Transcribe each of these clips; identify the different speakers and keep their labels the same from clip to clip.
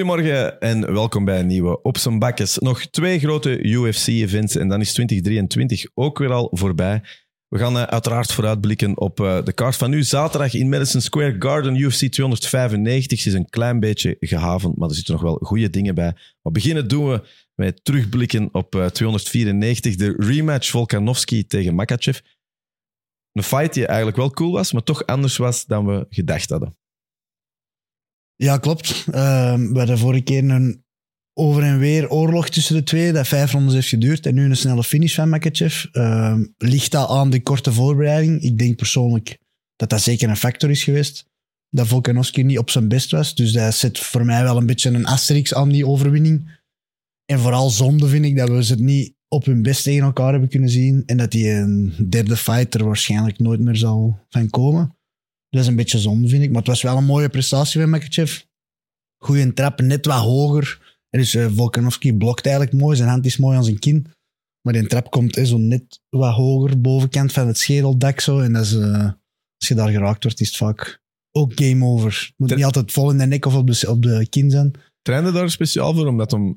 Speaker 1: Goedemorgen en welkom bij een nieuwe Op zijn Bakkes. Nog twee grote UFC-events en dan is 2023 ook weer al voorbij. We gaan eh, uiteraard vooruitblikken op eh, de kaart van nu. Zaterdag in Madison Square Garden UFC 295. Ze is een klein beetje gehavend, maar er zitten nog wel goede dingen bij. Maar beginnen doen we met terugblikken op eh, 294. De rematch Volkanovski tegen Makachev. Een fight die eigenlijk wel cool was, maar toch anders was dan we gedacht hadden.
Speaker 2: Ja, klopt. Ehm, we hadden vorige keer een over en weer oorlog tussen de twee, dat vijf rondes heeft geduurd en nu een snelle finish van Makachev. Ehm, ligt dat aan de korte voorbereiding? Ik denk persoonlijk dat dat zeker een factor is geweest. Dat Volkanovski niet op zijn best was, dus dat zet voor mij wel een beetje een asterix aan die overwinning. En vooral zonde vind ik dat we ze het niet op hun best tegen elkaar hebben kunnen zien en dat die een derde fight er waarschijnlijk nooit meer zal van komen. Dat is een beetje zonde, vind ik. Maar het was wel een mooie prestatie van Makachev. Goeie trap, net wat hoger. En dus eh, Volkanovski blokt eigenlijk mooi. Zijn hand is mooi aan zijn kin. Maar die trap komt eh, zo net wat hoger, bovenkant van het schedeldak. Zo. En dat is, eh, als je daar geraakt wordt, is het vaak ook game over. Het moet
Speaker 1: Ter-
Speaker 2: niet altijd vol in de nek of op de, op de kin zijn.
Speaker 1: trainde daar speciaal voor, omdat hem...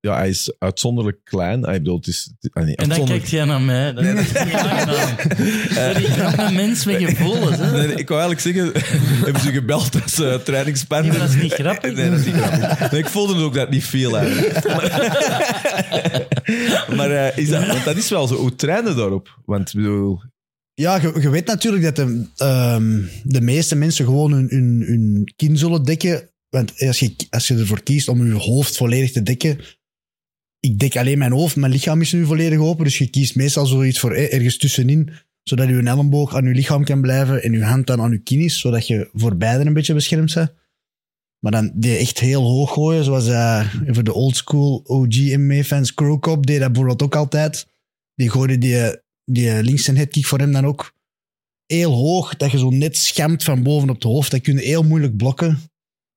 Speaker 1: Ja, hij is uitzonderlijk klein. Hij bedoelt, het is... ah, nee,
Speaker 3: En dan
Speaker 1: uitzonderlijk-
Speaker 3: kijkt jij naar mij. Dat is niet aangenaam. Dat is echt een mens met gevoelens. Hè?
Speaker 1: Nee, nee, ik wou eigenlijk zeggen, hebben ze gebeld als eh trainingspartner?
Speaker 3: Nee, maar dat is niet grappig.
Speaker 1: Nee, dat is niet grappig. Nee, ik voelde het ook dat het niet veel eigenlijk. Maar, maar, eh, is dat, want dat is wel zo. Hoe trainen daarop? Want ik bedoel,
Speaker 2: Ja, je, je weet natuurlijk dat de, ehm, de meeste mensen gewoon hun, hun, hun kin zullen dekken. Want als je, als je ervoor kiest om je hoofd volledig te dekken. Ik dek alleen mijn hoofd, mijn lichaam is nu volledig open. Dus je kiest meestal zoiets voor eh, ergens tussenin. Zodat je elleboog aan je lichaam kan blijven en je hand dan aan je kin is. Zodat je voor beiden een beetje beschermd bent. Maar dan die echt heel hoog gooien, zoals eh, voor de old school OG MMA-fans. Crow Cop deed dat bijvoorbeeld ook altijd. Die gooide die die links en headkick voor hem dan ook heel hoog, dat je zo net schemt van boven op het hoofd. Dat kun je heel moeilijk blokken.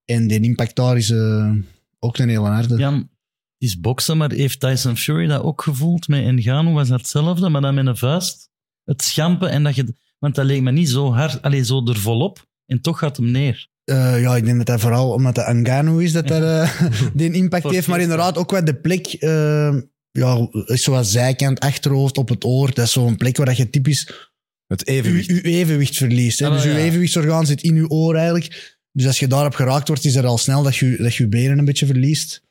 Speaker 2: En die impact daar is eh, ook een hele harde.
Speaker 3: Jan, het is boksen, maar heeft Tyson Fury dat ook gevoeld? Met Engano was dat hetzelfde, maar dan met een vuist. Het schampen en dat je... Want dat leek me niet zo hard, alleen zo er volop. En toch gaat hem neer.
Speaker 2: Eh, ja, ik denk dat dat vooral omdat dat Angano is, dat dat eh, die impact
Speaker 3: Voor
Speaker 2: heeft. Maar
Speaker 3: kies,
Speaker 2: inderdaad, ook wat de plek, eh, ja, is zoals zijkant, achterhoofd, op het oor. Dat is zo'n plek waar dat je typisch
Speaker 1: het
Speaker 2: uw,
Speaker 1: evenwicht.
Speaker 2: uw evenwicht verliest. Hè?
Speaker 3: Ah, wel,
Speaker 2: dus uw
Speaker 3: ja.
Speaker 2: evenwichtsorgaan zit in uw oor eigenlijk. Dus als je daarop geraakt wordt, is er al snel dat je dat je, uw benen een beetje verliest.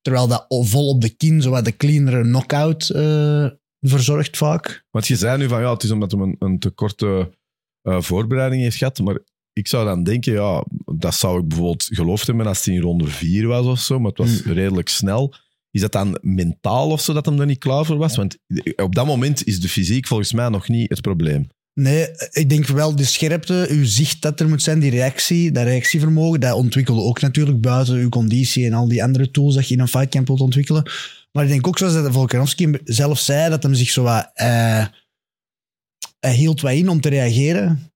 Speaker 2: Terwijl dat o- vol op de kin, zowat de cleanere knockout eh, verzorgt vaak.
Speaker 1: Want je zei nu van, ja, het is omdat hij een, een te korte eh, voorbereiding heeft gehad. Maar ik zou dan denken, ja, dat zou ik bijvoorbeeld geloofd hebben als hij in ronde 4 was of zo. Maar het was
Speaker 3: Mm.
Speaker 1: redelijk snel. Is dat dan mentaal of zo dat hem daar niet klaar voor was? Want op dat moment is de fysiek volgens mij nog niet het probleem.
Speaker 2: Nee, ik denk wel de scherpte, uw zicht dat er moet zijn, die reactie, dat reactievermogen, dat ontwikkelde ook natuurlijk buiten uw conditie en al die andere tools dat je in een fightcamp wilt ontwikkelen. Maar ik denk ook, zoals dat Volkanovski zelf zei, dat hem zich zo wat... eh, hij hield wat in om te reageren.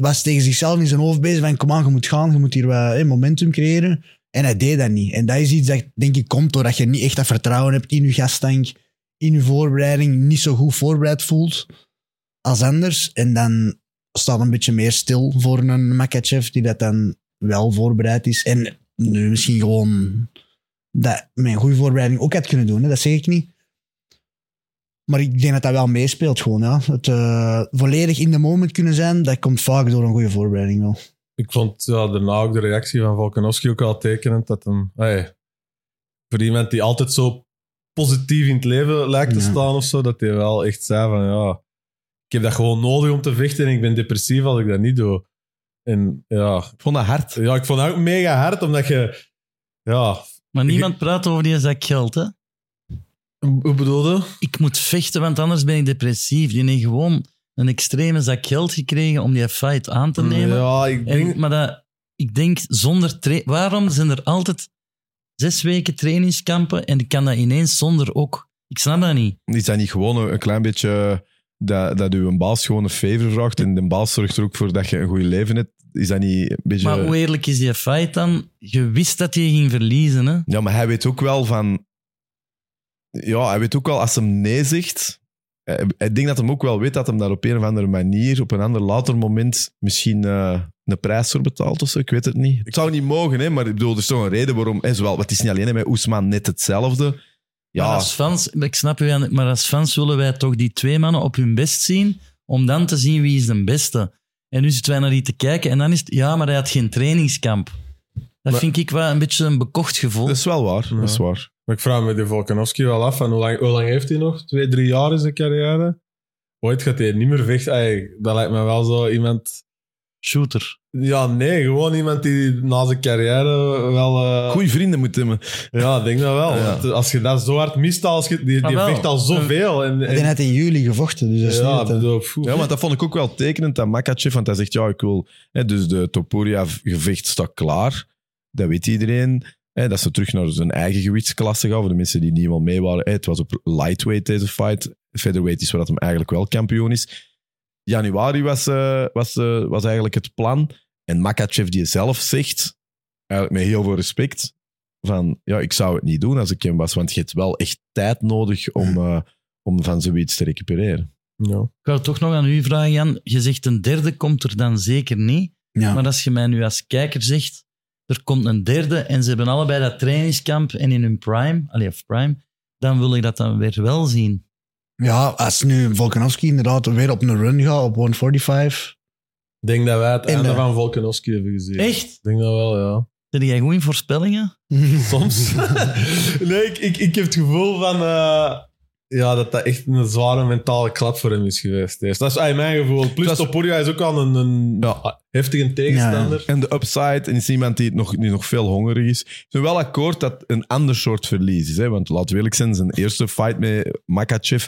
Speaker 2: Was tegen zichzelf in zijn hoofd bezig van, kom aan, je moet gaan, je moet hier wat eh, momentum creëren. En hij deed dat niet. En dat is iets dat, denk ik, komt doordat je niet echt dat vertrouwen hebt in je gastank, in je voorbereiding, niet zo goed voorbereid voelt als anders. En dan staat een beetje meer stil voor een Makachev die dat dan wel voorbereid is. En nu misschien gewoon dat mijn goede voorbereiding ook had kunnen doen. Hè? Dat zeg ik niet. Maar ik denk dat dat wel meespeelt gewoon. Ja. Het eh, volledig in de moment kunnen zijn, dat komt vaak door een goede voorbereiding wel.
Speaker 4: Ik vond ja, daarna ook de reactie van Volkanovski ook al tekenend. Dat hem, hey, voor iemand die altijd zo positief in het leven lijkt te
Speaker 2: Ja.
Speaker 4: staan of zo, dat hij wel echt zei van ja, ik heb dat gewoon nodig om te vechten en ik ben depressief als ik dat niet doe. En ja,
Speaker 1: Ik vond dat hard.
Speaker 4: ja ik vond dat ook mega hard, omdat je... Ja,
Speaker 3: Maar niemand praat over die zak geld, hè.
Speaker 4: hoe bedoelde?
Speaker 3: Ik moet vechten, want anders ben ik depressief. Die heeft gewoon een extreme zak geld gekregen om die fight aan te nemen.
Speaker 4: Ja, ik
Speaker 3: En,
Speaker 4: denk...
Speaker 3: Maar dat, ik denk zonder tra- Waarom zijn er altijd zes weken trainingskampen en ik kan dat ineens zonder ook? Ik snap dat niet.
Speaker 1: Is dat niet gewoon een, een klein beetje dat, dat u een baas gewoon een favor vraagt en de baas zorgt er ook voor dat je een goed leven hebt? Is dat niet een beetje...
Speaker 3: Maar hoe eerlijk is die fight dan? Je wist dat je ging verliezen, hè?
Speaker 1: Ja, maar hij weet ook wel van... Ja, hij weet ook wel als hem nee zegt... eh, Ik denk dat hem ook wel weet dat hem daar op een of andere manier, op een ander later moment, misschien eh, een prijs voor betaald of zo. Ik weet het niet. Het zou niet mogen, hè, maar ik bedoel, er is toch een reden waarom. En zowel, want het is niet alleen hè, met Oesman net hetzelfde.
Speaker 3: Maar
Speaker 1: Ja,
Speaker 3: als fans, ik snap u, aan- maar als fans willen wij toch die twee mannen op hun best zien, om dan te zien wie is de beste. En nu zitten wij naar die te kijken en dan is het, ja, maar hij had geen trainingskamp. Dat
Speaker 1: Maar- Dus-
Speaker 3: vind ik wel een beetje een bekocht gevoel.
Speaker 1: dat is wel waar. Dat is waar.
Speaker 4: Maar ik vraag me de Volkanovski wel af, van hoe, lang, hoe lang heeft hij nog? Twee, drie jaar in zijn carrière? Ooit gaat hij niet meer vechten. Ey, dat lijkt me wel zo iemand...
Speaker 3: Shooter.
Speaker 4: Ja, nee, gewoon iemand die na zijn carrière wel... eh,
Speaker 1: Goeie vrienden moeten hebben.
Speaker 4: Ja, ik denk dat wel.
Speaker 1: Ja.
Speaker 4: Want Als je dat zo hard mist, als je, die,
Speaker 3: Ah,
Speaker 4: die
Speaker 3: wel.
Speaker 4: vecht al zoveel. En,
Speaker 2: Hij
Speaker 4: en,
Speaker 2: net in juli gevochten, dus dat is
Speaker 4: ja,
Speaker 2: niet... dat-
Speaker 4: bedoel, poeh.
Speaker 1: Ja, want dat vond ik ook wel tekenend, dat Makachev, want hij zegt, ja, ik wil... Hè, dus de Topuria-gevecht staat klaar, dat weet iedereen. Hè, dat ze terug naar zijn eigen gewichtsklasse gaan, voor de mensen die niet helemaal mee waren. Hè, het was op lightweight deze fight. Featherweight is waar dat hem eigenlijk wel kampioen is. Januari was, eh, was, eh, was eigenlijk het plan. En Makachev die zelf zegt, eigenlijk met heel veel respect, van, ja, ik zou het niet doen als ik hem was, want je hebt wel echt tijd nodig om, eh, om van zoiets te recupereren.
Speaker 4: Ja.
Speaker 3: Ik wou toch nog aan u vragen, Jan. Je zegt een derde komt er dan zeker niet.
Speaker 2: Ja.
Speaker 3: Maar als je mij nu als kijker zegt, er komt een derde en ze hebben allebei dat trainingskamp en in hun prime, allee, of prime, dan wil ik dat dan weer wel zien.
Speaker 2: ja, als nu Volkanovski inderdaad weer op een run gaat op 145...
Speaker 4: Ik denk dat wij het
Speaker 2: En,
Speaker 4: einde
Speaker 2: eh,
Speaker 4: van Volkanovski hebben gezien.
Speaker 3: Echt?
Speaker 4: Ik denk dat wel, ja.
Speaker 3: Ben jij goed in voorspellingen?
Speaker 4: Soms. nee, ik, ik, ik heb het gevoel van... eh, ja, dat dat echt een zware mentale klap voor hem is geweest. eerst. Dat is eigenlijk mijn gevoel. Plus,
Speaker 1: Dat is-
Speaker 4: Topuria is ook al een, een
Speaker 1: Ja.
Speaker 4: heftige tegenstander.
Speaker 1: En de upside, en is iemand die, het nog, die nog veel hongerig is. Ik ben wel akkoord dat een ander soort verlies is. Hè? Want laat eerlijk zijn, zijn eerste fight met Makachev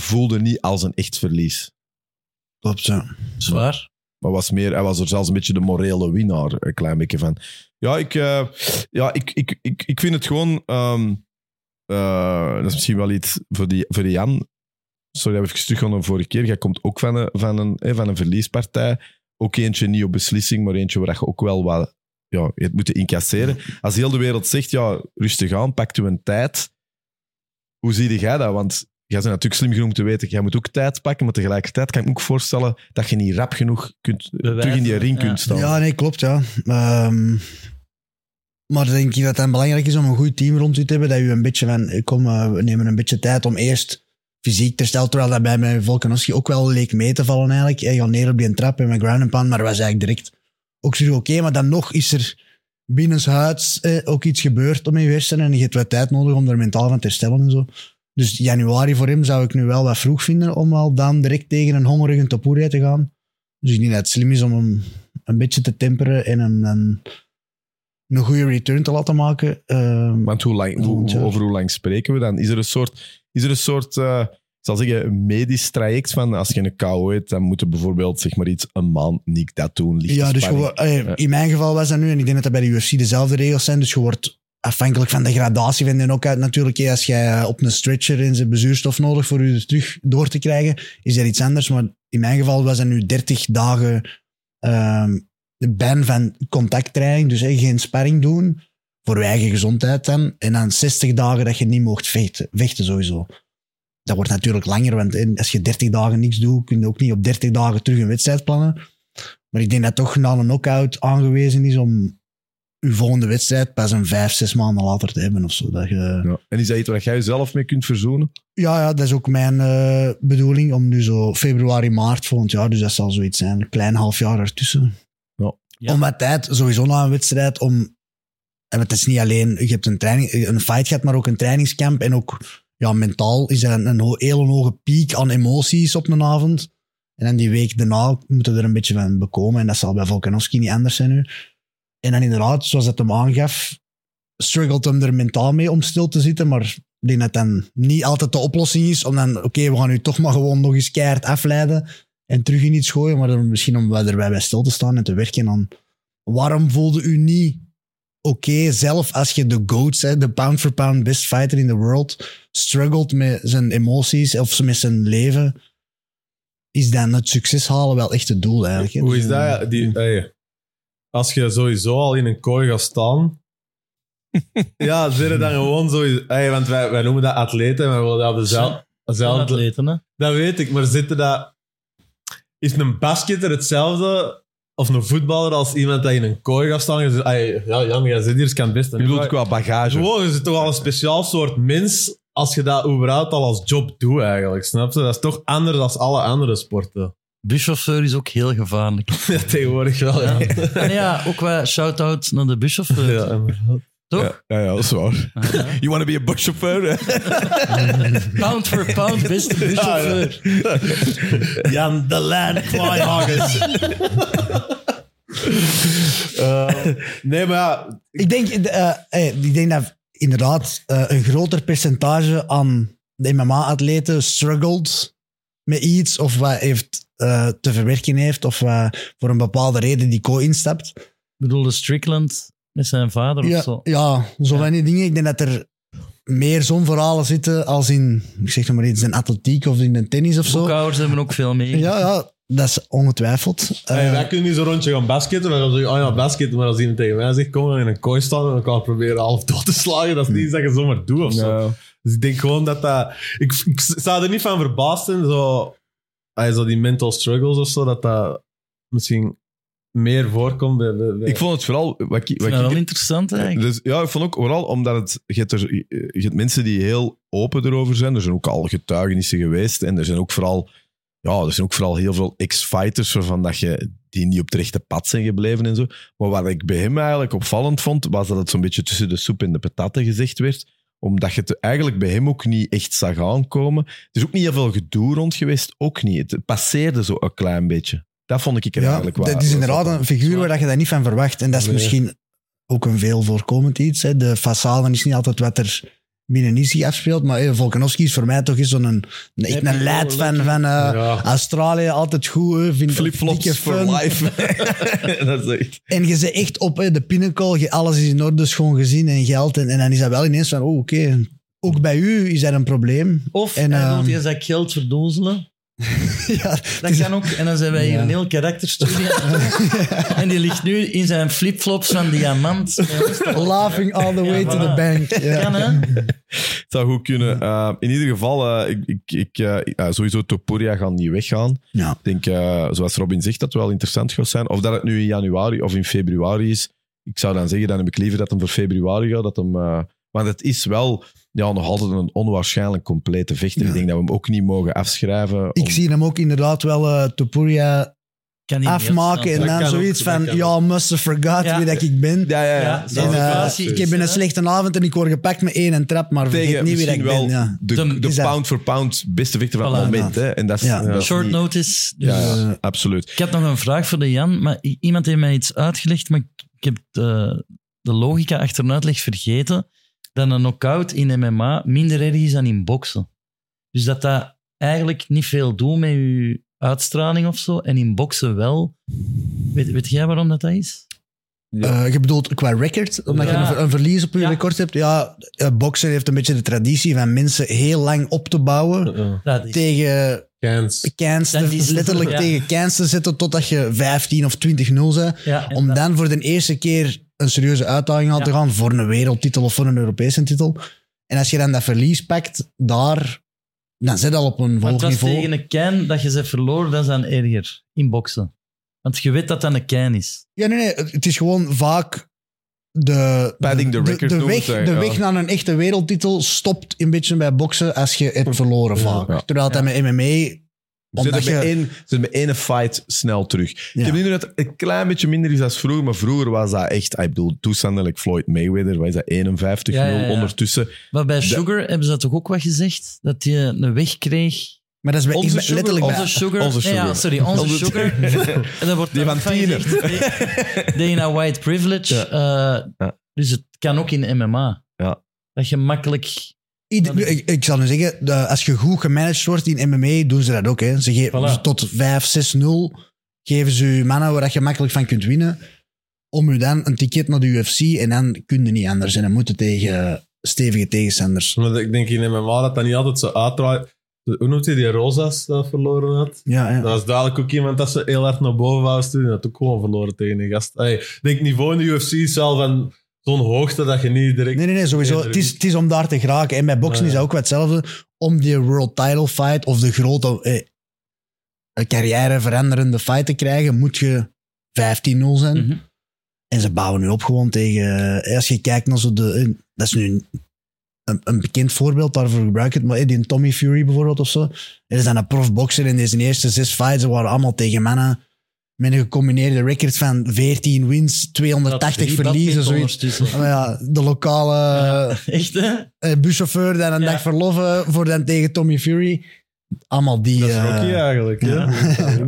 Speaker 1: voelde niet als een echt verlies.
Speaker 2: Klopt, ja.
Speaker 3: Zwaar.
Speaker 1: Maar was meer, hij was er zelfs een beetje de morele winnaar, een klein beetje van. Ja, ik, eh, ja, ik, ik, ik, ik vind het gewoon... ehm, eh, dat is misschien wel iets voor, die, voor die Jan. Sorry dat we even terug gaan naar de vorige keer. Jij komt ook van een, van een, hè, van een verliespartij. Ook eentje niet op beslissing, maar eentje waar je ook wel wat... Ja, je hebt moeten incasseren. Als heel de wereld zegt, ja, rustig aan, pakt u een tijd. Hoe zie jij dat? Want jij bent natuurlijk slim genoeg om te weten, jij moet ook tijd pakken, maar tegelijkertijd kan ik me ook voorstellen dat je niet rap genoeg kunt,
Speaker 3: Bewijzen,
Speaker 1: terug in die ring
Speaker 3: ja.
Speaker 1: kunt staan.
Speaker 2: Ja, nee, klopt, ja. Ehm, maar dan denk ik dat het belangrijk is om een goed team rond u te hebben, dat u een beetje van, eh, kom, eh, we nemen een beetje tijd om eerst fysiek te stellen, terwijl dat bij mij Volkanovski ook wel leek mee te vallen eigenlijk. Hij gaat neer op die trap en mijn ground and pound, maar was eigenlijk direct ook zo oké, maar dan nog is er binnenshuids eh, ook iets gebeurd om in Westen en je hebt wat tijd nodig om er mentaal van te herstellen en zo. Dus januari voor hem zou ik nu wel wat vroeg vinden om al dan direct tegen een hongerige Topuria te gaan. Dus ik denk dat het slim is om hem een beetje te temperen en een, een, een goede return te laten maken. Ehm,
Speaker 1: Want hoe lang, hoe- hoe- over hoe lang spreken we dan? Is er een soort, is er een soort eh, ik zal zeggen, een medisch traject van als je een kou hebt, dan moet je bijvoorbeeld zeg maar iets een maand niet dat doen. lichte
Speaker 2: ja, dus
Speaker 1: spanning.
Speaker 2: gewoon, allee,
Speaker 1: Ja.
Speaker 2: in mijn geval was dat nu, en ik denk dat dat bij de UFC dezelfde regels zijn, dus je wordt afhankelijk van de gradatie van de knockout natuurlijk. hè. Als jij op een stretcher en zijn bezuurstof nodig voor je er terug door te krijgen, is dat iets anders. Maar in mijn geval was dat nu 30 dagen ehm, de ban van contacttraining, dus hè, geen sparring doen, voor je eigen gezondheid dan. En dan 60 dagen dat je niet mocht vechten, vechten sowieso. Dat wordt natuurlijk langer, want hè, als je 30 dagen niks doet, kun je ook niet op 30 dagen terug een wedstrijd plannen. Maar ik denk dat toch na een knockout aangewezen is om uw volgende wedstrijd pas een vijf, zes maanden later te hebben of zo. Dat je...
Speaker 1: Ja. En is dat iets waar jij jezelf mee kunt verzoenen?
Speaker 2: ja, ja, dat is ook mijn eh, bedoeling. Om nu zo februari, maart volgend jaar, dus dat zal zoiets zijn. Een klein half jaar ertussen.
Speaker 1: Ja.
Speaker 3: Ja.
Speaker 2: Om wat tijd, sowieso na een wedstrijd, om... En het is niet alleen, je hebt een, training, een fight gehad, maar ook een trainingskamp. En ook ja, mentaal is er een, een ho- hele hoge piek aan emoties op een avond. En dan die week daarna moeten we er een beetje van bekomen. En dat zal bij Volkanovski niet anders zijn nu. En dan inderdaad, zoals het hem aangaf, struggelt hem er mentaal mee om stil te zitten. Maar ik denk dat dan niet altijd de oplossing is om dan, oké, we gaan u toch maar gewoon nog eens keihard afleiden en terug in iets gooien. Maar dan misschien om wel erbij bij stil te staan en te werken aan waarom voelde u niet oké, zelf als je de GOAT, hè, de pound for pound best fighter in the world, struggelt met zijn emoties of met zijn leven, is dan het succes halen wel echt het doel eigenlijk. hè?
Speaker 4: Hoe is
Speaker 2: Dus, eh,
Speaker 4: dat? Die, ey, als je sowieso al in een kooi gaat staan... ja, zit er dan gewoon sowieso... ey, want wij, wij noemen dat atleten, maar we willen dat op dezelfde... dezelfde
Speaker 3: Atleten, hè?
Speaker 4: Dat weet ik, maar zitten dat... Is een basketter hetzelfde of een voetballer als iemand dat in een kooi gaat staan. Je zegt, "Ai, ja, Jan, jij zit hier, je kan het beste.
Speaker 1: Je bedoelt qua bagage.
Speaker 4: Gewoon, je zit toch al een speciaal soort mens als je dat überhaupt al als job doet eigenlijk, snap je? Dat is toch anders dan alle andere sporten.
Speaker 3: Buschauffeur is ook heel gevaarlijk.
Speaker 4: Ja, tegenwoordig wel, ja.
Speaker 3: Ja. En ja, ook wel shout-out naar de buschauffeur.
Speaker 4: Ja, inderdaad.
Speaker 3: Toch?
Speaker 1: Ja, ja, ja, dat is waar. You want to be a buschauffeur? hè?
Speaker 3: Pound for pound, beste
Speaker 4: Ah,
Speaker 3: buschauffeur.
Speaker 4: Jan de Lijn Kleihagens. Eh, nee, maar ja,
Speaker 2: Ik denk, eh, eh, ik denk dat inderdaad eh, een groter percentage aan de MMA-atleten struggled met iets of wat heeft eh, te verwerken heeft of wat voor een bepaalde reden die co instapt.
Speaker 3: Ik bedoel, de Strickland met zijn vader
Speaker 2: Ja,
Speaker 3: of zo.
Speaker 2: ja, zo van die dingen. Ik denk dat er meer zo'n verhalen zitten als in, ik zeg nog maar iets, in atletiek of in de tennis of zo.
Speaker 3: Boekhouders hebben ook veel mee.
Speaker 2: Ja, ja, dat is ongetwijfeld. Eh,
Speaker 4: hey, wij kunnen niet zo'n rondje gaan basketten. Wij gaan zeggen, oh ja, basketten. Maar als iemand tegen mij zegt, kom we gaan in een kooi staan en elkaar proberen half dood te slagen, dat is niet iets dat je zomaar doet of zo. Dus ik denk gewoon dat dat... Ik, ik zou er niet van verbaasd zijn, zo, ah, zo die mental struggles of zo, dat dat misschien meer voorkomt bij... bij, bij-
Speaker 1: Ik vond het vooral... Wat ik,
Speaker 3: Ik vind
Speaker 1: wat
Speaker 3: dat wel
Speaker 1: ik-
Speaker 3: interessant eigenlijk.
Speaker 1: dus, ja, ik vond ook vooral omdat het, je, hebt er, je hebt mensen die heel open erover zijn. Er zijn ook al getuigenissen geweest. En er zijn ook vooral, ja, er zijn ook vooral heel veel ex-fighters waarvan dat je, die niet op het rechte pad zijn gebleven en zo. Maar wat ik bij hem eigenlijk opvallend vond, was dat het zo'n beetje tussen de soep en de patatten gezegd werd. Omdat je het eigenlijk bij hem ook niet echt zag aankomen. Er is ook niet heel veel gedoe rond geweest. Ook niet. Het passeerde zo een klein beetje. Dat vond ik er
Speaker 2: ja,
Speaker 1: eigenlijk wel.
Speaker 2: dat is inderdaad een figuur waar dat je dat niet van verwacht. En dat is
Speaker 4: Nee.
Speaker 2: misschien ook een veel voorkomend iets. Hè. De façade is niet altijd wat er binnen is zich afspeelt. Maar eh, Volkanovski is voor mij toch eens zo'n een, een, echt een
Speaker 3: Happy
Speaker 2: leid
Speaker 3: go
Speaker 2: van,
Speaker 3: lucky.
Speaker 2: van eh,
Speaker 4: ja.
Speaker 2: Australië. Altijd goed, hè, vindt
Speaker 1: Flip-flops
Speaker 2: dikke
Speaker 1: for
Speaker 2: fun.
Speaker 1: life. dat is echt...
Speaker 2: En je zit echt op hè, de pinnacle, je, alles is in orde, schoon gezien en geld. En, en dan is dat wel ineens van, oh, oké, ook bij u is dat een probleem.
Speaker 3: Of
Speaker 2: En,
Speaker 3: en, hij
Speaker 2: ehm,
Speaker 3: wil eerst dat geld verdozelen.
Speaker 2: ja,
Speaker 3: Dat kan ook. En dan zijn wij hier
Speaker 2: Ja.
Speaker 3: een heel karakterstudie aan het doen. En die ligt nu in zijn flipflops van diamant.
Speaker 2: eh, laughing all the way
Speaker 3: Ja,
Speaker 2: to the
Speaker 3: voilà.
Speaker 2: bank. Ja.
Speaker 3: Kan, hè?
Speaker 1: Het zou goed kunnen. Eh, in ieder geval, eh, ik, ik, ik, eh, eh, sowieso Topuria gaat niet weggaan.
Speaker 2: Ja.
Speaker 1: Ik denk, eh, zoals Robin zegt, dat het wel interessant gaat zijn. Of dat het nu in januari of in februari is. Ik zou dan zeggen, dan heb ik liever dat hem voor februari gaat. Dat hem, eh, want het is wel ja, nog altijd een onwaarschijnlijk complete vechter.
Speaker 2: Ja.
Speaker 1: Ik denk dat we hem ook niet mogen afschrijven.
Speaker 2: Ik zie hem ook inderdaad wel eh Topuria
Speaker 3: Kan niet
Speaker 2: afmaken en
Speaker 4: Dat
Speaker 2: dan
Speaker 4: kan
Speaker 2: zoiets
Speaker 4: ook,
Speaker 2: van,
Speaker 4: dat kan
Speaker 2: ja, must have forgot
Speaker 3: Ja.
Speaker 2: wie dat ik ben.
Speaker 1: Ja, ja, ja.
Speaker 3: Ja,
Speaker 2: En,
Speaker 3: dat
Speaker 2: eh,
Speaker 3: is
Speaker 2: ik heb een
Speaker 3: hè?
Speaker 2: slechte avond en ik word gepakt met één en trap, maar vergeet
Speaker 1: Tegen
Speaker 2: niet wie dat ik
Speaker 1: misschien wel
Speaker 2: ben. Ja.
Speaker 1: de,
Speaker 3: Dan
Speaker 1: de,
Speaker 2: is dat-
Speaker 1: pound for pound beste vechter van
Speaker 3: Voilà.
Speaker 1: het moment. Hè? En dat is,
Speaker 2: Ja.
Speaker 1: ja, dat is
Speaker 3: Short
Speaker 1: niet-
Speaker 3: notice. Dus
Speaker 1: Ja, ja,
Speaker 2: eh,
Speaker 1: absoluut.
Speaker 3: Ik had nog een vraag voor de Jan, maar i- iemand heeft mij iets uitgelegd, maar ik- ik heb de, de logica achter een uitleg vergeten. Dat een knockout in MMA minder erg is dan in boksen. Dus dat dat eigenlijk niet veel doet met je uitstraling of zo. En in boksen wel. Weet, weet jij waarom dat, dat is?
Speaker 1: Ja.
Speaker 2: eh, je bedoelt qua record, omdat je
Speaker 3: Ja.
Speaker 2: een, ver- een verlies op je
Speaker 3: Ja.
Speaker 2: record hebt. Ja, eh, boksen heeft een beetje de traditie van mensen heel lang op te bouwen.
Speaker 3: Dat is
Speaker 2: tegen
Speaker 4: Kans.
Speaker 2: cans,
Speaker 3: Dat is-
Speaker 2: te- letterlijk
Speaker 3: ja.
Speaker 2: tegen cans te zitten totdat je 15 of 20-0 bent.
Speaker 3: ja, en
Speaker 2: Om
Speaker 3: dat-
Speaker 2: dan voor de eerste keer een serieuze uitdaging aan te
Speaker 3: Ja.
Speaker 2: gaan voor een wereldtitel of voor een Europese titel. En als je dan dat verlies pakt, daar, dan zit al op een
Speaker 3: want
Speaker 2: hoog
Speaker 3: dat is
Speaker 2: niveau.
Speaker 3: tegen een can dat je ze verloren, dat is dan erger in boksen. Want je weet dat dat een can is.
Speaker 2: Ja, nee, nee, het is gewoon vaak de,
Speaker 1: Padding the record
Speaker 2: de,
Speaker 1: noemen
Speaker 2: weg,
Speaker 1: ze,
Speaker 2: de
Speaker 1: ja.
Speaker 2: weg naar een echte wereldtitel stopt een beetje bij boksen als je hebt verloren
Speaker 4: Ja.
Speaker 2: vaak.
Speaker 1: Ja.
Speaker 2: Terwijl dat met MMA...
Speaker 1: Ze
Speaker 2: Omdat
Speaker 1: zitten bij
Speaker 2: je,
Speaker 1: één- ze zitten bij één fight snel terug. Ik
Speaker 2: Ja.
Speaker 1: heb nu dat het een klein beetje minder is dan vroeger, maar vroeger was dat echt... ah, Ik bedoel, toestanden like Floyd Mayweather, wat is dat, 51
Speaker 3: Ja, ja, ja.
Speaker 1: ondertussen.
Speaker 3: Maar bij
Speaker 1: Dat-
Speaker 3: Sugar hebben ze dat toch ook wat gezegd? Dat je een weg kreeg
Speaker 2: maar dat is bij,
Speaker 1: Onze
Speaker 2: is bij-
Speaker 1: sugar-
Speaker 2: letterlijk bij,
Speaker 3: Onze sugar.
Speaker 1: Onze
Speaker 3: Nee, ja,
Speaker 1: sugar.
Speaker 3: sorry, onze
Speaker 1: Onze-
Speaker 3: sugar. En dat wordt
Speaker 1: Die van
Speaker 3: tienen. Dana White Privilege. Eh,
Speaker 1: Ja.
Speaker 3: Dus het kan ook in MMA.
Speaker 1: Ja.
Speaker 3: Dat je makkelijk...
Speaker 2: Ieder-
Speaker 3: Dat is-
Speaker 2: ik, ik zal nu zeggen, de- als je goed gemanaged wordt in MMA, doen ze dat ook. Hè. Ze geven
Speaker 3: Voilà.
Speaker 2: ze tot 5, 6, 0. Geven ze je mannen waar dat je makkelijk van kunt winnen. Om je dan een ticket naar de UFC en dan kun je niet anders. En dan moeten tegen stevige tegenstanders.
Speaker 4: Maar ik denk in MMA dat dat niet altijd zo uitdraait. Hoe noemt hij die Rosas dat verloren had?
Speaker 2: Ja, ja.
Speaker 4: Dat was duidelijk ook iemand dat ze heel hard naar boven wou sturen. Dat had ook gewoon verloren tegen een gast. Hey, ik denk niveau in de UFC is wel van zo'n hoogte dat je niet direct...
Speaker 2: Nee, nee, nee, sowieso.
Speaker 4: Nee,
Speaker 2: het, is, het is om daar te geraken. En bij boksen
Speaker 4: Ja.
Speaker 2: is dat ook wel hetzelfde. Om die world title fight of de grote eh, carrière veranderende fight te krijgen, moet je 15-0 zijn.
Speaker 3: Mhm.
Speaker 2: En ze bouwen nu op gewoon tegen... eh, Als je kijkt naar zo de... eh, Dat is nu een, een, een bekend voorbeeld, daarvoor gebruik ik het. Maar eh, die Tommy Fury bijvoorbeeld of zo. Er is dan een profboxer in deze eerste zes fights. Ze waren allemaal tegen mannen met een gecombineerde record van 14 wins, 280
Speaker 3: Drie
Speaker 2: verliezen,
Speaker 3: badmintoners
Speaker 2: zoiets.
Speaker 3: tussen.
Speaker 2: Maar ja, de lokale
Speaker 3: Echt, hè?
Speaker 2: eh, buschauffeur dan een
Speaker 3: Ja.
Speaker 2: dag verloven voor dan tegen Tommy Fury. Allemaal die...
Speaker 4: Dat is
Speaker 2: eh,
Speaker 4: Rocky eigenlijk. Ja.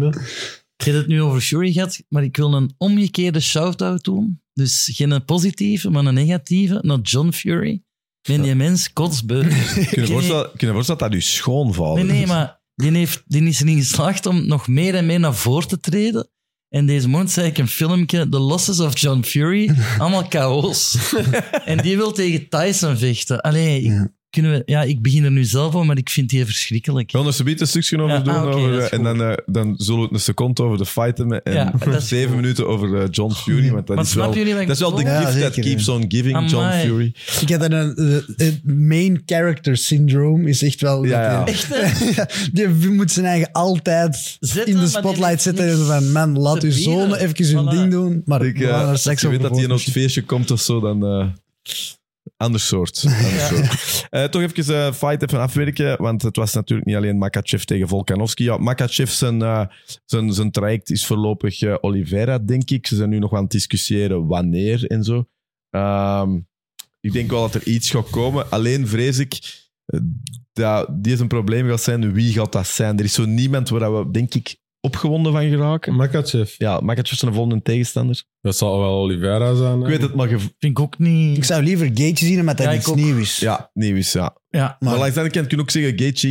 Speaker 3: Je hebt het nu over Fury gehad, maar ik wil een omgekeerde shout-out doen. Dus geen positieve, maar een negatieve, naar John Fury. Nee, die mens kotsbeu.
Speaker 1: Kun je voorstellen kun je voorstellen dat dat u schoonvouwt?
Speaker 3: Nee, nee, maar die, heeft, die is erin geslaagd om nog meer en meer naar voren te treden. En deze maand zei ik een filmpje, The Losses of John Fury, allemaal chaos. en die wil tegen Tyson vechten. Allee, ik-
Speaker 2: Ja.
Speaker 3: kunnen we, ja, ik begin er nu zelf over, maar ik vind die verschrikkelijk.
Speaker 1: We gaan er zometeen een stukje over
Speaker 3: Ja,
Speaker 1: doen.
Speaker 3: ah, oké,
Speaker 1: over,
Speaker 3: dat is
Speaker 1: eh, en dan, eh, dan zullen we het een seconde over de fight hebben. En
Speaker 3: Ja, dat is
Speaker 1: zeven
Speaker 3: goed.
Speaker 1: minuten over eh, John Fury. Want dat
Speaker 3: Maar
Speaker 1: is wel,
Speaker 3: snappen jullie wat ik
Speaker 1: dat is wel de
Speaker 2: bedoel?
Speaker 1: gift
Speaker 2: Ja,
Speaker 1: that
Speaker 2: zeker,
Speaker 1: keeps on giving, John
Speaker 3: Amai.
Speaker 1: Fury.
Speaker 2: Ik had dan een eh, het main character syndroom is echt wel.
Speaker 1: Ja, ja.
Speaker 3: Echt, hè?
Speaker 2: Die moet zijn eigen altijd
Speaker 3: Zetten,
Speaker 2: in de
Speaker 3: maar die
Speaker 2: spotlight
Speaker 3: heeft
Speaker 2: zitten. En
Speaker 3: niks
Speaker 2: zo van, man, laat
Speaker 3: te
Speaker 2: uw
Speaker 3: bieden.
Speaker 2: zoon even hun
Speaker 3: Voilà.
Speaker 2: ding doen. Maar
Speaker 1: Ik,
Speaker 2: ik
Speaker 1: eh,
Speaker 2: daar
Speaker 1: als
Speaker 2: seks
Speaker 1: je weet
Speaker 2: over
Speaker 1: dat hij in ons
Speaker 2: volgens
Speaker 1: feestje komt of zo, dan... eh ander soort. Ander soort. Eh, toch even eh fight even afwerken, want het was natuurlijk niet alleen Makachev tegen Volkanovski. Ja, Makachev, zijn, eh, zijn, zijn traject is voorlopig eh, Oliveira, denk ik. Ze zijn nu nog aan het discussiëren wanneer en zo. Ehm, ik denk wel dat er iets gaat komen. Alleen vrees ik eh, dat dit een probleem gaat zijn. Wie gaat dat zijn? Er is zo niemand waar we, denk ik, opgewonden van geraken.
Speaker 4: Makachev.
Speaker 1: Ja, Makachev zijn volgende tegenstander.
Speaker 4: Dat zal wel Oliveira zijn.
Speaker 1: Ik weet het, maar... ge-
Speaker 3: Vind ik ook
Speaker 2: mij. Ik
Speaker 3: niet...
Speaker 2: zou liever Gage zien, omdat dat
Speaker 3: Ja, ik
Speaker 2: iets
Speaker 3: ook.
Speaker 2: nieuws is.
Speaker 1: Ja, nieuws, ja.
Speaker 3: Ja,
Speaker 1: Maar,
Speaker 2: Maar
Speaker 1: langs de andere kant kun je ook zeggen, Gaethje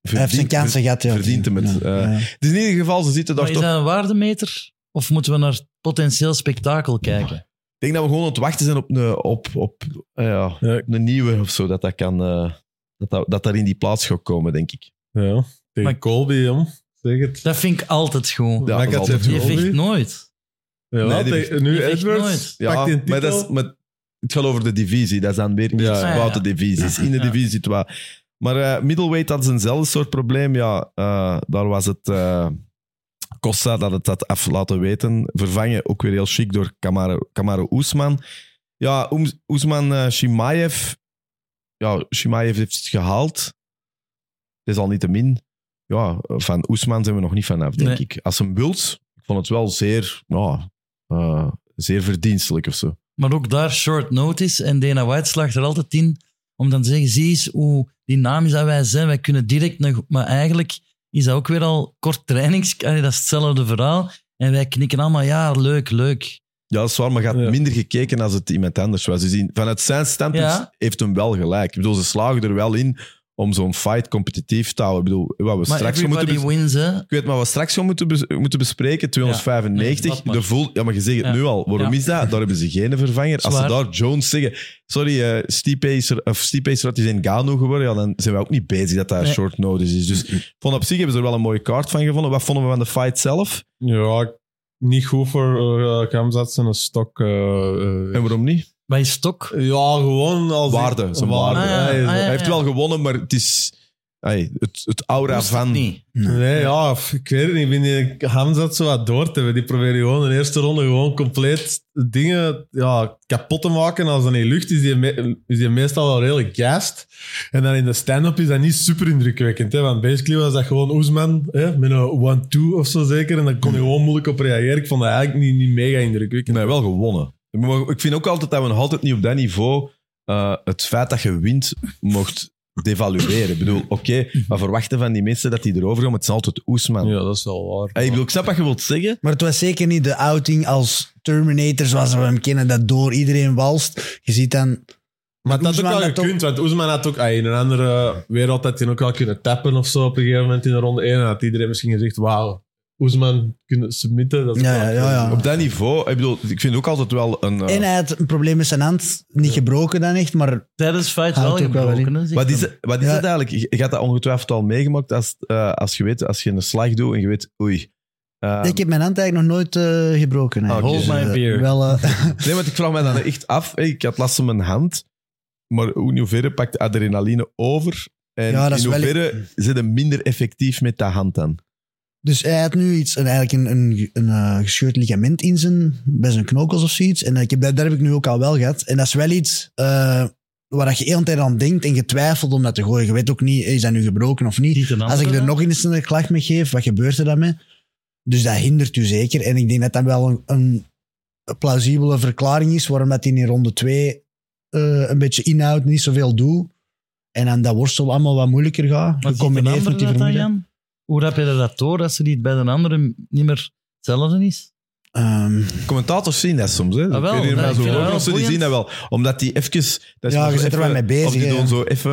Speaker 2: hij heeft zijn
Speaker 1: verdient,
Speaker 2: kansen gehad. Ja.
Speaker 1: verdient hem het,
Speaker 2: Ja,
Speaker 1: eh.
Speaker 2: ja.
Speaker 1: Het is in ieder geval, ze zitten daar
Speaker 3: maar is
Speaker 1: toch...
Speaker 3: dat een waardemeter? Of moeten we naar potentieel spektakel kijken?
Speaker 1: Ik denk dat we gewoon aan het wachten zijn op een, op, op, eh, ja,
Speaker 4: Ja.
Speaker 1: op een nieuwe of zo, dat dat kan... eh, dat, dat, dat daar in die plaats gaat komen, denk ik.
Speaker 4: Ja. Tegen
Speaker 3: Maar-
Speaker 4: Colby, jong. Zeg het.
Speaker 3: Dat vind ik altijd gewoon.
Speaker 1: Ja, dat is altijd
Speaker 3: Je
Speaker 4: Colby.
Speaker 3: vecht nooit.
Speaker 4: Ja,
Speaker 1: Nee, die-
Speaker 4: tegen- nu
Speaker 3: die vecht
Speaker 4: Edwards.
Speaker 3: nooit.
Speaker 1: Ja,
Speaker 4: pakt die
Speaker 1: maar, dat
Speaker 4: titel.
Speaker 1: is, maar het gaat over de divisie. Dat is dan weer iets
Speaker 4: Ja,
Speaker 3: ja.
Speaker 1: buiten divisies. In de
Speaker 3: Ja.
Speaker 1: divisie het wel. Maar eh, middleweight had eenzelfde soort probleem. Ja, eh, daar was het... eh, Costa dat het had af laten weten. Vervangen ook weer heel chic door Kamaru, Kamaru Oesman. Ja, Oem- Oesman eh Shimaev. Ja, Shimaev heeft het gehaald. Het is al niet te min. Ja, van Oesman zijn we nog niet vanaf, denk
Speaker 3: Nee.
Speaker 1: ik. Als hem wilt, ik vond het wel zeer... Ja, eh, zeer verdienstelijk of zo.
Speaker 3: Maar ook daar short notice. En Dana White slaagt er altijd in om dan te zeggen: zie eens hoe dynamisch dat wij zijn. Wij kunnen direct nog. Maar eigenlijk is dat ook weer al kort trainings. Allee, dat is hetzelfde verhaal. En wij knikken allemaal: ja, leuk, leuk.
Speaker 1: Ja, dat is waar, maar gaat
Speaker 4: Ja.
Speaker 1: minder gekeken als het iemand anders was. Dus in- vanuit zijn standpunt
Speaker 3: Ja.
Speaker 1: heeft hem wel gelijk. Ik bedoel, ze slagen er wel in om zo'n fight competitief te houden. Ik bedoel, wat we dus-
Speaker 3: Maar
Speaker 1: straks gaan moeten...
Speaker 3: everybody
Speaker 1: bes-
Speaker 3: wins, hè?
Speaker 1: Ik weet maar wat we straks gaan moeten, bes- moeten bespreken, 295.
Speaker 3: dat maar.
Speaker 1: de voel, ja, maar je zegt het
Speaker 3: Ja.
Speaker 1: nu al. Waarom
Speaker 3: Ja.
Speaker 1: is dat? Daar hebben ze geen vervanger. Als ze
Speaker 3: Zwaar.
Speaker 1: daar Jones zeggen... Sorry, eh Stipe is er... Of Stipe is er, die zijn Gano geworden. Ja, dan zijn we ook niet bezig dat dat
Speaker 3: Nee. Mm-hmm.
Speaker 1: short notice is. Dus ik vond op zich hebben ze er wel een mooie kaart van gevonden. Wat vonden we van de fight zelf?
Speaker 4: Ja, ik- niet goed voor uh, Kamzat zijn een stok. eh, eh,
Speaker 1: En waarom niet?
Speaker 3: Bij stok.
Speaker 4: ja, gewoon als...
Speaker 1: Waarde, zijn waarde.
Speaker 3: Ah, ja,
Speaker 4: Hij is-
Speaker 3: ah, ja.
Speaker 1: Hij heeft wel gewonnen, maar het is hey, het, het aura
Speaker 3: Moest het
Speaker 1: van.
Speaker 3: niet.
Speaker 4: Nee, ja, f- ik weet het niet. Ik vind die Hamzat zo wat door te hebben. Die probeert gewoon in de eerste ronde gewoon compleet dingen ja, kapot te maken. En als dat niet lucht, is die, me- is die meestal wel redelijk gast. En dan in de stand-up is dat niet super indrukwekkend. Hè? Want basically was dat gewoon Oesman hè? met een one-two of zo zeker. En daar kon je gewoon moeilijk op reageren. Ik vond dat eigenlijk niet, niet mega indrukwekkend.
Speaker 1: Nee, wel gewonnen. Maar ik vind ook altijd dat we nog altijd niet op dat niveau eh, het feit dat je wint mocht devalueren. ik bedoel, oké, maar verwachten van die mensen dat die erover gaan, maar het is altijd Oesman.
Speaker 4: Ja, dat is wel waar.
Speaker 1: Hey, ik bedoel, ik snap wat je wilt zeggen.
Speaker 2: Maar het was zeker niet de outing als Terminator zoals we hem kennen, dat door iedereen walst. Je ziet dan...
Speaker 4: Maar dat had
Speaker 2: Oesman
Speaker 4: ook wel
Speaker 2: had ook-
Speaker 4: gekund, want Oesman had ook ah, in een andere wereld had hij ook wel kunnen tappen of zo op een gegeven moment in de ronde 1. En had iedereen misschien gezegd, wauw, Oesman kunnen submitten. Dat is
Speaker 2: Ja,
Speaker 4: wel-
Speaker 2: ja, ja, ja.
Speaker 1: Op dat niveau, ik bedoel, ik vind het ook altijd wel een... eh,
Speaker 2: En hij had een probleem met zijn hand. Niet gebroken dan echt, maar
Speaker 3: Tijdens fight
Speaker 2: Houdt
Speaker 3: wel
Speaker 2: ook wel
Speaker 3: gebroken. hè, zegt
Speaker 1: Wat is,
Speaker 3: hem.
Speaker 1: het- wat is
Speaker 2: Ja.
Speaker 1: het eigenlijk? Je je gaat dat ongetwijfeld al meegemaakt als, eh, als, je weet, als je een slag doet en je weet, oei. eh,
Speaker 2: ik heb mijn hand eigenlijk nog nooit eh, gebroken. hè.
Speaker 1: Oké. Hold
Speaker 2: eh,
Speaker 3: my beer.
Speaker 2: Wel, eh,
Speaker 1: Nee, want ik vraag me dan echt af. hè, Ik had last van mijn hand. Maar in hoeverre pakt adrenaline over? En
Speaker 2: Ja, dat
Speaker 1: in
Speaker 2: is wel-
Speaker 1: hoeverre zijn ze minder effectief met dat hand dan?
Speaker 2: Dus hij had nu iets, een, eigenlijk een, een, een eh, gescheurd ligament in zijn, bij zijn knokkels of zoiets. En ik heb, dat, dat heb ik nu ook al wel gehad. En dat is wel iets eh, waar dat je heel de tijd aan denkt en getwijfeld om dat te gooien. Je weet ook niet, is dat nu gebroken of niet.
Speaker 3: Niet een
Speaker 2: Als ik
Speaker 3: andere
Speaker 2: er
Speaker 3: dan?
Speaker 2: nog eens een klacht mee geef, wat gebeurt er dan mee? Dus dat hindert u zeker. En ik denk dat dat wel een, een plausibele verklaring is waarom dat in die ronde 2 een beetje inhoudt, niet zoveel doet. En dan dat worstel allemaal wat moeilijker gaat.
Speaker 3: Maar ziet de
Speaker 2: Gecombineerd
Speaker 3: andere
Speaker 2: met die
Speaker 3: dat dan,
Speaker 2: vermoeidheid.
Speaker 3: Jan? Hoe heb je dat door, dat ze die bij de andere niet meer hetzelfde is?
Speaker 2: Ehm,
Speaker 1: Commentators zien dat soms. Hè.
Speaker 3: Ah, wel,
Speaker 1: ik herinner
Speaker 3: ja,
Speaker 1: me
Speaker 3: ik
Speaker 1: zo.
Speaker 3: vind dat wel
Speaker 1: Lorenzo, die
Speaker 3: boeiend.
Speaker 1: zien dat wel. Omdat die even... Dat
Speaker 2: Ja,
Speaker 1: nog
Speaker 2: je
Speaker 1: zo
Speaker 2: zit er wel
Speaker 1: even-
Speaker 2: mee bezig,
Speaker 1: Of die
Speaker 2: hè,
Speaker 1: doen
Speaker 2: ja.
Speaker 1: zo even...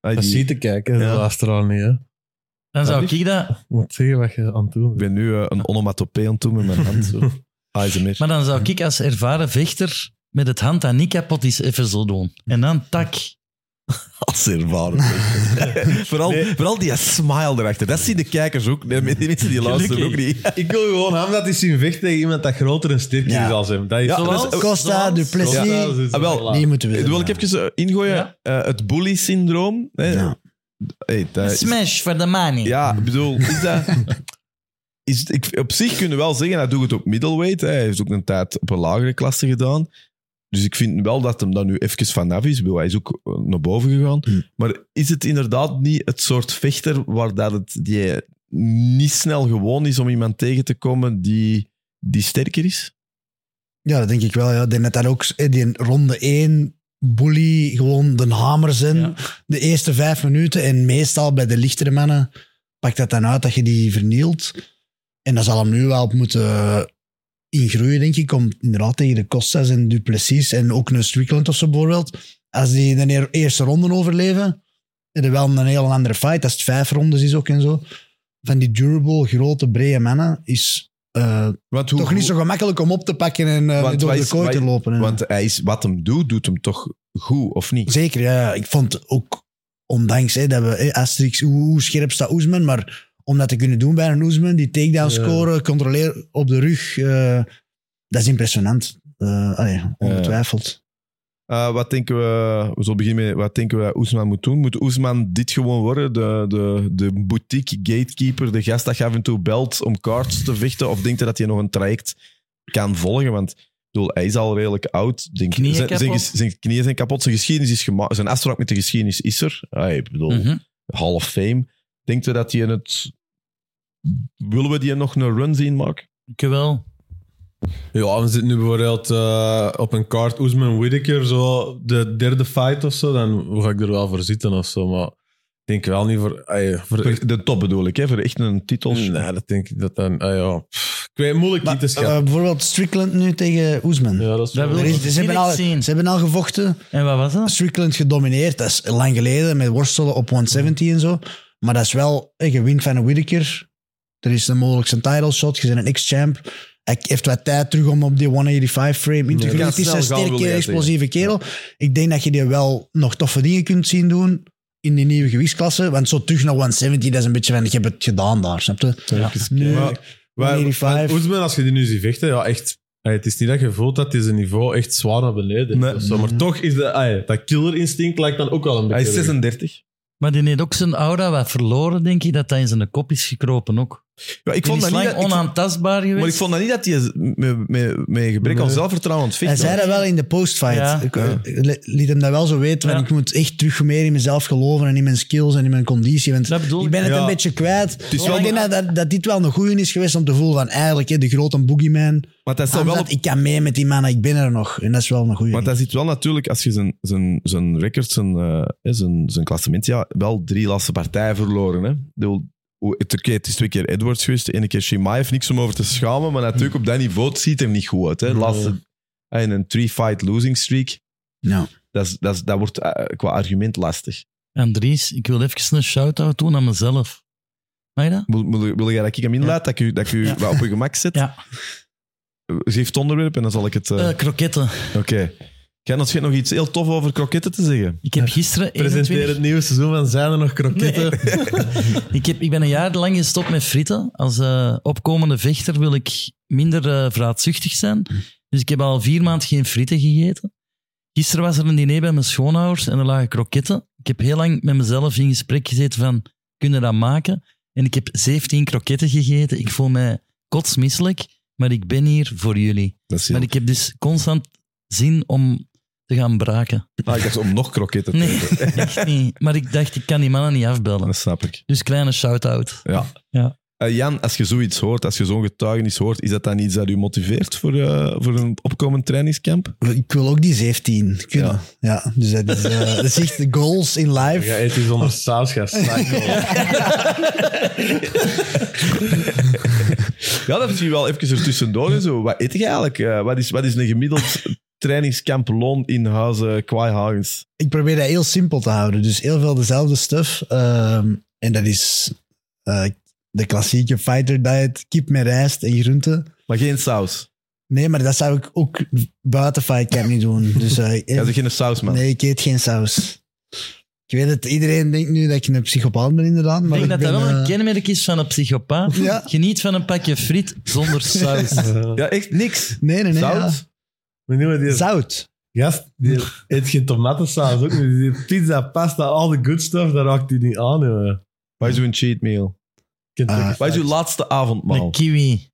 Speaker 1: Ah,
Speaker 4: Dat
Speaker 1: die-
Speaker 4: zie te kijken, de
Speaker 1: Ja.
Speaker 4: luisteraar niet. Hè.
Speaker 3: Dan zou
Speaker 1: Dat
Speaker 3: ik dat...
Speaker 4: Moet zeggen wat je aan het doen
Speaker 1: Ik
Speaker 4: bent.
Speaker 1: ben nu eh, een onomatopee aan het doen met mijn hand. Zo. ASMR.
Speaker 3: Maar dan zou ik als ervaren vechter met het hand dat niet kapot is even zo doen. En dan tak.
Speaker 1: Als ervaren. vooral, vooral die smile erachter. Dat zien de kijkers ook. Nee, Die mensen die luisteren ook
Speaker 3: Gelukkig.
Speaker 1: niet.
Speaker 4: Ik wil gewoon hem dat hij zien vechten tegen iemand dat groter en sterker
Speaker 2: Ja.
Speaker 4: is als hem. Dat is
Speaker 1: Ja,
Speaker 4: dat
Speaker 3: Zoals-
Speaker 4: is-
Speaker 2: Costa,
Speaker 3: zoals-
Speaker 2: Duplessis.
Speaker 4: Ja,
Speaker 2: die-
Speaker 4: dat is-
Speaker 1: Ah, wel.
Speaker 4: voilà.
Speaker 2: Die moeten we
Speaker 1: Dat
Speaker 2: winnen.
Speaker 1: wil ik even eh, ingooien.
Speaker 3: Ja.
Speaker 1: Eh, het bully-syndroom. hè.
Speaker 2: Ja.
Speaker 1: Hey, dat Eh, is-
Speaker 3: Smash voor de money.
Speaker 1: Ja, ik bedoel, is dat... Is, ik, op zich kunnen we wel zeggen, hij doet het op middleweight. hè. Hij heeft ook een tijd op een lagere klasse gedaan. Dus ik vind wel dat hem daar nu even vanaf is. Ik bedoel, Hij is ook eh, naar boven gegaan.
Speaker 2: Hm.
Speaker 1: Maar is het inderdaad niet het soort vechter waar dat het die niet snel gewoon is om iemand tegen te komen die, die sterker is?
Speaker 2: Ja, dat denk ik wel. Ja. Ik denk dat dat ook eh, die ronde 1 bully gewoon de hamers in.
Speaker 3: Ja.
Speaker 2: De eerste vijf minuten. En meestal bij de lichtere mannen pakt dat dan uit dat je die vernielt. En daar zal hem nu wel op moeten eh, ingroeien, denk ik. Om inderdaad tegen de Costas en Duplessis en ook een Strickland of zo bijvoorbeeld. Als die de eer- eerste ronde overleven, is er wel een heel andere fight. Als het vijf rondes is ook en zo. Van die durable, grote, brede mannen is... eh,
Speaker 1: Want hoe,
Speaker 2: toch niet zo gemakkelijk om op te pakken en eh,
Speaker 1: Want
Speaker 2: door
Speaker 1: wij-
Speaker 2: de kooi
Speaker 1: wij-
Speaker 2: te lopen. hè.
Speaker 1: Want hij is, wat hem doet, doet hem toch goed, of niet?
Speaker 2: Zeker, ja, ja. Ik vond ook, ondanks hè, dat we hè, Asterix, hoe, hoe scherp staat Oesman, maar om dat te kunnen doen bij een Oesman, die takedown
Speaker 4: Ja.
Speaker 2: scoren, controleer op de rug, eh, dat is impressionant. Eh, allee, ongetwijfeld.
Speaker 1: Eh, wat denken we, we zullen beginnen met wat denken we dat Oesman moet doen? Moet Oesman dit gewoon worden? De, de, de boutique gatekeeper, de gast dat je af en toe belt om cards te vechten? Of denkt hij dat hij nog een traject kan volgen? Want ik bedoel, hij is al redelijk oud. Denk,
Speaker 3: Knieën
Speaker 1: zijn, zijn,
Speaker 3: kapot?
Speaker 1: ges- zijn knieën zijn kapot, zijn geschiedenis is gemaakt. Zijn afspraak met de geschiedenis is er. Ah, ik bedoel,
Speaker 3: Mhm.
Speaker 1: Hall of Fame. Denkt we dat hij het. Willen we die nog een run zien maken?
Speaker 3: Ik wel.
Speaker 4: Ja, we zitten nu bijvoorbeeld eh, op een kaart Oesman Whittaker, zo de derde fight of zo, dan ga ik er wel voor zitten of zo, maar ik denk wel niet voor... ai, voor
Speaker 1: Voor De top bedoel ik, hè? voor echt een titel.
Speaker 4: nee, dat denk ik dat dan... ai, ja, pff, ik weet moeilijk
Speaker 2: Maar,
Speaker 4: niet te schatten.
Speaker 2: eh, bijvoorbeeld Strickland nu tegen Oesman.
Speaker 4: ja, dat is
Speaker 3: dat
Speaker 4: wel-
Speaker 3: wil
Speaker 2: Er
Speaker 3: ik
Speaker 2: is- ze, hebben al,
Speaker 3: direct zien.
Speaker 2: ze hebben al gevochten.
Speaker 3: En wat was dat?
Speaker 2: Ah, Strickland gedomineerd. Dat is lang geleden met worstelen op 170 en zo. Maar dat is wel, eh, je wint van een Whittaker. Er is een mogelijk zijn title shot. Je bent een ex-champ. Hij heeft wat tijd terug om op die 185 frame in te
Speaker 1: Ja,
Speaker 2: groeien.
Speaker 1: kan
Speaker 2: Het is
Speaker 1: snel
Speaker 2: een
Speaker 1: gaan, wil jij
Speaker 2: sterke,
Speaker 1: zeggen.
Speaker 2: explosieve kerel. Ik denk dat je die wel nog toffe dingen kunt zien doen in die nieuwe gewichtsklasse. Want zo terug naar 170, dat is een beetje van, je hebt het gedaan daar, snap je?
Speaker 3: Ja.
Speaker 2: Nu,
Speaker 4: Maar- maar-
Speaker 2: 185.
Speaker 4: Oesman, als je die nu ziet vechten, ja, echt... ai, het is niet dat je voelt dat hij zijn niveau echt zwaar naar beneden is
Speaker 1: Nee.
Speaker 4: of zo, maar toch is de, ai, dat killer instinct lijkt dan ook wel een
Speaker 1: Hij
Speaker 4: beetje...
Speaker 1: is 36.
Speaker 3: Maar die heeft ook zijn aura wat verloren, denk ik, dat dat in zijn kop is gekropen ook.
Speaker 1: Ja, ik
Speaker 3: Die
Speaker 1: vond
Speaker 3: is
Speaker 1: dat
Speaker 3: lang
Speaker 1: niet. dat- ik-
Speaker 3: onaantastbaar geweest.
Speaker 1: Maar ik vond dat niet dat hij met, met, met gebrek aan
Speaker 4: Nee.
Speaker 1: zelfvertrouwen aan het
Speaker 2: Hij
Speaker 1: vechten
Speaker 2: zei
Speaker 1: was.
Speaker 2: dat wel in de postfight.
Speaker 3: Ja.
Speaker 2: Ik eh, li- liet hem dat wel zo weten. want
Speaker 3: Ja.
Speaker 2: Ik moet echt terug meer in mezelf geloven en in mijn skills en in mijn conditie. Want
Speaker 3: Dat bedoel
Speaker 2: ik ben
Speaker 3: ik.
Speaker 2: het
Speaker 4: Ja.
Speaker 2: een beetje kwijt.
Speaker 1: is
Speaker 2: Maar
Speaker 1: wel-
Speaker 2: ik denk dat, dat, dat dit wel een goeie is geweest om te voelen van eigenlijk hè, de grote boogeyman.
Speaker 1: Want hij
Speaker 3: Ah,
Speaker 1: staat wel
Speaker 2: Hamzat,
Speaker 1: op-
Speaker 2: Ik kan mee met die mannen, ik ben er nog. En dat is wel een goeie.
Speaker 1: want hij zit wel natuurlijk, als je zijn, zijn, zijn record, zijn, eh, hè, zijn, zijn klassement, ja, wel drie laatste partijen verloren. Hè. Ik bedoel, hoe- het, oké, het is twee keer Edwards geweest, de ene keer Shimaev, niks om over te schamen, maar natuurlijk op dat niveau het ziet hem niet goed uit. Hè. Laatste, en een three-fight losing streak,
Speaker 2: Ja.
Speaker 1: dat, is, dat, is, dat wordt eh, qua argument lastig.
Speaker 3: Andries, ik wil even een shout-out doen aan mezelf. Mag je dat?
Speaker 1: Wil, wil, wil jij dat ik hem inlaat, dat ik u, dat ik u
Speaker 3: Ja.
Speaker 1: wat op je gemak zet?
Speaker 3: Ja.
Speaker 1: Geef het onderwerp en dan zal ik het... eh,
Speaker 3: Eh, kroketten.
Speaker 1: Oké. Jij had nog iets heel tof over kroketten te zeggen.
Speaker 3: Ik heb gisteren
Speaker 4: Presenteer
Speaker 3: 21...
Speaker 4: het nieuwe seizoen van Zijn er nog kroketten?
Speaker 3: Ik, heb, ik ben een jaar lang gestopt met frieten. Als eh, opkomende vechter wil ik minder eh vraatzuchtig zijn. Dus ik heb al vier maanden geen frieten gegeten. Gisteren was er een diner bij mijn schoonouders en er lagen kroketten. Ik heb heel lang met mezelf in gesprek gezeten van, kunnen we dat maken? En ik heb 17 kroketten gegeten. Ik voel mij kotsmisselijk, maar ik ben hier voor jullie.
Speaker 1: Dat is
Speaker 3: Maar ik heb dus constant zin om te gaan braken.
Speaker 1: Ah, ik dacht om nog kroketten te
Speaker 3: Nee,
Speaker 1: eten.
Speaker 3: echt niet. Maar ik dacht, ik kan die mannen niet afbellen.
Speaker 1: Dat snap ik.
Speaker 3: Dus kleine shout-out.
Speaker 1: Ja.
Speaker 3: Ja.
Speaker 1: Eh, Jan, als je zoiets hoort, als je zo'n getuigenis hoort, is dat dan iets dat u motiveert voor, eh, voor een opkomend trainingskamp?
Speaker 2: Ik wil ook die 17 kunnen. Ja, dus dat is, eh, dat is echt goals in
Speaker 4: Je
Speaker 2: life.
Speaker 4: eet die zonder saus, ga snacken.
Speaker 1: Ja, dat is hier wel even ertussendoor. en Zo. Wat eet je eigenlijk? Eh, wat, is, wat is een gemiddeld trainingskamploon in Huizen Kwaaihagens?
Speaker 2: Ik probeer dat heel simpel te houden. Dus heel veel dezelfde stuff. Ehm, en dat is eh, de klassieke fighter diet. Kip met rijst en groenten.
Speaker 1: Maar geen saus.
Speaker 2: Nee, maar dat zou ik ook buiten fight camp niet doen. Dus, eh,
Speaker 1: Jij bent geen sausman.
Speaker 2: nee, ik eet geen saus. Ik weet het, iedereen denkt nu dat ik een psychopaat ben inderdaad.
Speaker 3: Ik
Speaker 2: Maar
Speaker 3: denk dat
Speaker 2: ben,
Speaker 3: dat wel een
Speaker 2: eh,
Speaker 3: kenmerk is van een psychopaat.
Speaker 2: Ja.
Speaker 3: Geniet van een pakje friet zonder saus.
Speaker 1: Ja, echt niks.
Speaker 2: Nee, nee, nee.
Speaker 1: Zout?
Speaker 2: ja.
Speaker 4: Benieuwd die
Speaker 2: Zout.
Speaker 4: gast, die eet geen tomatensaus ook niet. Die heeft pizza, pasta, all the good stuff, daar raakt hij niet aan, jongen.
Speaker 1: Wat is uw cheat meal?
Speaker 4: Kentucky
Speaker 2: Ah.
Speaker 1: Wat is uw
Speaker 4: Fried.
Speaker 1: laatste
Speaker 3: Een
Speaker 1: avondmaal?
Speaker 3: kiwi.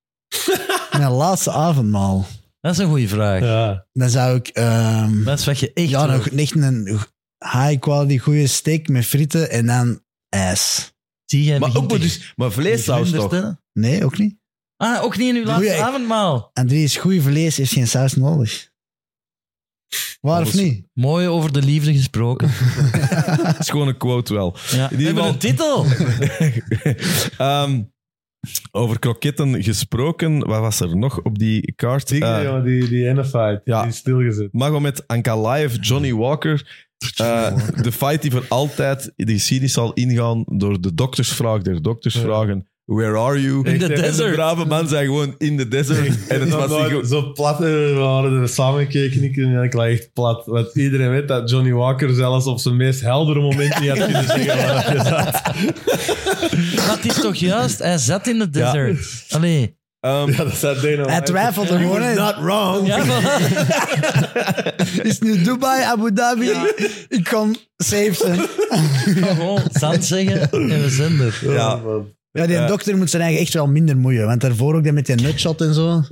Speaker 2: Mijn laatste avondmaal.
Speaker 3: Dat is een goede vraag.
Speaker 4: Ja.
Speaker 2: Dan zou ik... ehm,
Speaker 3: Dat is wat je echt
Speaker 2: ja,
Speaker 3: wil.
Speaker 2: nog echt een high quality goede steak met frieten en dan ijs.
Speaker 3: Zie jij
Speaker 1: Maar,
Speaker 3: begint
Speaker 1: ook
Speaker 3: te-
Speaker 1: maar, dus, maar vleessaus
Speaker 3: te
Speaker 1: toch?
Speaker 3: vertellen?
Speaker 2: Nee, ook niet.
Speaker 3: Ah, ook niet in uw
Speaker 2: Goeie,
Speaker 3: laatste
Speaker 2: ik-
Speaker 3: avondmaal.
Speaker 2: En drie is goede vlees, heeft geen saus nodig. Waar of
Speaker 1: Alles-
Speaker 2: niet?
Speaker 3: Mooi over de liefde gesproken.
Speaker 1: Dat is gewoon een quote wel.
Speaker 3: Ja. We
Speaker 1: ieder
Speaker 3: hebben
Speaker 1: geval-
Speaker 3: een titel.
Speaker 1: Ehm, over kroketten gesproken, wat was er nog op die kaart?
Speaker 4: Zie je,
Speaker 1: Eh,
Speaker 4: jongen, die, die ene fight,
Speaker 1: ja.
Speaker 4: die is stilgezet.
Speaker 1: Magomed Ankalaev, Johnny Walker. Eh, de fight die voor altijd de geschiedenis zal ingaan door de doktersvraag der doktersvragen. Where are you?
Speaker 3: In the
Speaker 1: En de
Speaker 3: desert.
Speaker 1: brave man zei gewoon in the desert. En het was niet goed.
Speaker 4: zo plat, eh, we hadden er samen gekeken ik en ik lag echt plat. Want iedereen weet dat Johnny Walker zelfs op zijn meest heldere moment niet had kunnen zeggen waar hij zat.
Speaker 3: Dat is toch juist? Hij zat in de desert. Allee.
Speaker 1: Ehm,
Speaker 4: Ja, dat zat Dana
Speaker 2: Hij
Speaker 4: White.
Speaker 2: twijfelt er gewoon in.
Speaker 4: wrong.
Speaker 3: Ja, voilà.
Speaker 2: Is nu Dubai, Abu Dhabi. Ik kan safe zijn.
Speaker 3: Gewoon zand zeggen en we zijn er.
Speaker 1: Ja.
Speaker 4: Ja,
Speaker 2: Ja, die
Speaker 1: Eh.
Speaker 2: dokter moet zijn eigen echt wel minder moeien. Want daarvoor ook dat met die nutshot en zo.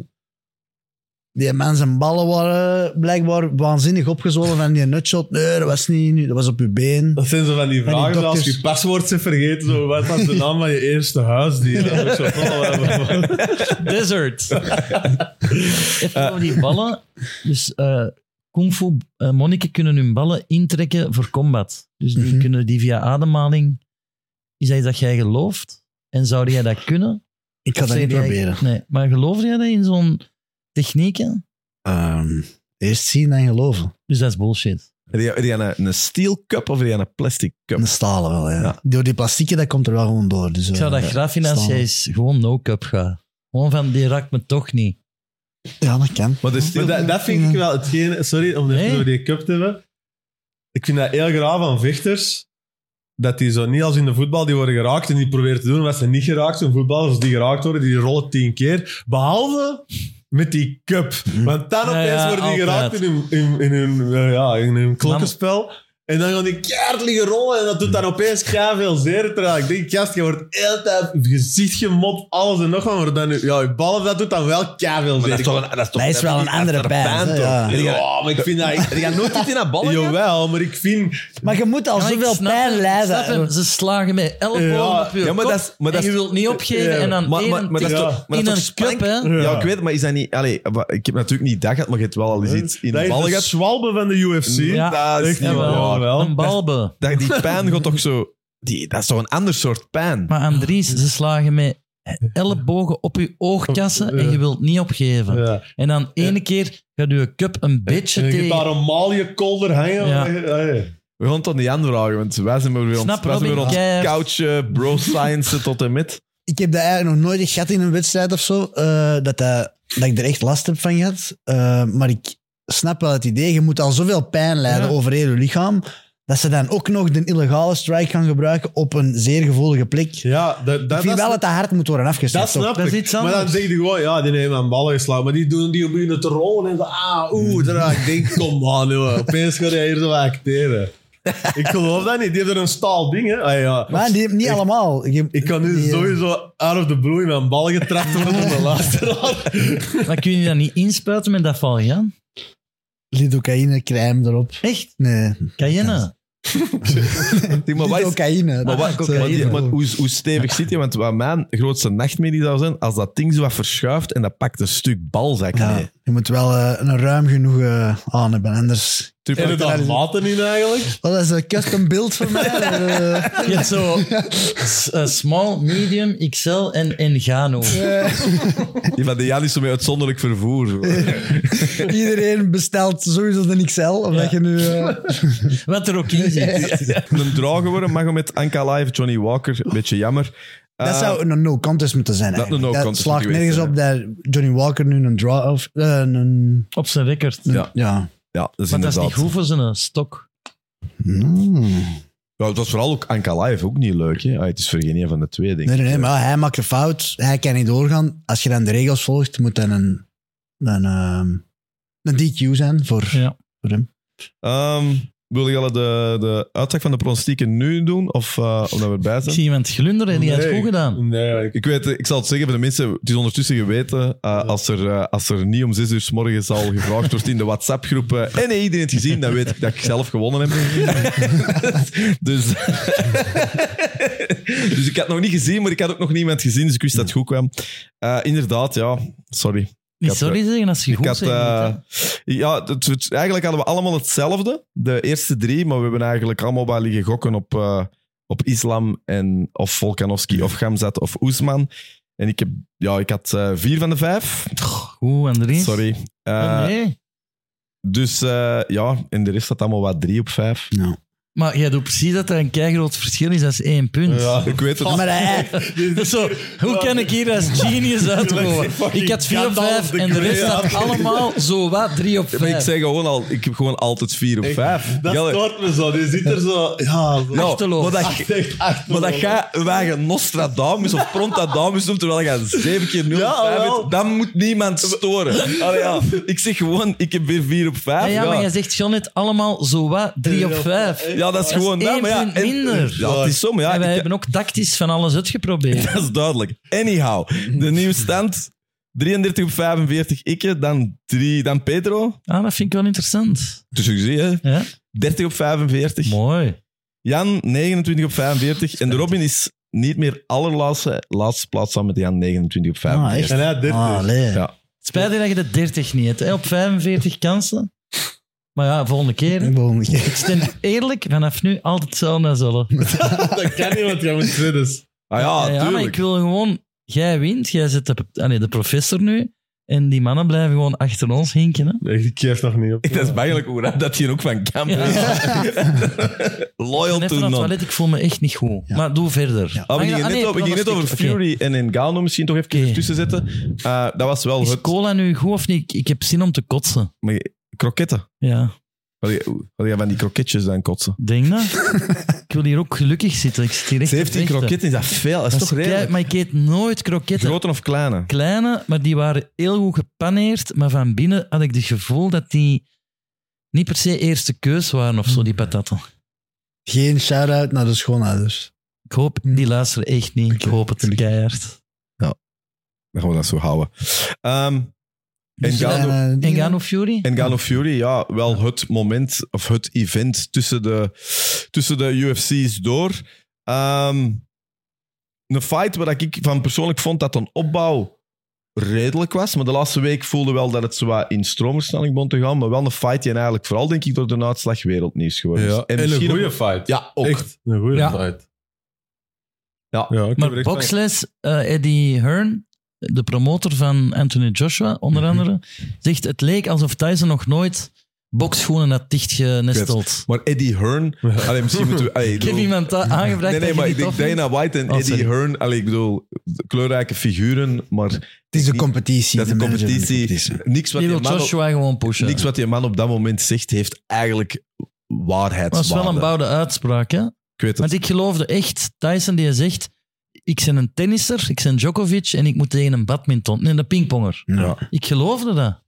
Speaker 2: Die man zijn ballen waren blijkbaar waanzinnig opgezwollen van die nutshot. Nee, dat was niet nu. Dat was op uw been.
Speaker 4: Dat zijn zo van die
Speaker 2: die
Speaker 4: vragen, zoals
Speaker 2: dokters.
Speaker 4: je paswoord ze vergeten, zo, wat was de naam van je eerste huis? Die, dat is ook zo, oh, eh,
Speaker 3: Desert. Even
Speaker 2: Eh.
Speaker 3: over die ballen. Dus eh kung fu eh, monniken kunnen hun ballen intrekken voor combat. Dus die
Speaker 2: Mhm.
Speaker 3: kunnen die via ademhaling. Is dat iets dat jij gelooft? En zou jij dat kunnen?
Speaker 2: Ik ga
Speaker 3: Of
Speaker 2: dat
Speaker 3: zeg
Speaker 2: niet
Speaker 3: jij-
Speaker 2: proberen.
Speaker 3: Nee, maar geloof jij dat in zo'n technieken?
Speaker 2: Ehm, eerst zien, dan geloven.
Speaker 3: Dus dat is bullshit.
Speaker 1: heb jij- heb jij een, een steel cup of heb jij een plastic cup?
Speaker 2: En stalen wel, ja.
Speaker 1: Ja.
Speaker 2: Door die plastieken, dat komt er wel gewoon door. Dus,
Speaker 3: Ik zou dat
Speaker 2: eh,
Speaker 3: graag vinden als
Speaker 2: staan.
Speaker 3: jij eens gewoon no-cup gaat. Gewoon van, die raakt me toch niet.
Speaker 2: Ja, dat kan.
Speaker 1: Maar de
Speaker 4: Maar
Speaker 1: steel-
Speaker 4: dat, dat vind ik wel hetgeen... Sorry om
Speaker 3: Nee.
Speaker 4: even over die cup te hebben. Ik vind dat heel graag van vechters. Dat die zo niet als in de voetbal, die worden geraakt en die proberen te doen wat ze niet geraakt zijn. Voetballers die geraakt worden, die rollen tien keer. Behalve met die cup. Want dan
Speaker 3: Ja,
Speaker 4: opeens
Speaker 3: ja,
Speaker 4: worden die
Speaker 3: altijd.
Speaker 4: geraakt in hun, in, in hun, eh, ja, in hun klokkenspel. En dan gaan die keihard liggen rollen en dat doet dan opeens keihard veel zeer. Terwijl ik denk, gast, je wordt de hele tijd gezicht gemot, alles en nog wat. Maar dan, ja, je ballen, dat doet dan wel keihard veel zeer.
Speaker 1: Maar dat is toch een, dat is toch
Speaker 2: Dat is wel een andere pijn, hè, ja.
Speaker 1: Ja.
Speaker 4: Ja, maar ik vind dat...
Speaker 1: Heb jij nooit iets in dat ballen gehad?
Speaker 4: Jawel, maar ik vind...
Speaker 2: Maar je moet al
Speaker 3: Ja, ik
Speaker 2: zoveel
Speaker 3: snap
Speaker 2: pijn
Speaker 3: hem, ik snap
Speaker 2: lijden.
Speaker 3: hem. Ze slagen met ellebogen
Speaker 4: Ja,
Speaker 3: op je
Speaker 1: ja, maar
Speaker 3: kop
Speaker 1: dat is- maar dat
Speaker 3: en je
Speaker 1: is-
Speaker 3: wilt niet opgeven
Speaker 4: Ja.
Speaker 3: en dan
Speaker 1: Maar,
Speaker 3: één
Speaker 1: maar, maar dat is
Speaker 4: Ja.
Speaker 1: toch, maar
Speaker 3: in
Speaker 1: dat
Speaker 3: een
Speaker 1: is toch
Speaker 3: cup,
Speaker 1: spank?
Speaker 3: hè.
Speaker 1: Ja. ik weet het, maar is dat niet... Allee, wa- ik heb natuurlijk niet dat gehad, maar je hebt wel al eens iets in
Speaker 4: dat
Speaker 1: de
Speaker 4: is
Speaker 1: ballen
Speaker 4: de
Speaker 1: gehad.
Speaker 4: Schwalbe van de UFC.
Speaker 3: Ja.
Speaker 1: Dat is
Speaker 4: Echt
Speaker 1: niet
Speaker 4: niet
Speaker 1: waar.
Speaker 4: waar.
Speaker 3: Jawel,
Speaker 4: wel.
Speaker 3: een balbe.
Speaker 1: Dat, die pijn gaat toch zo... Die, dat is toch een ander soort pijn?
Speaker 3: Maar Andries, ze slagen met ellebogen op je oogkassen en je wilt niet opgeven.
Speaker 4: Ja.
Speaker 3: En dan ene keer gaat je cup een beetje
Speaker 4: En je hebt daar
Speaker 3: tegen.
Speaker 4: een maalje kolder hangen. Eh,
Speaker 3: Ja.
Speaker 4: Hey.
Speaker 1: We gaan het aan die Jan vragen, want wij zijn maar weer ons,
Speaker 3: Snap,
Speaker 1: wij zijn weer
Speaker 3: Robin,
Speaker 1: ons
Speaker 3: keihard.
Speaker 1: couch bro science eh, tot en met.
Speaker 2: Ik heb dat eigenlijk nog nooit echt gehad in een wedstrijd of zo. eh, dat, dat, dat ik er echt last heb van gehad. Eh, maar ik snap wel het idee. Je moet al zoveel pijn lijden
Speaker 3: Ja.
Speaker 2: over heel je lichaam. Dat ze dan ook nog de illegale strike gaan gebruiken op een zeer gevoelige plek.
Speaker 4: Ja, dat,
Speaker 2: ik
Speaker 4: dat,
Speaker 2: vind
Speaker 4: dat,
Speaker 2: wel dat dat hard moet worden
Speaker 4: dat
Speaker 2: afgestraft. toch?
Speaker 4: snap
Speaker 3: Dat
Speaker 4: ik.
Speaker 3: is iets
Speaker 4: maar dan
Speaker 3: anders.
Speaker 4: zeg je gewoon, ja, die nemen aan ballen geslagen. Maar die doen die beginnen te rollen en zo, ah, oeh, daar. Ik denk, kom aan, jongen. Opeens ga je hier zo acteren. ik geloof dat niet. Die hebben er een staal ding, hè. Ah, ja.
Speaker 2: Maar die hebben niet allemaal. Je-
Speaker 4: Ik kan nu
Speaker 2: die, eh,
Speaker 4: sowieso out of the blue in mijn bal getrapt worden door de luisteraar.
Speaker 3: Maar kun je dat niet inspuiten met dat Valjan?
Speaker 2: Lidocaïne, crème erop.
Speaker 3: Echt? nou?
Speaker 2: Nee.
Speaker 3: Cayenne?
Speaker 1: maar wat is-
Speaker 2: Lidocaïne.
Speaker 1: Maar, wat,
Speaker 2: dat,
Speaker 1: maar die-
Speaker 2: eh,
Speaker 1: maar hoe, hoe stevig zit je? Want wat mijn grootste nachtmerrie zou zijn, als dat ding zo wat verschuift en dat pakt een stuk balzak
Speaker 2: ja,
Speaker 1: mee.
Speaker 2: Je moet wel eh, een ruim genoeg eh, aan hebben, anders...
Speaker 4: Heb je dat maten in eigenlijk?
Speaker 2: Oh, dat is een custom build voor mij. Eh,
Speaker 3: Je hebt zo s- eh, small, medium, XL en, en Gano.
Speaker 1: Die van de Jan is zo met uitzonderlijk vervoer.
Speaker 2: eh, Iedereen bestelt sowieso de XL, omdat
Speaker 3: Ja.
Speaker 2: je nu... eh,
Speaker 3: Wat er ook in zit.
Speaker 1: een draw geworden, mag hem met Anka Live, Johnny Walker. Beetje jammer.
Speaker 2: dat
Speaker 1: Eh,
Speaker 2: zou een no-contest moeten zijn.
Speaker 1: dat
Speaker 2: eigenlijk.
Speaker 1: een no-contest
Speaker 2: slaagt
Speaker 1: moet geweest
Speaker 2: nergens op dat Johnny Walker nu een draw... Of, eh, een,
Speaker 3: Op zijn record.
Speaker 1: Ja.
Speaker 2: ja.
Speaker 1: Ja, dat is
Speaker 3: Maar dat is
Speaker 1: inderdaad.
Speaker 3: niet goed voor zijn eh, stok.
Speaker 2: Mm.
Speaker 1: Ja, het was vooral ook Anka Live, ook niet leuk. Hè? Ah, het is voor geen een van de twee, denk ik.
Speaker 2: Nee, nee, nee, maar hij maakt een fout. Hij kan niet doorgaan. Als je dan de regels volgt, moet dan een, dan, ehm, een DQ zijn voor...
Speaker 3: Ja.
Speaker 1: Ehm, wil je alle de, de uitslag van de pronostieken nu doen? Of eh, omdat we erbij
Speaker 3: Ik
Speaker 1: zijn?
Speaker 3: zie iemand glunderen en die heeft
Speaker 4: Nee.
Speaker 3: het goed gedaan.
Speaker 4: Nee, ik-
Speaker 1: Ik, weet, ik zal het zeggen voor de mensen, het is ondertussen geweten, eh, als, er, eh, als er niet om zes uur s morgens al gevraagd wordt in de WhatsApp-groep eh, en hey, iedereen het gezien, dan weet ik dat ik zelf gewonnen heb. dus, dus ik had het nog niet gezien, maar ik had ook nog niemand gezien, dus ik wist dat het goed kwam. Eh, inderdaad, ja, sorry.
Speaker 3: Niet
Speaker 1: had,
Speaker 3: sorry zeggen als je
Speaker 1: Ik
Speaker 3: goed
Speaker 1: had,
Speaker 3: zegt.
Speaker 1: eh, ja, het- het- eigenlijk hadden we allemaal hetzelfde, de eerste drie, maar we hebben eigenlijk allemaal wel liggen gokken op, eh, op Islam en of Volkanovski of Gamzat of Oesman. En ik, heb, ja, ik had eh, vier van de vijf.
Speaker 3: Goed, Andries.
Speaker 1: Sorry. Eh,
Speaker 3: Oh, nee.
Speaker 1: Dus eh, ja, en de rest had allemaal wat drie op vijf.
Speaker 3: Maar jij doet precies dat er een keigroot verschil is. Dat is één punt.
Speaker 4: ja.
Speaker 1: Ik weet het.
Speaker 2: Maar hij,
Speaker 4: Dit
Speaker 3: Dus
Speaker 4: is-
Speaker 3: zo, hoe kan ik hier als genius uitkomen? Ik had 4 op 5 en de rest had allemaal zo wat 3 op
Speaker 1: Maar ik
Speaker 3: 5.
Speaker 1: zeg gewoon al, ik heb gewoon altijd vier op
Speaker 4: Ik-
Speaker 1: vijf.
Speaker 4: Dat
Speaker 1: Jelle,
Speaker 4: stoort me zo. Die zit er zo... Ja, zo.
Speaker 1: ja,
Speaker 3: achterloos.
Speaker 1: maar dat,
Speaker 4: Echt, echt, echt.
Speaker 1: maar dat jij wij Nostradamus of Prontadamus noemt, terwijl je zeven keer nul
Speaker 4: Ja,
Speaker 1: op vijf
Speaker 4: wel.
Speaker 1: hebt, dat moet niemand storen. Allee, ja. Ik zeg gewoon, ik heb weer vier op vijf.
Speaker 3: Ja, ja, maar
Speaker 1: ja.
Speaker 3: jij zegt John net allemaal zo wat 3 op
Speaker 4: Ja,
Speaker 3: 5.
Speaker 4: echt.
Speaker 1: Ja, dat is
Speaker 4: Dat
Speaker 1: gewoon...
Speaker 3: is
Speaker 1: dat,
Speaker 3: één
Speaker 1: maar ja,
Speaker 3: punt minder.
Speaker 1: Ja, het is zo, maar ja,
Speaker 3: En wij
Speaker 1: ik-
Speaker 3: hebben ook tactisch van alles uitgeprobeerd.
Speaker 1: dat is duidelijk. Anyhow, de nieuwe stand... 33 op 45 ikke, dan, drie, dan Pedro.
Speaker 3: Ah, dat vind ik wel interessant.
Speaker 1: Dus ik zie hè,
Speaker 3: Ja?
Speaker 1: 30 op 45.
Speaker 3: Mooi.
Speaker 1: Jan 29 op 45. En de Robin is niet meer allerlaatste. Laatste plaats aan met Jan 29 op 45.
Speaker 2: Ah, echt?
Speaker 4: En hij dit
Speaker 2: ah,
Speaker 4: dus.
Speaker 2: allee.
Speaker 1: Ja.
Speaker 3: Spijtig dat je de 30 niet hebt. Hè? Op 45 kansen. Maar ja, volgende keer. hè.
Speaker 2: Gewoon-
Speaker 3: Ik stem eerlijk vanaf nu altijd hetzelfde als zullen.
Speaker 4: Dat kan niet, want jij moet zitten.
Speaker 1: Ah ja,
Speaker 3: ja, maar ik
Speaker 1: tuurlijk.
Speaker 3: wil gewoon... Jij wint, jij zit de, ah nee, de professor nu. En die mannen blijven gewoon achter ons hinken. Hè?
Speaker 4: Echt, ik geef nog niet op.
Speaker 1: Dat is eigenlijk hoe raar dat hij ook van kamp is. Loyal to
Speaker 3: Even naar het
Speaker 1: none.
Speaker 3: toilet, ik voel me echt niet goed.
Speaker 2: Ja.
Speaker 3: Maar doe verder.
Speaker 2: Ja.
Speaker 1: Ah, we
Speaker 3: Ah,
Speaker 1: gingen
Speaker 3: ja, ah,
Speaker 1: net,
Speaker 3: nee,
Speaker 1: op- we gingen net over
Speaker 3: pronostiek. Oké.
Speaker 1: Fury en Engano misschien toch even
Speaker 3: Oké.
Speaker 1: ertussen zetten. Eh, dat was wel
Speaker 3: Is
Speaker 1: het...
Speaker 3: cola nu goed of niet? Ik- Ik heb zin om te kotsen.
Speaker 1: Maar je- kroketten.
Speaker 3: Ja,
Speaker 1: Wil je- wil jij van die kroketjes dan kotsen?
Speaker 3: denk dat. ik wil hier ook gelukkig zitten. Ik zit hier echt te
Speaker 1: 17
Speaker 3: vechten.
Speaker 1: kroketten, is dat veel? Dat is toch
Speaker 3: Dat is klei-
Speaker 1: redelijk?
Speaker 3: Maar ik eet nooit kroketten.
Speaker 1: Grote of kleine?
Speaker 3: Kleine, maar die waren heel goed gepaneerd. Maar van binnen had ik het gevoel dat die niet per se eerste keus waren of zo, die patatten.
Speaker 2: Geen shout-out naar de schoonouders.
Speaker 3: Ik hoop, die luisteren echt niet. Ik hoop het keihard.
Speaker 1: Dan gaan we dat zo houden. Ehm
Speaker 3: Dus,
Speaker 1: Ngannou-
Speaker 3: eh,
Speaker 2: Eh, die-
Speaker 3: Ngannou Fury?
Speaker 1: En Gano Fury, ja, wel het moment of het event tussen de, tussen de UFC's door. Ehm, een fight waar ik van persoonlijk vond dat een opbouw redelijk was. Maar de laatste week voelde wel dat het zowat in stroomversnelling begon te gaan. Maar wel een fight die eigenlijk vooral, denk ik, door de uitslag wereldnieuws geworden is.
Speaker 4: Ja. En, een
Speaker 1: misschien
Speaker 4: goede
Speaker 1: ook-
Speaker 4: fight.
Speaker 1: Ja, ook.
Speaker 4: Echt een goede
Speaker 3: Ja.
Speaker 4: fight.
Speaker 1: Ja.
Speaker 4: ja ik heb er
Speaker 3: Maar
Speaker 4: echt van-
Speaker 3: boxles, eh, Eddie Hearn, de promotor van Anthony Joshua, onder
Speaker 1: Mhm.
Speaker 3: andere, zegt het leek alsof Tyson nog nooit bokschoenen had dichtgenesteld.
Speaker 1: Maar Eddie Hearn... Allee, misschien moeten we... allee, ik
Speaker 3: Ik heb
Speaker 1: bedoel-
Speaker 3: iemand da- aangevraagd
Speaker 1: Nee,
Speaker 3: dat
Speaker 1: nee,
Speaker 3: je
Speaker 1: maar ik
Speaker 3: die
Speaker 1: denk
Speaker 3: tof vindt.
Speaker 1: Dana White en
Speaker 3: Oh,
Speaker 1: Eddie
Speaker 3: sorry.
Speaker 1: Hearn... Allee, ik bedoel, kleurrijke figuren, maar
Speaker 2: Het is een competitie.
Speaker 1: dat is
Speaker 2: de
Speaker 1: een
Speaker 2: manager van de
Speaker 1: competitie. Niks wat
Speaker 3: Die wil
Speaker 1: die man op-
Speaker 3: Joshua gewoon pushen.
Speaker 1: Niks wat die man op dat moment zegt, heeft eigenlijk
Speaker 3: Dat was
Speaker 1: waarheidswaarde.
Speaker 3: wel een bouwde uitspraak, hè?
Speaker 1: Ik weet het.
Speaker 3: Want ik geloofde echt, Tyson die zegt, ik ben een tennisser, ik ben Djokovic en ik moet tegen een badminton, nee, een pingponger.
Speaker 2: Ja.
Speaker 3: Ik geloofde dat.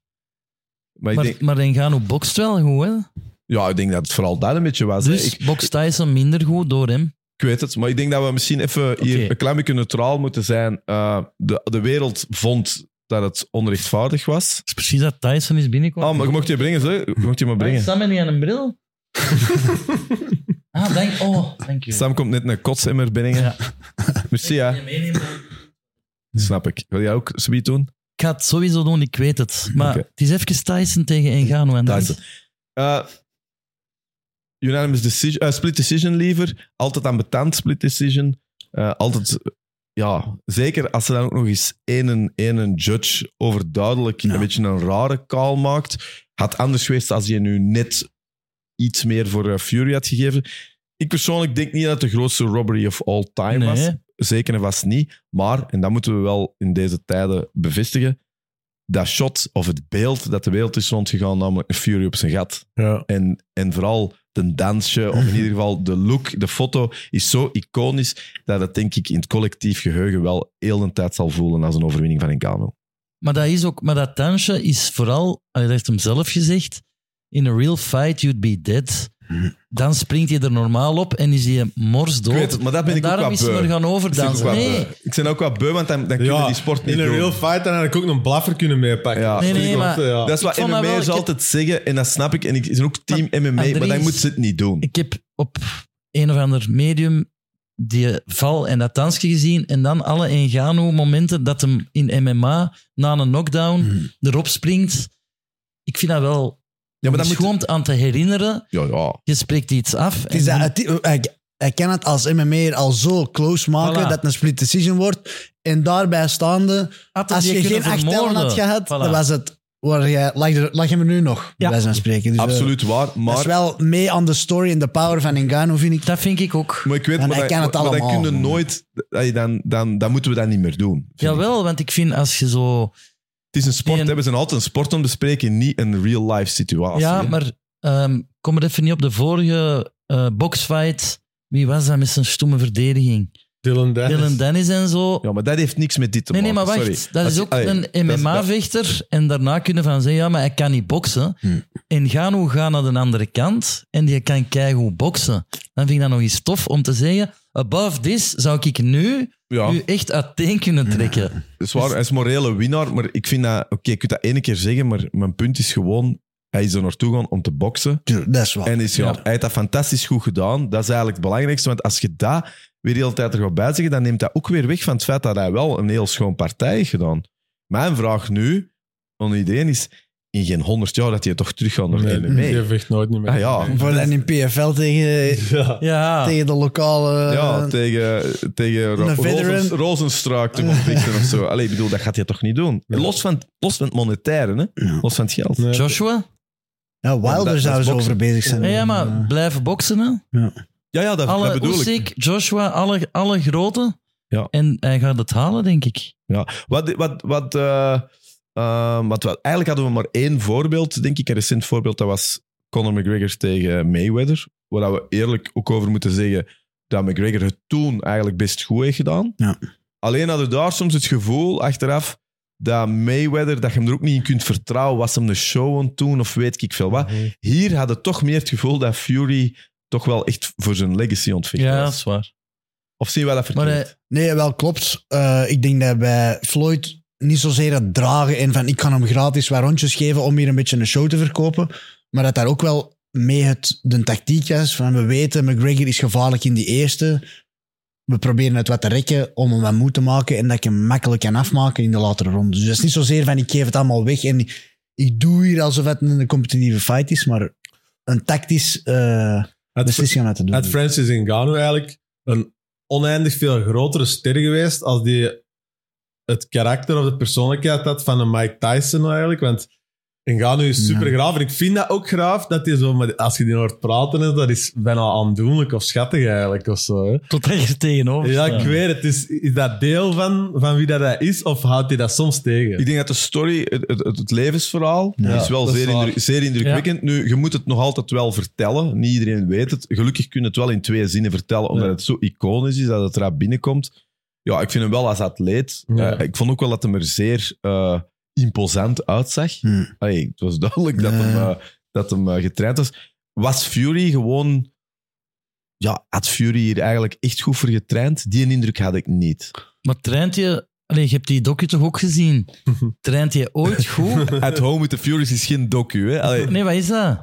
Speaker 1: Maar ik
Speaker 3: Maar,
Speaker 1: denk,
Speaker 3: maar Engano bokst wel goed, hè?
Speaker 1: Ja, ik denk dat het vooral dat een beetje was. hè.
Speaker 3: Dus
Speaker 1: Ik,
Speaker 3: boxt Tyson minder goed door hem.
Speaker 1: ik weet het, maar ik denk dat we misschien even hier
Speaker 3: Oké.
Speaker 1: een klein beetje neutraal moeten zijn. Eh, de, de wereld vond dat het onrechtvaardig was.
Speaker 3: Het is precies dat Tyson is binnengekomen.
Speaker 1: Ah, maar je mocht je brengen, zo. Je mocht je maar
Speaker 3: Brengen.
Speaker 1: brengen.
Speaker 3: Ah, Sam en niet aan een bril? ah, dank Oh, dank je.
Speaker 1: Sam komt net een kotsemmer brengen.
Speaker 3: Ja.
Speaker 1: Merci, ja. Snap ik. Wil jij ook zoiets doen?
Speaker 3: Ik ga het sowieso doen, ik weet het. Maar
Speaker 1: Oké.
Speaker 3: het is even Tyson tegen Engano. En dat is-
Speaker 1: Tyson. Eh, unanimous decision, eh, split decision liever. Altijd aan betand split decision. Eh, altijd, eh, ja, zeker als er dan ook nog eens één een judge overduidelijk
Speaker 2: Ja.
Speaker 1: een beetje een rare call maakt. Had anders geweest als je nu net iets meer voor eh, Fury had gegeven. Ik persoonlijk denk niet dat het de grootste robbery of all time was.
Speaker 3: nee,
Speaker 1: zeker en vast niet. Maar, en dat moeten we wel in deze tijden bevestigen, dat shot of het beeld dat de wereld is rondgegaan, namelijk Fury op zijn gat.
Speaker 4: Ja.
Speaker 1: En, en vooral de dansje, of in ieder geval de look, de foto, is zo iconisch dat het denk ik in het collectief geheugen wel heel een tijd zal voelen als een overwinning van Ngannou.
Speaker 3: maar dat is ook... Maar dat dansje is vooral... Hij heeft hem zelf gezegd. In a real fight, you'd be dead. Dan springt je er normaal op en is je mors
Speaker 1: Ik
Speaker 3: dood.
Speaker 1: weet het, maar dat ben
Speaker 3: en
Speaker 1: ik ook
Speaker 3: daarom
Speaker 1: wat
Speaker 3: is ze
Speaker 1: beu.
Speaker 3: er gaan
Speaker 1: Ik ben ook
Speaker 3: overdansen.
Speaker 1: wat
Speaker 3: Nee,
Speaker 1: beu. Ik ben ook wat beu, want dan, dan kunnen die sport niet
Speaker 4: in een
Speaker 1: doen.
Speaker 4: real fight dan had ik ook een blaffer kunnen meepakken.
Speaker 1: Ja. Nee,
Speaker 4: Dat
Speaker 3: nee,
Speaker 4: is
Speaker 3: maar-
Speaker 4: ook, ja.
Speaker 1: Dat is wat
Speaker 3: Ik vond dat wel-
Speaker 1: MMA
Speaker 3: ik
Speaker 1: ze
Speaker 3: heb-
Speaker 1: altijd zeggen, en dat snap ik. En ik ze zijn ook team MMA, maar dan
Speaker 3: Andries-
Speaker 1: moeten ze het niet doen.
Speaker 3: ik heb op een of ander medium die val en dat dansje gezien en dan alle Engano-momenten dat hem in MMA na een knockdown
Speaker 2: Hmm.
Speaker 3: erop springt. Ik vind dat wel...
Speaker 1: Ja, maar dan moet...
Speaker 3: is gewoon om aan te herinneren.
Speaker 1: Ja, ja.
Speaker 3: Je spreekt iets af.
Speaker 2: Het is dat, het- hij, hij kan het als MMA'er al zo close maken
Speaker 3: Voilà.
Speaker 2: dat het een split decision wordt. En daarbij staande, als je geen acht tellen had gehad, dan was het... Waar jij, lag, er, lag hem er nu nog, bij zijn spreken. Dus, eh,
Speaker 1: Absoluut waar,
Speaker 2: Dat
Speaker 1: maar...
Speaker 2: is wel mee aan de story en de power van Ngannou, vind ik.
Speaker 3: Dat vind ik ook.
Speaker 1: Maar ik weet,
Speaker 2: En
Speaker 1: maar,
Speaker 2: hij
Speaker 1: dat-
Speaker 2: kan het
Speaker 1: maar dat
Speaker 2: allemaal.
Speaker 1: kunnen nooit, dan, dan, dan, dan moeten we dat niet meer doen. vind ik.
Speaker 3: Jawel, want ik vind als je zo...
Speaker 1: Het is een sport,
Speaker 3: En-
Speaker 1: hè. we zijn altijd een sport om te bespreken, niet een real-life situatie.
Speaker 3: ja,
Speaker 1: hè.
Speaker 3: maar ehm, kom er even niet op de vorige eh, boxfight. Wie was dat met zijn stomme verdediging?
Speaker 4: Dylan Dennis.
Speaker 3: Dylan Dennis en zo.
Speaker 1: ja, maar dat heeft niks met dit te
Speaker 3: nee, nee,
Speaker 1: maken.
Speaker 3: maar wacht.
Speaker 1: Sorry.
Speaker 3: Dat
Speaker 1: Als-
Speaker 3: is ook
Speaker 1: allee,
Speaker 3: een
Speaker 1: dat is- dat- Hmm.
Speaker 3: MMA-vechter. En daarna kunnen van zeggen, ja, maar hij kan niet boksen.
Speaker 2: Hm.
Speaker 3: En Gano gaat naar de andere kant en die kan keigoed boksen. Dan vind ik dat nog eens tof om te zeggen, above this zou ik nu
Speaker 1: Ja,
Speaker 3: u echt uiteen kunnen trekken.
Speaker 1: dat is waar. Hij is morele winnaar, maar ik vind dat... Oké, je kunt dat ene keer zeggen, maar mijn punt is gewoon... Hij is er naartoe gaan om te boksen.
Speaker 2: Tuurlijk, Dat is wel.
Speaker 1: En is, ja. hij heeft dat fantastisch goed gedaan. Dat is eigenlijk het belangrijkste. Want als je dat weer de hele tijd er gaat bij zeggen, dan neemt dat ook weer weg van het feit dat hij wel een heel schoon partij heeft gedaan. Mijn vraag nu aan iedereen is, in geen honderd jaar dat hij toch terug gaat naar
Speaker 4: Nee,
Speaker 1: de MMA.
Speaker 4: die vecht nooit niet meer.
Speaker 1: Ah, ja.
Speaker 2: Voor dan in PFL tegen,
Speaker 4: Ja.
Speaker 3: Ja,
Speaker 2: tegen de lokale...
Speaker 1: Ja, tegen, tegen Ro-
Speaker 2: veteran.
Speaker 1: Rozens- Rozenstruik te conflicten of zo. Allee, ik bedoel, dat gaat hij toch niet doen?
Speaker 4: Nee.
Speaker 1: Los van, los van het monetaire, hè?
Speaker 2: Ja.
Speaker 1: los van het geld.
Speaker 4: Nee.
Speaker 3: Joshua? Eh,
Speaker 2: ja,
Speaker 1: Ja,
Speaker 2: Wilder
Speaker 1: dat- dat
Speaker 2: zou
Speaker 1: is
Speaker 2: zo
Speaker 1: boksen.
Speaker 2: over bezig zijn.
Speaker 3: Ja, ja, maar blijven boksen. Hè?
Speaker 1: Ja, ja dat, dat
Speaker 3: Alle
Speaker 1: bedoel ik.
Speaker 3: Usyk, Joshua, alle, alle grote.
Speaker 1: Ja.
Speaker 3: En hij gaat het halen, denk ik.
Speaker 1: Wat, wat, wat, eh, ehm, wat, wat- eigenlijk hadden we maar één voorbeeld, denk ik, een recent voorbeeld. Dat was Conor McGregor tegen Mayweather. Waar dat we eerlijk ook over moeten zeggen dat McGregor het toen eigenlijk best goed heeft gedaan.
Speaker 2: Ja.
Speaker 1: Alleen hadden we daar soms het gevoel achteraf dat Mayweather, dat je hem er ook niet in kunt vertrouwen. Was hem de show aan toen of weet ik veel wat. Hier hadden we toch meer het gevoel dat Fury toch wel echt voor zijn legacy ontvecht
Speaker 3: Ja, dat
Speaker 1: was.
Speaker 3: is waar.
Speaker 1: Of zien wij dat verkeerd?
Speaker 3: Maar eh, hij-
Speaker 2: Nee, wel klopt. Eh, ik denk dat bij Floyd niet zozeer het dragen en van ik kan hem gratis wat rondjes geven om hier een beetje een show te verkopen. Maar dat daar ook wel mee het, de tactiek is van we weten McGregor is gevaarlijk in die eerste. We proberen het wat te rekken om hem wat moe te maken en dat ik hem makkelijk kan afmaken in de latere ronde. Dus dat is niet zozeer van ik geef het allemaal weg en ik, ik doe hier alsof het een competitieve fight is, maar een tactisch eh
Speaker 4: Had,
Speaker 2: beslissing om dat te doen.
Speaker 1: Mhm.
Speaker 4: had Francis Ngannou eigenlijk een oneindig veel grotere ster geweest als die het karakter of de persoonlijkheid had van een Mike Tyson eigenlijk. Want Ngannou is super graaf. En ik vind dat ook graaf dat hij zo, met- als je die hoort praten, hè, dat is bijna aandoenlijk of schattig eigenlijk of zo. hè.
Speaker 3: eh, Tot dat je er tegenover
Speaker 4: Ja,
Speaker 3: staat.
Speaker 4: ik weet het. Is, is dat deel van, van wie dat, hij is of houdt hij dat soms tegen?
Speaker 1: Ik denk dat de story, het, het, het levensverhaal,
Speaker 2: Ja,
Speaker 1: is wel
Speaker 4: dat is
Speaker 1: zeer,
Speaker 4: waar.
Speaker 1: indru- zeer indrukwekkend. Nu, je moet het nog altijd wel vertellen. Niet iedereen weet het. Gelukkig kun je het wel in twee zinnen vertellen, omdat
Speaker 4: Ja.
Speaker 1: het zo iconisch is dat het eraan binnenkomt. Ja, ik vind hem wel als atleet.
Speaker 4: Ja.
Speaker 1: eh, ik vond ook wel dat hem er zeer eh, imposant uitzag.
Speaker 2: Hmm.
Speaker 1: Allee, het was duidelijk dat
Speaker 2: Ja.
Speaker 1: hem, eh, dat hem eh, getraind was. was Fury gewoon... Ja, had Fury hier eigenlijk echt goed voor getraind? Die indruk had ik niet.
Speaker 3: Maar traint je... Allee, je hebt die docu toch ook gezien? Traint je ooit goed?
Speaker 1: At Home with the Furies is geen docu, hè? Allee,
Speaker 3: Nee, wat is dat?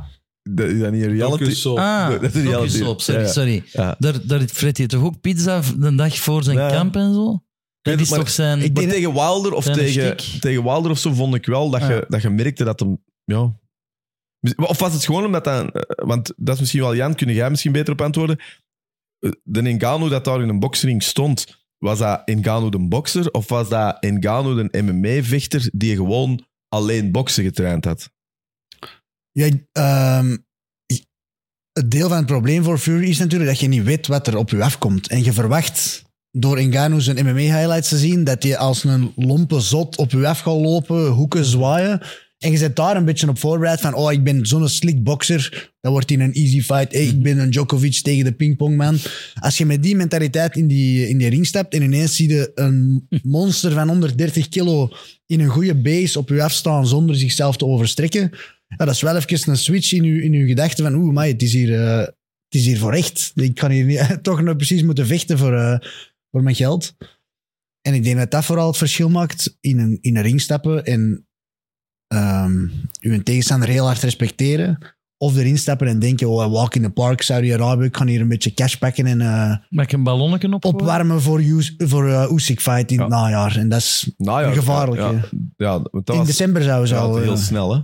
Speaker 1: dat is dat niet een reality?
Speaker 4: Docusoap.
Speaker 3: Ah,
Speaker 1: Oh, dat is een reality.
Speaker 3: docusoap, sorry.
Speaker 1: Ja, ja.
Speaker 3: sorry.
Speaker 1: Ja.
Speaker 3: Daar, daar vreet hij toch ook pizza de dag voor zijn
Speaker 1: Ja.
Speaker 3: kamp en zo? Dat
Speaker 1: het,
Speaker 3: is
Speaker 1: maar
Speaker 3: toch zijn...
Speaker 2: ik
Speaker 1: Maar
Speaker 2: denk-
Speaker 1: tegen Wilder of
Speaker 3: Zijn
Speaker 1: tegen,
Speaker 3: stiek.
Speaker 1: tegen Wilder of zo vond ik wel dat,
Speaker 3: Ah.
Speaker 1: je, dat je merkte dat hem... Ja. Of was het gewoon omdat dan... eh, Want dat is misschien wel... Jan, kun jij misschien beter op antwoorden? Eh, De Ngannou dat daar in een boksring stond, was dat Ngannou de bokser of was dat Ngannou de MMA-vechter die gewoon alleen boksen getraind had?
Speaker 2: Ja, ehm, i- het deel van het probleem voor Fury is natuurlijk dat je niet weet wat er op je afkomt. En je verwacht door Ngannou zijn MMA-highlights te zien dat hij als een lompe zot op je af gaat lopen, hoeken zwaaien. En je zit daar een beetje op voorbereid van oh, ik ben zo'n slick boxer. Dat wordt in een easy fight. Hey, ik ben een Djokovic tegen de pingpongman. Als je met die mentaliteit in die, in die ring stapt en ineens zie je een monster van 130 kilo in een goede base op je afstaan zonder zichzelf te overstrekken. Ja, dat is wel even een switch in uw, in uw gedachten van oeh, maar het is hier... eh, het is hier voor echt. Ik kan hier niet, toch nog precies moeten vechten voor, eh, voor mijn geld. En ik denk dat dat vooral het verschil maakt in een, in een ring stappen en ehm uw tegenstander heel hard respecteren. Of erin stappen en denken, oh, I walk in the park, Saudi-Arabië, ik ga hier een beetje cash pakken en eh,
Speaker 3: Mag ik een ballonnetje op?
Speaker 2: opwarmen voor, Us- voor eh, Usyk fight in
Speaker 1: Ja.
Speaker 2: het najaar. En dat is
Speaker 1: Nou ja,
Speaker 2: gevaarlijk. hè.
Speaker 1: Ja, ja want dat
Speaker 2: in
Speaker 1: was
Speaker 2: december zouden ze
Speaker 1: ja,
Speaker 2: al...
Speaker 1: heel
Speaker 2: eh,
Speaker 1: snel, hè?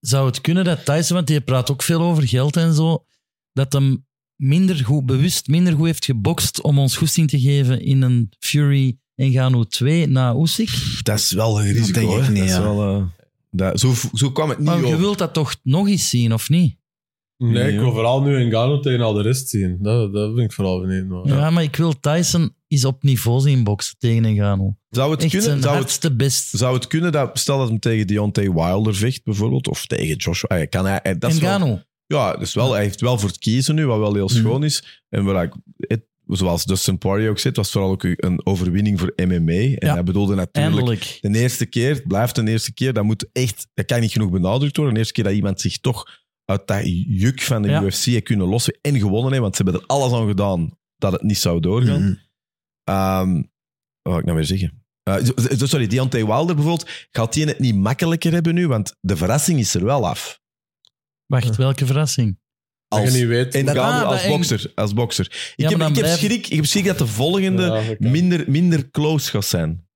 Speaker 3: Zou het kunnen dat Tyson, want die praat ook veel over geld en zo, dat hem minder goed, bewust minder goed heeft gebokst om ons goesting te geven in een Fury en Gano 2 na Usyk?
Speaker 1: Dat is wel een risico,
Speaker 2: denk ik
Speaker 1: hè.
Speaker 2: niet,
Speaker 1: dat is
Speaker 2: ja.
Speaker 1: wel, eh, dat, zo, zo kwam het niet
Speaker 3: Maar je
Speaker 1: over.
Speaker 3: wilt dat toch nog eens zien, of niet?
Speaker 4: Nee, ik
Speaker 1: joh.
Speaker 4: wil vooral nu Ngannou tegen al de rest zien. Dat, dat vind ik vooral benieuwd. Maar,
Speaker 3: Ja, maar ik wil Tyson eens op niveau zien boksen tegen een Gano.
Speaker 1: Zou het
Speaker 3: Echt
Speaker 1: kunnen?
Speaker 3: zijn
Speaker 1: Zou het,
Speaker 3: hardste best.
Speaker 1: Zou het kunnen dat, stel dat hem tegen Deontay Wilder vecht bijvoorbeeld, of tegen Joshua, eh, kan hij, eh, dat is
Speaker 3: En
Speaker 1: wel-
Speaker 3: Gano.
Speaker 1: ja, dus wel, hij heeft wel voor het kiezen nu, wat wel
Speaker 3: Mhm.
Speaker 1: heel schoon is. En waar ik, het- zoals Dustin Poirier ook zit, was vooral ook een overwinning voor MMA. En
Speaker 3: Ja.
Speaker 1: hij bedoelde natuurlijk
Speaker 3: Eindelijk.
Speaker 1: de eerste keer, het blijft de eerste keer, dat moet echt, dat kan niet genoeg benadrukt worden. De eerste keer dat iemand zich toch uit dat juk van de
Speaker 3: Ja.
Speaker 1: UFC heeft kunnen lossen en gewonnen heeft, want ze hebben er alles aan gedaan dat het niet zou doorgaan.
Speaker 2: mhm.
Speaker 1: Ehm, wat wil ik nou weer zeggen? Eh, z- z- sorry, Deontay Wilder bijvoorbeeld. Gaat die het niet makkelijker hebben nu? Want de verrassing is er wel af.
Speaker 3: Wacht, welke verrassing.
Speaker 4: dat
Speaker 1: Als,
Speaker 4: je niet weet.
Speaker 1: en
Speaker 3: dat-
Speaker 1: Ngannou
Speaker 3: Ah,
Speaker 1: als,
Speaker 3: dat-
Speaker 1: bokser, als bokser. Ik,
Speaker 3: maar
Speaker 1: heb,
Speaker 3: dan
Speaker 1: ik, heb
Speaker 3: blijf-
Speaker 1: schrik, ik heb schrik dat de volgende
Speaker 4: Ja, dat kan.
Speaker 1: minder, minder close gaat zijn.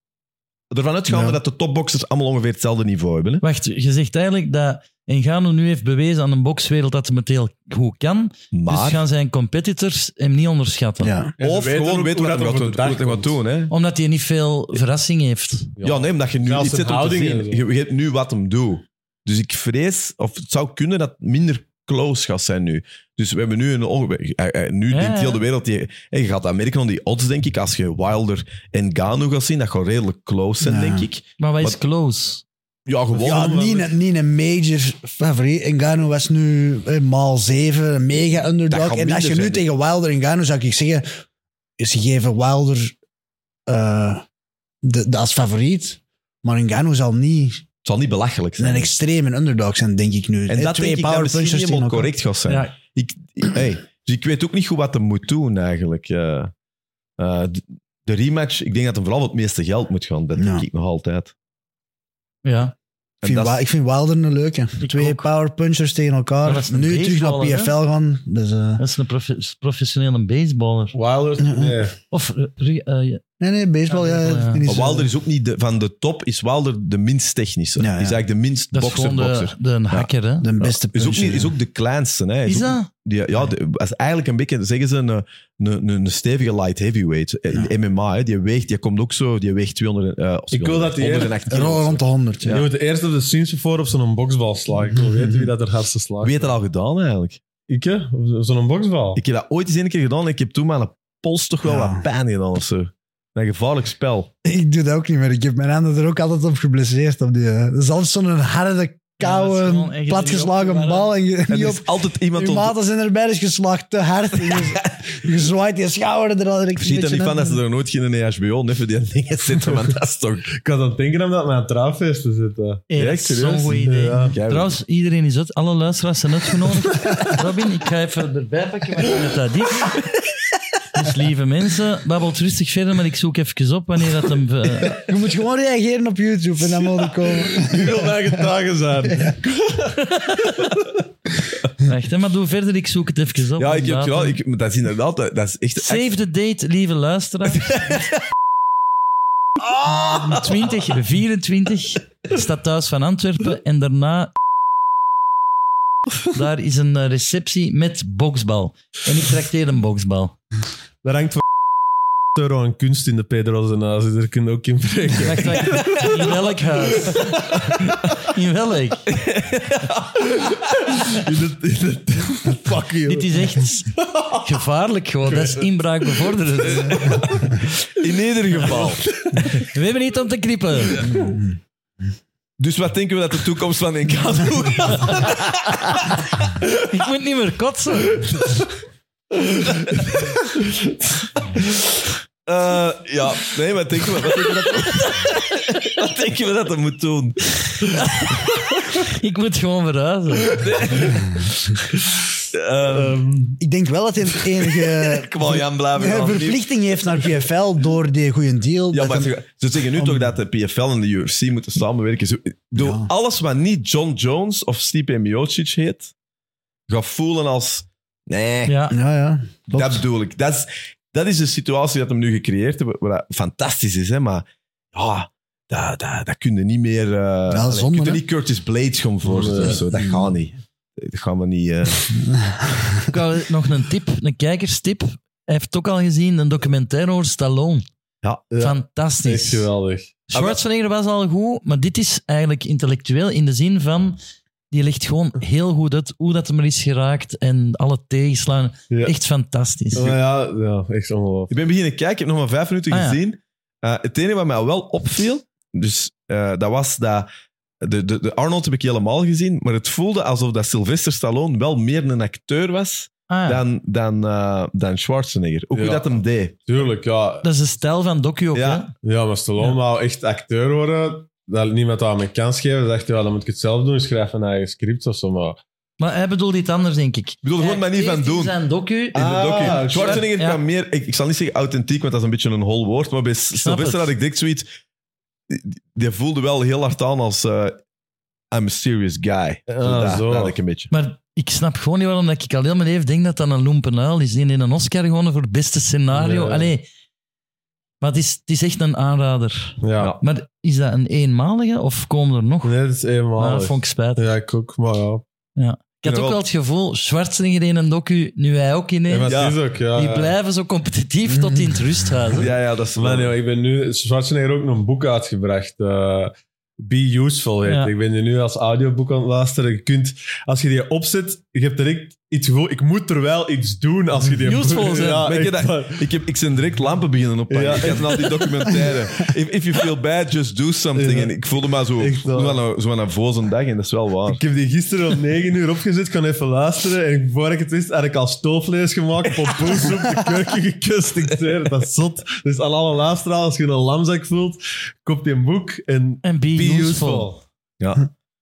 Speaker 1: Ervan uitgaande
Speaker 2: Ja.
Speaker 1: dat de topboxers allemaal ongeveer hetzelfde niveau hebben. Hè?
Speaker 3: Wacht, je zegt eigenlijk dat Engano nu heeft bewezen aan een bokswereld dat hij het heel goed kan. Dus
Speaker 1: Maar,
Speaker 3: gaan zijn competitors hem niet onderschatten.
Speaker 2: Ja.
Speaker 4: En ze
Speaker 1: of
Speaker 4: weten
Speaker 1: gewoon
Speaker 4: ook
Speaker 1: weten
Speaker 4: hoe
Speaker 1: wat
Speaker 4: dat
Speaker 1: hij
Speaker 4: over
Speaker 1: gaat
Speaker 4: de
Speaker 1: doen.
Speaker 4: dag
Speaker 1: wat hij gaat
Speaker 4: komt.
Speaker 1: doen, hè?
Speaker 3: Omdat hij niet veel verrassing heeft.
Speaker 1: Ja, nee, omdat je nu
Speaker 4: Zelfs
Speaker 1: iets
Speaker 4: zijn
Speaker 1: zet om te
Speaker 4: houding
Speaker 1: zien.
Speaker 4: en
Speaker 1: Je
Speaker 4: zo.
Speaker 1: weet nu wat hem doet. Dus ik vrees, of het zou kunnen dat het minder close gaat zijn nu. Dus we hebben nu een... onge- eh, eh, Nu
Speaker 3: Ja,
Speaker 1: denkt heel
Speaker 3: ja.
Speaker 1: de wereld... Die, eh, je gaat dat merken aan die odds, denk ik. Als je Wilder en Gano gaat zien, dat gaat redelijk close zijn,
Speaker 2: Ja.
Speaker 1: denk ik.
Speaker 3: Maar wat is
Speaker 1: Wat-
Speaker 3: close?
Speaker 1: Ja, gewoon...
Speaker 2: Ja, niet, een- niet een major favoriet. Ngannou was nu eh, maal 7, een mega
Speaker 1: Dat
Speaker 2: underdog.
Speaker 1: gaat
Speaker 2: En als je
Speaker 1: minder zijn.
Speaker 2: nu tegen Wilder en Ngannou zou ik zeggen, ze geven Wilder eh, de, de als favoriet. Maar Ngannou zal niet
Speaker 1: Het zal niet belachelijk zijn.
Speaker 2: een extreme underdog zijn, denk ik nu.
Speaker 1: en
Speaker 2: Eh,
Speaker 1: dat denk ik dat misschien
Speaker 2: powerpunchers
Speaker 1: niet
Speaker 2: tegen
Speaker 1: helemaal
Speaker 2: elkaar.
Speaker 1: correct gaat zijn.
Speaker 3: Ja.
Speaker 1: Ik, ik- hey, dus ik weet ook niet goed wat hem moet doen, eigenlijk. Eh, eh, de- de rematch, ik denk dat hem vooral wat meeste geld moet gaan. Dat denk
Speaker 2: Ja.
Speaker 1: ik nog altijd.
Speaker 3: Ja.
Speaker 2: Ik vind,
Speaker 1: dat is-
Speaker 2: Wa- ik vind Wilder een leuke. Twee
Speaker 3: ook.
Speaker 2: powerpunchers tegen
Speaker 3: Maar
Speaker 2: elkaar.
Speaker 3: dat is een
Speaker 2: Nu terug naar
Speaker 3: baseballer, hè?
Speaker 2: PFL gaan. Dus, eh,
Speaker 3: Dat is een profe- professionele baseballer.
Speaker 4: Wilder? Nee.
Speaker 3: Of eh, re- eh, ja.
Speaker 2: nee, nee, baseball.
Speaker 3: Ja,
Speaker 2: Ja,
Speaker 3: baseball, ja.
Speaker 2: die is,
Speaker 1: Maar
Speaker 2: eh,
Speaker 1: Wilder is ook niet de, van de top, is Wilder de minst technische.
Speaker 2: Ja, ja.
Speaker 1: Is eigenlijk de minst
Speaker 3: dat is gewoon de,
Speaker 1: bokser-bokser.
Speaker 3: de een hacker, hè?
Speaker 2: de beste
Speaker 1: Is, ook
Speaker 2: puncher,
Speaker 1: niet- is
Speaker 2: ja.
Speaker 1: ook de kleinste. Hè.
Speaker 3: Is
Speaker 1: ook-
Speaker 3: dat?
Speaker 1: die- ja, de- is eigenlijk een beetje, zeggen ze, een, een, een, een stevige light heavyweight. In MMA, hè. die weegt, die komt ook zo, die weegt 200... eh, of
Speaker 4: Ik wil dat die
Speaker 1: 108
Speaker 2: Een rol
Speaker 1: kilo.
Speaker 2: rond de 100.
Speaker 4: Je moet eerst op de Sinse voor op zo'n boksbal slaan. Ik wil weten wie dat er hardste slaagt.
Speaker 1: Wie heeft dat al gedaan eigenlijk?
Speaker 4: Ik, hè? Op zo'n boksbal?
Speaker 1: Ik heb dat ooit eens een keer gedaan en ik heb toen mijn pols toch wel
Speaker 2: Ja.
Speaker 1: wat pijn gedaan of zo. Een gevaarlijk spel.
Speaker 2: Ik doe dat ook niet meer. Ik heb mijn handen er ook altijd op geblesseerd. Op die, eh, dat is altijd zo'n harde
Speaker 3: Ja, dat is
Speaker 2: koude,
Speaker 3: gewoon echt
Speaker 2: platgeslagen
Speaker 3: erop,
Speaker 2: bal. En je,
Speaker 1: En
Speaker 2: niet
Speaker 1: er
Speaker 2: op,
Speaker 1: is altijd iemand
Speaker 2: je
Speaker 1: om.
Speaker 2: maten zijn erbij, dus je slaagt te hard. En je, je zwaait je schouder er al direct
Speaker 1: Ziet er niet van dat ze er nooit geen EHBO neffen die dingen zitten, want dat is toch...
Speaker 4: Ik was aan het denken om dat mijn trouwfeesten zitten.
Speaker 3: Hey, dat
Speaker 1: Ja,
Speaker 3: is
Speaker 1: serieus?
Speaker 3: Zo'n goed idee.
Speaker 4: Ja.
Speaker 1: Jij-
Speaker 3: Trouwens, iedereen is uit. Alle luisteraars zijn uitgenodigd. Robin, ik ga even erbij pakken, maar ik vind het dat diep. Dus lieve mensen, babbelt rustig verder, maar ik zoek even op wanneer dat hem... eh,
Speaker 2: Je moet gewoon reageren op YouTube en dan moet ik komen.
Speaker 4: Ik wil daar getragen zijn.
Speaker 3: wacht, hè, maar doe verder, ik zoek het even op.
Speaker 1: Ja, ik heb
Speaker 3: Inderdaad.
Speaker 1: gedaan. Ik, maar dat is inderdaad... Dat is echt...
Speaker 3: Save the date, lieve luisteraar.
Speaker 1: Ah!
Speaker 3: 2024 staat thuis van Antwerpen en daarna. Daar is een eh, receptie met boksbal. En ik trakteer een boksbal.
Speaker 4: Daar hangt van euro aan kunst in de Pedro's en huis. Daar kun je ook in breken.
Speaker 3: Wacht, wacht. In welk huis? In welk?
Speaker 4: In het pak, joh.
Speaker 3: Dit is echt gevaarlijk gewoon. Dat is inbraak bevorderen.
Speaker 1: In ieder geval.
Speaker 3: We hebben niet om te krippen.
Speaker 1: Dus wat denken we dat de toekomst van Enkado gaat?
Speaker 3: Ik moet niet meer kotsen.
Speaker 1: Eh, ja, nee, wat denken we, wat denken we dat... wat denken we dat we moet doen?
Speaker 3: Ik moet gewoon verhuizen.
Speaker 1: Eh
Speaker 2: Ik denk wel dat hij het enige
Speaker 1: kom al, Jan, blijven
Speaker 2: eh, verplichting heeft naar PFL door die goede deal.
Speaker 1: Ja,
Speaker 2: dat
Speaker 1: maar
Speaker 2: hem-
Speaker 1: ze, ze zeggen nu toch dat de PFL en de UFC moeten samenwerken. Zo- Ik bedoel,
Speaker 2: Ja.
Speaker 1: alles wat niet John Jones of Stipe Miocic heet, gaat voelen als... Nee,
Speaker 3: Ja.
Speaker 2: ja, ja. klopt.
Speaker 1: dat bedoel ik. Dat is, dat is de situatie dat hem nu gecreëerd hebben, wat fantastisch is, hè, maar... Ja, dat, dat, dat kun je niet meer... eh allee,
Speaker 2: zonde,
Speaker 1: kun je
Speaker 2: hè?
Speaker 1: niet Curtis Blades gaan voorstellen
Speaker 4: Nee.
Speaker 1: of zo. Dat gaat niet. Dat gaan we niet... eh,
Speaker 3: Ik wou nog een tip, een kijkerstip. Hij heeft het ook al gezien, een documentaire over Stallone.
Speaker 1: Ja.
Speaker 4: Echt
Speaker 3: Fantastisch.
Speaker 4: geweldig.
Speaker 1: Ah,
Speaker 3: Schwarzenegger was al goed, maar dit is eigenlijk intellectueel in de zin van... Die legt gewoon heel goed uit hoe dat hem er is geraakt en alle tegenslagen.
Speaker 4: Ja.
Speaker 3: Echt fantastisch.
Speaker 4: Maar ja, ja, echt ongelooflijk.
Speaker 1: Ik ben beginnen kijken, ik heb nog maar vijf minuten
Speaker 3: Ah, ja.
Speaker 1: gezien. Eh, het enige wat mij wel opviel, dus eh, dat was dat. De, de, de Arnold heb ik helemaal gezien, maar het voelde alsof dat Sylvester Stallone wel meer een acteur was
Speaker 3: Ah, ja.
Speaker 1: dan, dan, eh, dan Schwarzenegger. Ook hoe
Speaker 4: Ja.
Speaker 1: dat hem deed.
Speaker 4: Tuurlijk, ja.
Speaker 3: Dat is de stijl van docu ook,
Speaker 1: Ja.
Speaker 3: hè?
Speaker 4: Ja, maar Stallone
Speaker 3: Ja.
Speaker 4: wou echt acteur worden. Dat niemand aan mijn kans geven. Dan dacht hij, ja, dan moet ik het zelf doen. Schrijf een eigen script of zo. Maar
Speaker 3: Maar hij bedoelt iets anders, denk ik. Ik
Speaker 1: bedoel, gewoon manier van doen.
Speaker 3: zijn docu...
Speaker 1: In de docu.
Speaker 4: Ah,
Speaker 1: Schwarzenegger
Speaker 3: ja.
Speaker 1: kwam meer, ik, ik zal niet zeggen authentiek, want dat is een beetje een hol woord, maar bij Sylvester
Speaker 3: het.
Speaker 1: had ik direct zoiets. die- Die voelde wel heel hard aan als eh, I'm a serious guy.
Speaker 4: Ah,
Speaker 1: dat,
Speaker 4: zo.
Speaker 1: dat had ik een beetje.
Speaker 3: Maar ik snap gewoon niet waarom dat ik al heel mijn leven denk dat dat een lumpenuil is. Die heeft een Oscar gewonnen voor het beste scenario.
Speaker 4: Ja.
Speaker 3: Allee. Maar het is, het is echt een aanrader.
Speaker 4: ja.
Speaker 1: Ja.
Speaker 3: Maar is dat een eenmalige of komen er nog?
Speaker 4: Nee, dat is
Speaker 3: Ah, dat
Speaker 4: eenmaal.
Speaker 3: vond ik spijtig.
Speaker 4: Ja, ik ook. Maar ja.
Speaker 3: Ik had ook wel het gevoel, Schwarzenegger in een docu, nu hij ook in
Speaker 4: Ja,
Speaker 3: een,
Speaker 4: maar
Speaker 1: Ja.
Speaker 4: het is ook, ja.
Speaker 3: die
Speaker 4: ja.
Speaker 3: blijven zo competitief tot in het rusthuis. hè.
Speaker 1: Ja, ja, dat is
Speaker 4: Man, joh, ik ben nu... Schwarzenegger heeft ook nog een boek uitgebracht. eh, Be Useful heet.
Speaker 3: Ja.
Speaker 4: het. Ik ben die nu als audioboek aan het luisteren. Je kunt, als je die opzet, je hebt direct iets gevoel... Ik moet er wel iets doen als je die...
Speaker 3: Useful zijn.
Speaker 4: Ja,
Speaker 1: Maar ik
Speaker 4: echt
Speaker 1: heb dat-
Speaker 4: waar.
Speaker 1: Ik, heb, ik ben direct lampen beginnen oppakken.
Speaker 4: Ja.
Speaker 1: Ik had al die documentaire. If, if you feel bad, just do something.
Speaker 4: Ja.
Speaker 1: En ik voelde me zo,
Speaker 4: Echt waar.
Speaker 1: zo aan een- zo aan een voze dag. En dat is wel waar.
Speaker 4: Ik heb die gisteren om 9 uur opgezet, kan even luisteren. En voor ik het wist, had ik al stoofvlees gemaakt, pompoensoep, de kurken gekust. Ik zweer het, dat is zot. Dus aan alle luisteraars, als je een lamzak voelt, koop die een boek en
Speaker 3: En be,
Speaker 4: be
Speaker 3: useful.
Speaker 4: useful.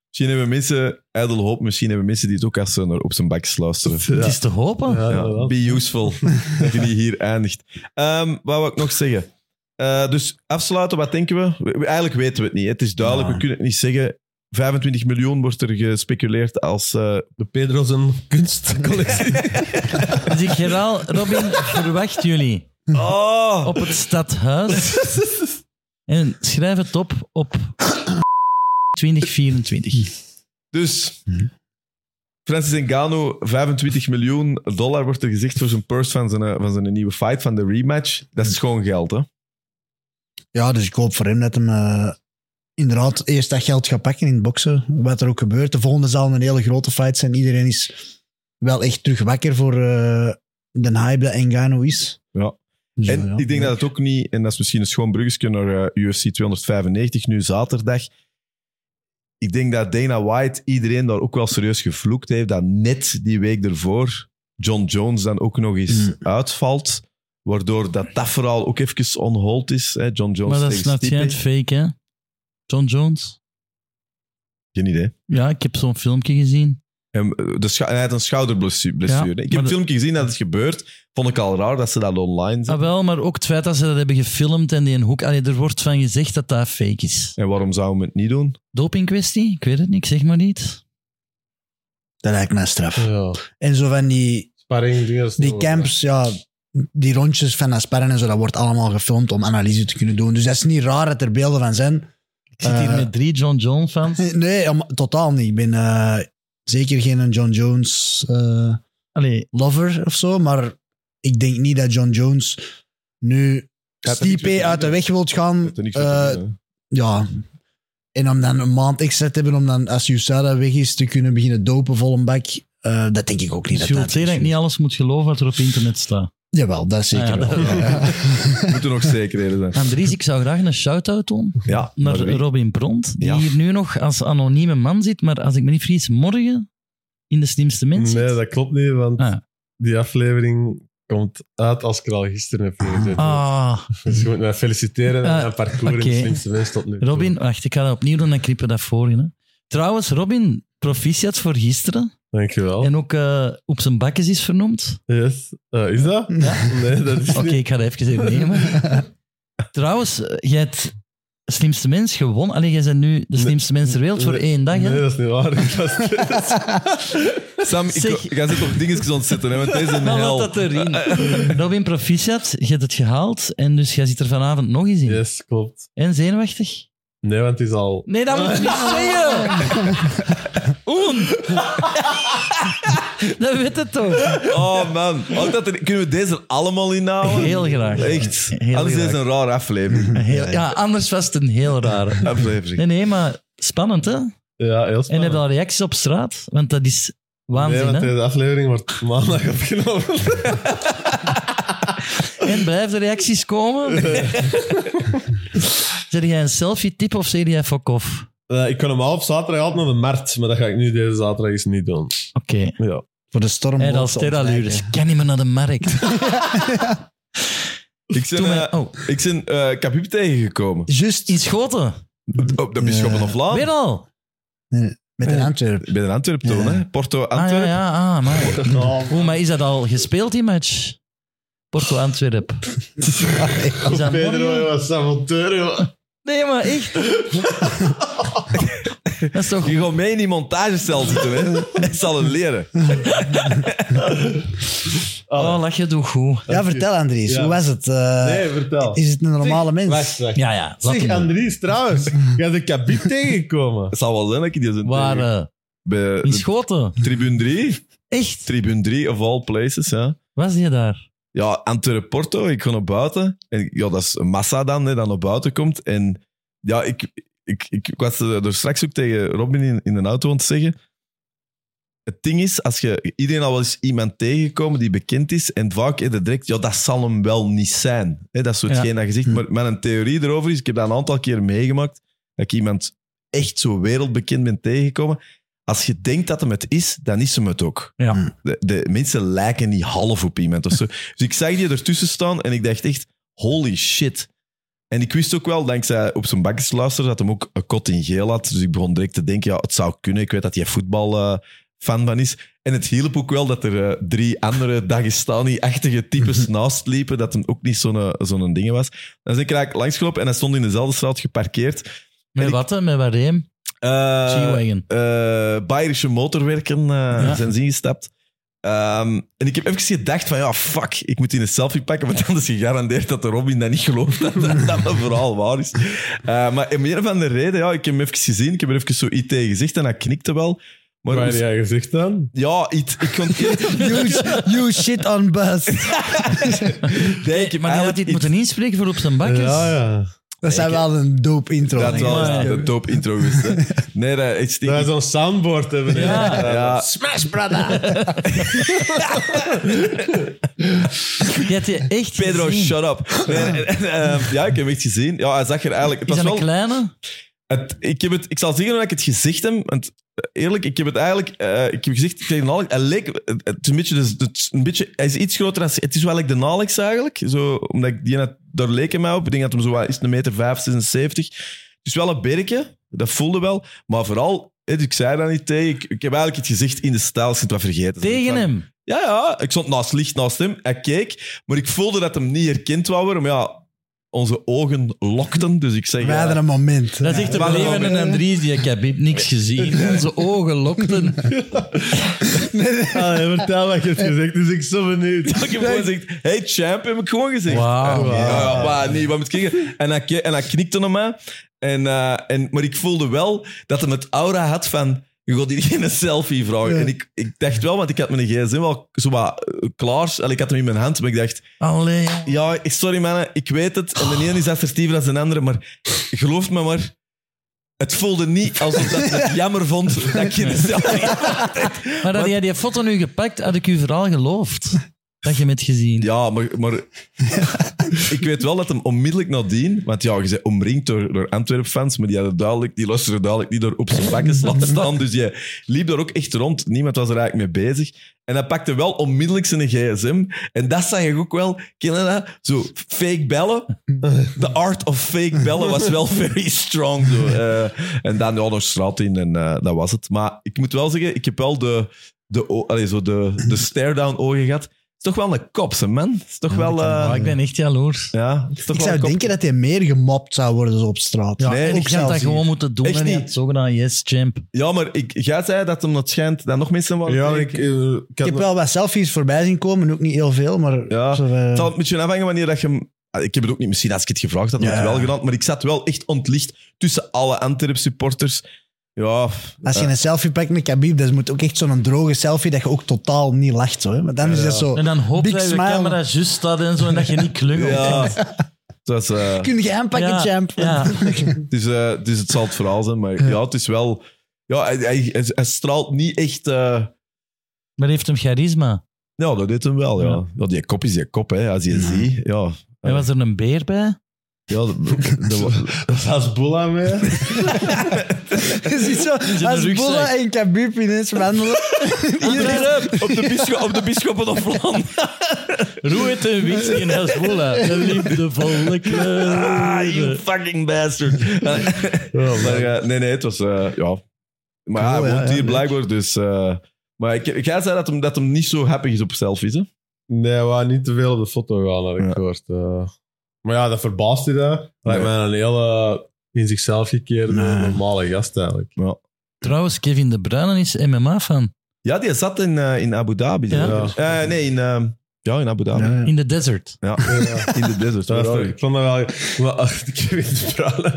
Speaker 1: Misschien hebben mensen, Idle Hope, misschien hebben mensen die het ook als ze naar op zijn bak luisteren.
Speaker 3: Het
Speaker 4: Ja.
Speaker 3: is te hopen.
Speaker 4: Ja,
Speaker 1: Ja,
Speaker 4: inderdaad.
Speaker 1: be useful. dat je niet hier eindigt. Ehm, wat wil ik nog zeggen? Eh, dus afsluiten, wat denken we? We- we- Eigenlijk weten we het niet. hè. Het is duidelijk,
Speaker 2: Ja.
Speaker 1: we kunnen het niet zeggen. 25 miljoen wordt er gespeculeerd als... eh,
Speaker 4: De Pedro's een kunstcollectie.
Speaker 3: Dus ik herhaal, Robin, verwacht jullie
Speaker 1: oh!
Speaker 3: op het stadhuis. En schrijf het op op 2024.
Speaker 1: Dus
Speaker 4: Mhm.
Speaker 1: Francis Ngannou, 25 miljoen dollar wordt er gezegd voor zijn purse van zijn, eh, van zijn nieuwe fight, van de rematch. Dat
Speaker 4: Mhm.
Speaker 1: is gewoon geld, hè?
Speaker 2: Ja, dus ik hoop voor hem dat hem eh, inderdaad eerst dat geld gaat pakken in het boksen. Wat er ook gebeurt. De volgende zal een hele grote fight zijn. Iedereen is wel echt terug wakker voor eh, de hype dat Engano is.
Speaker 1: Ja.
Speaker 2: Dus,
Speaker 1: En
Speaker 2: ja.
Speaker 1: ik denk dat het ook niet, en dat is misschien een schoon bruggetje naar eh, UFC 295 nu zaterdag. ik denk dat Dana White iedereen daar ook wel serieus gevloekt heeft. Dat net die week ervoor John Jones dan ook nog eens
Speaker 2: Mm.
Speaker 1: uitvalt. Waardoor dat, dat verhaal ook even on hold is. Hè? John Jones
Speaker 3: maar dat
Speaker 1: tegen
Speaker 3: snapt jij
Speaker 1: Stipe.
Speaker 3: het fake, hè? John Jones?
Speaker 1: Geen idee.
Speaker 3: Ja, ik heb zo'n filmpje gezien.
Speaker 1: Hem, eh, de scha- hij had een schouderblessure.
Speaker 3: Ja,
Speaker 1: ik heb
Speaker 3: maar
Speaker 1: een
Speaker 3: de-
Speaker 1: filmpje gezien dat het gebeurt. Vond ik al raar dat ze dat online
Speaker 3: Ah,
Speaker 1: zetten.
Speaker 3: wel, maar ook het feit dat ze dat hebben gefilmd en die een hoek... Allee, er wordt van gezegd dat dat fake is.
Speaker 1: En waarom zouden we het niet doen?
Speaker 3: Dopingkwestie? Ik weet het niet, ik zeg maar niet.
Speaker 2: Dat lijkt mij straf.
Speaker 4: Ja.
Speaker 2: En zo van die,
Speaker 4: Sparring, dingen, dat is
Speaker 2: die
Speaker 4: wel-
Speaker 2: camps, ja, die rondjes van Asparren en zo, dat wordt allemaal gefilmd om analyse te kunnen doen. Dus dat is niet raar dat er beelden van zijn.
Speaker 3: Ik zit hier
Speaker 2: Eh.
Speaker 3: met drie John Jones fans.
Speaker 2: Nee, helemaal- totaal niet. Ik ben eh, zeker geen John Jones eh,
Speaker 3: Allee,
Speaker 2: lover of zo, maar ik denk niet dat John Jones nu
Speaker 1: Gaat er niks mee
Speaker 2: Stipe uit de
Speaker 1: doen,
Speaker 2: weg wilt gaan.
Speaker 1: Heeft er niks mee te
Speaker 2: eh,
Speaker 1: doen, hè?
Speaker 2: ja. En om dan een maand extra te hebben, om dan als USADA weg is, te kunnen beginnen dopen vol een bak. eh, dat denk ik ook niet.
Speaker 3: dus je wilt zeggen dat ik niet alles moet geloven wat er op internet staat.
Speaker 2: Jawel, dat zeker
Speaker 3: Ah, ja,
Speaker 2: wel.
Speaker 3: dat-
Speaker 2: Ja.
Speaker 1: Moeten nog zekerheden zijn.
Speaker 3: Andries, ik zou graag een shout-out doen
Speaker 1: Ja,
Speaker 3: naar
Speaker 1: maar wie-
Speaker 3: Robin Pront, die
Speaker 1: Ja.
Speaker 3: hier nu nog als anonieme man zit, maar als ik me niet vergis, morgen in de slimste mens zit.
Speaker 4: Nee, dat klopt niet, want
Speaker 3: Ah.
Speaker 4: die aflevering komt uit als ik er al gisteren heb gezet.
Speaker 3: Ah,
Speaker 4: Dus je moet mij feliciteren
Speaker 3: Ah,
Speaker 4: aan mijn parcours in
Speaker 3: oké.
Speaker 4: de slimste mens tot nu toe.
Speaker 3: Robin, wacht, ik ga dat opnieuw doen, dan knippen we dat voor je. hè. Trouwens, Robin, proficiat voor gisteren.
Speaker 1: Oh.
Speaker 4: Dankjewel.
Speaker 3: En ook eh, op zijn bakjes is vernoemd.
Speaker 4: Yes. Eh, is dat? Nee, dat is
Speaker 3: Oké,
Speaker 4: niet.
Speaker 3: ik ga dat even hernemen. Trouwens, eh, jij hebt slimste mens gewonnen. Allee, jij bent nu de
Speaker 4: Nee.
Speaker 3: slimste mens ter wereld voor
Speaker 4: Nee.
Speaker 3: één dag. Hè?
Speaker 4: Nee, dat is niet waar. Ik was-
Speaker 1: Sam,
Speaker 3: Zeg-
Speaker 1: ik ga zit toch dingetjes ontzetten, hè, want deze is een
Speaker 3: Maar
Speaker 1: hel.
Speaker 3: wat dat erin. Robin Proficiat, je hebt het gehaald en dus jij zit er vanavond nog eens in.
Speaker 4: yes, klopt.
Speaker 3: En zenuwachtig?
Speaker 4: Nee, want het is al...
Speaker 3: Nee, dat moet ik niet zeggen! Oen! dat weet het toch?
Speaker 1: Oh man, ook dat er- kunnen we deze er allemaal inhouden?
Speaker 3: Heel graag.
Speaker 1: Echt,
Speaker 3: Heel
Speaker 1: anders is
Speaker 3: graag.
Speaker 1: het een rare aflevering.
Speaker 3: Heel- ja, anders was het een heel rare.
Speaker 1: aflevering.
Speaker 3: Nee, nee, maar spannend hè?
Speaker 4: Ja, heel spannend.
Speaker 3: En heb je al reacties op straat? Want dat is waanzin
Speaker 4: nee, want
Speaker 3: hè?
Speaker 4: deze aflevering wordt maandag opgenomen.
Speaker 3: En blijven de reacties komen? zeg jij een selfie tip of zeg jij fuck off?
Speaker 4: Eh, ik kon hem al op zaterdag altijd naar de markt, maar dat ga ik nu deze zaterdag eens niet doen.
Speaker 3: Oké.
Speaker 4: Ja.
Speaker 2: Voor de storm.
Speaker 3: En als terralures. Ik kan niet meer naar de markt.
Speaker 1: Ik ben,
Speaker 3: Toen
Speaker 1: eh
Speaker 3: mijn- oh,
Speaker 1: ik ben eh Kabib tegengekomen.
Speaker 2: Juist
Speaker 3: in Schoten.
Speaker 1: Op de Bisschoppen of Laan.
Speaker 3: Weer al. Ah,
Speaker 2: met een Antwerp.
Speaker 1: Bij de Antwerpen toen,
Speaker 2: Ja.
Speaker 1: hè? Porto
Speaker 3: Ah, ja,
Speaker 1: Antwerpen.
Speaker 3: ja, ah, maar. Hoe, maar is dat al gespeeld, die match? Porto Antwerp. Is dat morgen?
Speaker 4: was saboteur,
Speaker 3: Eh, Nee, maar echt. dat is toch...
Speaker 1: Je gaat mee in die montagecel zitten, hè? Ik zal het leren.
Speaker 3: Oh, lach je toch goed.
Speaker 2: Ja, vertel Andries,
Speaker 4: Ja.
Speaker 2: hoe was het? Eh,
Speaker 4: Nee, vertel.
Speaker 2: Is het een normale mens?
Speaker 4: Wacht, wacht.
Speaker 3: Ja, ja. laat
Speaker 4: Zeg,
Speaker 3: hem doen.
Speaker 4: Andries, trouwens. Jij bent Kabib tegengekomen.
Speaker 1: Het zal wel zijn dat ik die zijn
Speaker 3: Waar?
Speaker 1: tegen-
Speaker 3: eh,
Speaker 1: Bij
Speaker 3: in
Speaker 1: de
Speaker 3: Schoten.
Speaker 1: tribune 3.
Speaker 3: Echt?
Speaker 1: Tribune 3 of all places, ja.
Speaker 3: Was je daar?
Speaker 1: Ja, Antwerpen Porto, ik ga naar buiten. En ik- ja, dat is een massa dan, hè, dat naar buiten komt. En ja, ik, ik, ik, ik was er er straks ook tegen Robin in, in de auto aan het zeggen. Het ding is, als je iedereen al wel eens iemand tegenkomen die bekend is, en vaak is het direct, ja, dat zal hem wel niet zijn. Hè, dat is zo
Speaker 3: Ja.
Speaker 1: hetgeen dat je zegt.
Speaker 2: Hm.
Speaker 1: Maar mijn theorie erover is, ik heb dat een aantal keer meegemaakt, dat ik iemand echt zo wereldbekend ben tegengekomen. Als je denkt dat hem het is, dan is hem het ook.
Speaker 3: Ja.
Speaker 2: Hm.
Speaker 1: De, de mensen lijken niet half op iemand of zo. dus ik zag die ertussen staan en ik dacht echt, holy shit. En ik wist ook wel, dankzij op zijn bakjes luisteren, dat hem ook een kot in geel had. Dus ik begon direct te denken, ja, het zou kunnen. Ik weet dat hij voetbalfan fan van is. En het hielp ook wel dat er eh, drie andere Dagestani-achtige types naast liepen, dat hem ook niet zo'n eh, zo'n ding was. Dan ben ik eigenlijk langsgelopen en hij stond in dezelfde straat geparkeerd.
Speaker 3: Met
Speaker 1: ik-
Speaker 3: wat, hè? Met Wareem?
Speaker 1: Eh,
Speaker 3: G-Wagon.
Speaker 1: eh Bayerische motorwerken eh,
Speaker 3: Ja.
Speaker 1: zijn ze ingestapt. Ehm, en ik heb even gedacht van, ja, fuck, ik moet die een selfie pakken, want anders gegarandeerd dat de Robin dat niet gelooft, dat dat, dat dat verhaal waar is. Eh, maar om een of andere reden, ja, ik heb hem even gezien, ik heb er even zo iets tegen gezegd en hij knikte wel. Maar
Speaker 4: Wat heb jij gezegd dan?
Speaker 1: ja, iets, ik kon eerlijk-
Speaker 2: You, sh- you shit on bus.
Speaker 1: nee, ik heb
Speaker 3: Maar die had
Speaker 1: eigenlijk
Speaker 3: dit
Speaker 1: iets-
Speaker 3: moeten inspreken voor op zijn bakjes.
Speaker 4: Ja, ja.
Speaker 2: Dat zijn wel een dope intro.
Speaker 1: Dat
Speaker 2: denk ik.
Speaker 1: was
Speaker 3: Ja, ja.
Speaker 1: de top intro geweest. hè. Nee, dat is
Speaker 4: Dat wij
Speaker 1: niet...
Speaker 4: zo'n soundboard hebben. hè.
Speaker 3: Ja.
Speaker 1: Ja,
Speaker 2: Smash, brother!
Speaker 3: Die had je echt
Speaker 1: Pedro,
Speaker 3: gezien.
Speaker 1: shut up. Nee, en, en, ehm, ja, ik heb hem echt gezien. Ja, hij zag er eigenlijk... Het
Speaker 3: Is
Speaker 1: was
Speaker 3: dat een
Speaker 1: wel
Speaker 3: kleine?
Speaker 1: Het, ik, heb het, ik zal zeggen hoe ik het gezegd heb. Want eh, eerlijk, ik heb het eigenlijk... eh, ik heb gezegd tegen Alex... Hij leek... Het het is een beetje... Dus, het is een beetje hij is iets groter dan... Het is wel like de Alex eigenlijk. Zo, omdat ik, die net, daar leek hij mij op. Ik denk dat hem zo wat is, een meter 5, 76. Het is wel een berkje. Dat voelde wel. Maar vooral... eh, Ik zei dat niet tegen. Ik, ik heb eigenlijk het gezegd in de stijl. Ik het wat vergeten.
Speaker 3: Tegen
Speaker 1: Ik-
Speaker 3: hem.
Speaker 1: ja, ja. Ik stond naast licht naast hem. Hij keek, maar ik voelde dat hem niet herkend wou worden. Maar ja, onze ogen lokten, dus ik zeg...
Speaker 2: We
Speaker 1: ja,
Speaker 2: hadden een moment.
Speaker 3: Dat is echt een
Speaker 1: Waarom?
Speaker 3: leven en Andries. die- Ik heb hier niks gezien. Onze ogen lokten.
Speaker 4: Allee, vertel wat je hebt gezegd, dus ik ben zo benieuwd.
Speaker 1: Ik heb gewoon gezegd, hey champ, heb ik gewoon gezegd.
Speaker 3: Wauw.
Speaker 1: Ja, ja, maar nee, wat moet ik zeggen? En hij, ke- en hij knikte naar mij. En, eh, en, maar ik voelde wel dat hij het aura had van... Je gaat hier geen selfie vragen.
Speaker 2: Ja.
Speaker 1: En ik, ik dacht wel, want ik had mijn gsm wel zo wat eh, klaar. En ik had hem in mijn hand, maar ik dacht...
Speaker 3: Allee.
Speaker 1: Ja, sorry mannen, ik weet het. En de ene is assertiever dan de andere, maar geloof me maar. Het voelde niet alsof dat ik het jammer vond dat ik geen selfie
Speaker 3: Maar dat jij die foto nu gepakt, had ik u verhaal geloofd. Dat je met gezien.
Speaker 1: Ja, maar, maar ik weet wel dat hem onmiddellijk nadien... Want ja, je bent omringd door, door Antwerp-fans, maar die, hadden duidelijk, die luisteren duidelijk niet door op zijn bakken laten staan. Dus jij liep daar ook echt rond. Niemand was er eigenlijk mee bezig. En hij pakte wel onmiddellijk zijn gsm. En dat zag je ook wel. Ken je dat? Zo fake bellen. The art of fake bellen was wel very strong. Zo. Eh, en dan ja, nog straat in en eh, dat was het. Maar ik moet wel zeggen, ik heb wel de, de, o- allee, zo de, de stare-down ogen gehad. Het is toch wel een kopse, man. Het is toch wel... eh,
Speaker 3: Maar ik ben echt jaloers.
Speaker 1: ja, het is toch wel
Speaker 2: Ik zou
Speaker 1: een kop-
Speaker 2: denken dat hij meer gemopt zou worden zo op straat.
Speaker 3: Ja,
Speaker 1: Nee,
Speaker 3: en ik
Speaker 2: ook
Speaker 3: had dat
Speaker 2: zelfs
Speaker 3: gewoon moeten doen.
Speaker 1: Echt
Speaker 3: en je
Speaker 1: niet.
Speaker 3: had zogenaamd yes, champ.
Speaker 1: Ja, maar ik, jij zei dat hem dat schijnt dat nog mensen waren.
Speaker 4: Ja, ik, eh, ik
Speaker 2: Ik
Speaker 4: had-
Speaker 2: heb wel wat selfies voorbij zien komen, ook niet heel veel, maar...
Speaker 1: Ja.
Speaker 2: zo, eh,
Speaker 1: Het zal een beetje afhangen wanneer dat je hem... Ah, Ik heb het ook niet... Misschien als ik het gevraagd had, had ik
Speaker 2: Ja.
Speaker 1: het wel gedaan. Maar ik zat wel echt ontlicht tussen alle Antwerp-supporters. Ja, eh,
Speaker 2: als je een selfie pakt met Khabib, dat moet ook echt zo'n droge selfie dat je ook totaal niet lacht. Zo, hè. Maar dan is dat zo...
Speaker 3: En dan hoop
Speaker 2: Big
Speaker 3: dat je
Speaker 2: smile.
Speaker 3: camera juist staat en zo. En dat je niet klungelt.
Speaker 1: ja. het, was, eh,
Speaker 2: Kun je aanpakken,
Speaker 3: Ja,
Speaker 2: champ?
Speaker 3: ja.
Speaker 1: het, is, eh, het, is, het zal het verhaal zijn, maar ja, het is wel... Ja, hij, hij, hij- hij straalt niet echt... eh,
Speaker 3: Maar heeft hem charisma?
Speaker 1: Ja, dat deed hem wel, ja.
Speaker 3: Ja.
Speaker 1: ja. die kop is die kop, hè. Als je ziet, ja.
Speaker 3: En was er een beer bij?
Speaker 1: ja dat- dat-
Speaker 4: Dat is als boel aan mij.
Speaker 2: Je ziet zo, als
Speaker 3: rugzak.
Speaker 2: Bolla en Khabib ineens wandelen. Iedereen-
Speaker 1: op de, bisschop, op de bisschoppen of Vlaanderen.
Speaker 3: Roeit en whisky en Hezbollah. De liefdevolle
Speaker 1: Ah, you
Speaker 3: kleuren.
Speaker 1: fucking bastard. maar, eh, nee, nee, het was... eh, ja. Maar hij
Speaker 2: Cool, ja,
Speaker 1: woont
Speaker 2: ja,
Speaker 1: hier blijkbaar, dus... eh, maar ik, jij zei dat hem, dat hem niet zo happy is op selfies, hè?
Speaker 4: Nee, we waren niet te veel op de foto gaan, had ik
Speaker 1: Ja.
Speaker 4: gehoord. eh. maar ja, dat verbaast hij dat. Lijkt mij een hele in zichzelf gekeerde,
Speaker 2: Nee.
Speaker 4: normale gast eigenlijk.
Speaker 3: Trouwens, Kevin De Bruyne is MMA fan.
Speaker 1: Ja, die zat in, eh, in Abu Dhabi.
Speaker 3: Ja.
Speaker 1: zeker? Eh, nee, in... ehm, ja, in Abu Dhabi. Ja,
Speaker 3: In de desert.
Speaker 1: in de desert.
Speaker 4: Dat was
Speaker 1: sorry.
Speaker 4: toch- ik vond dat wel... Maar ach, ik weet het verhaal.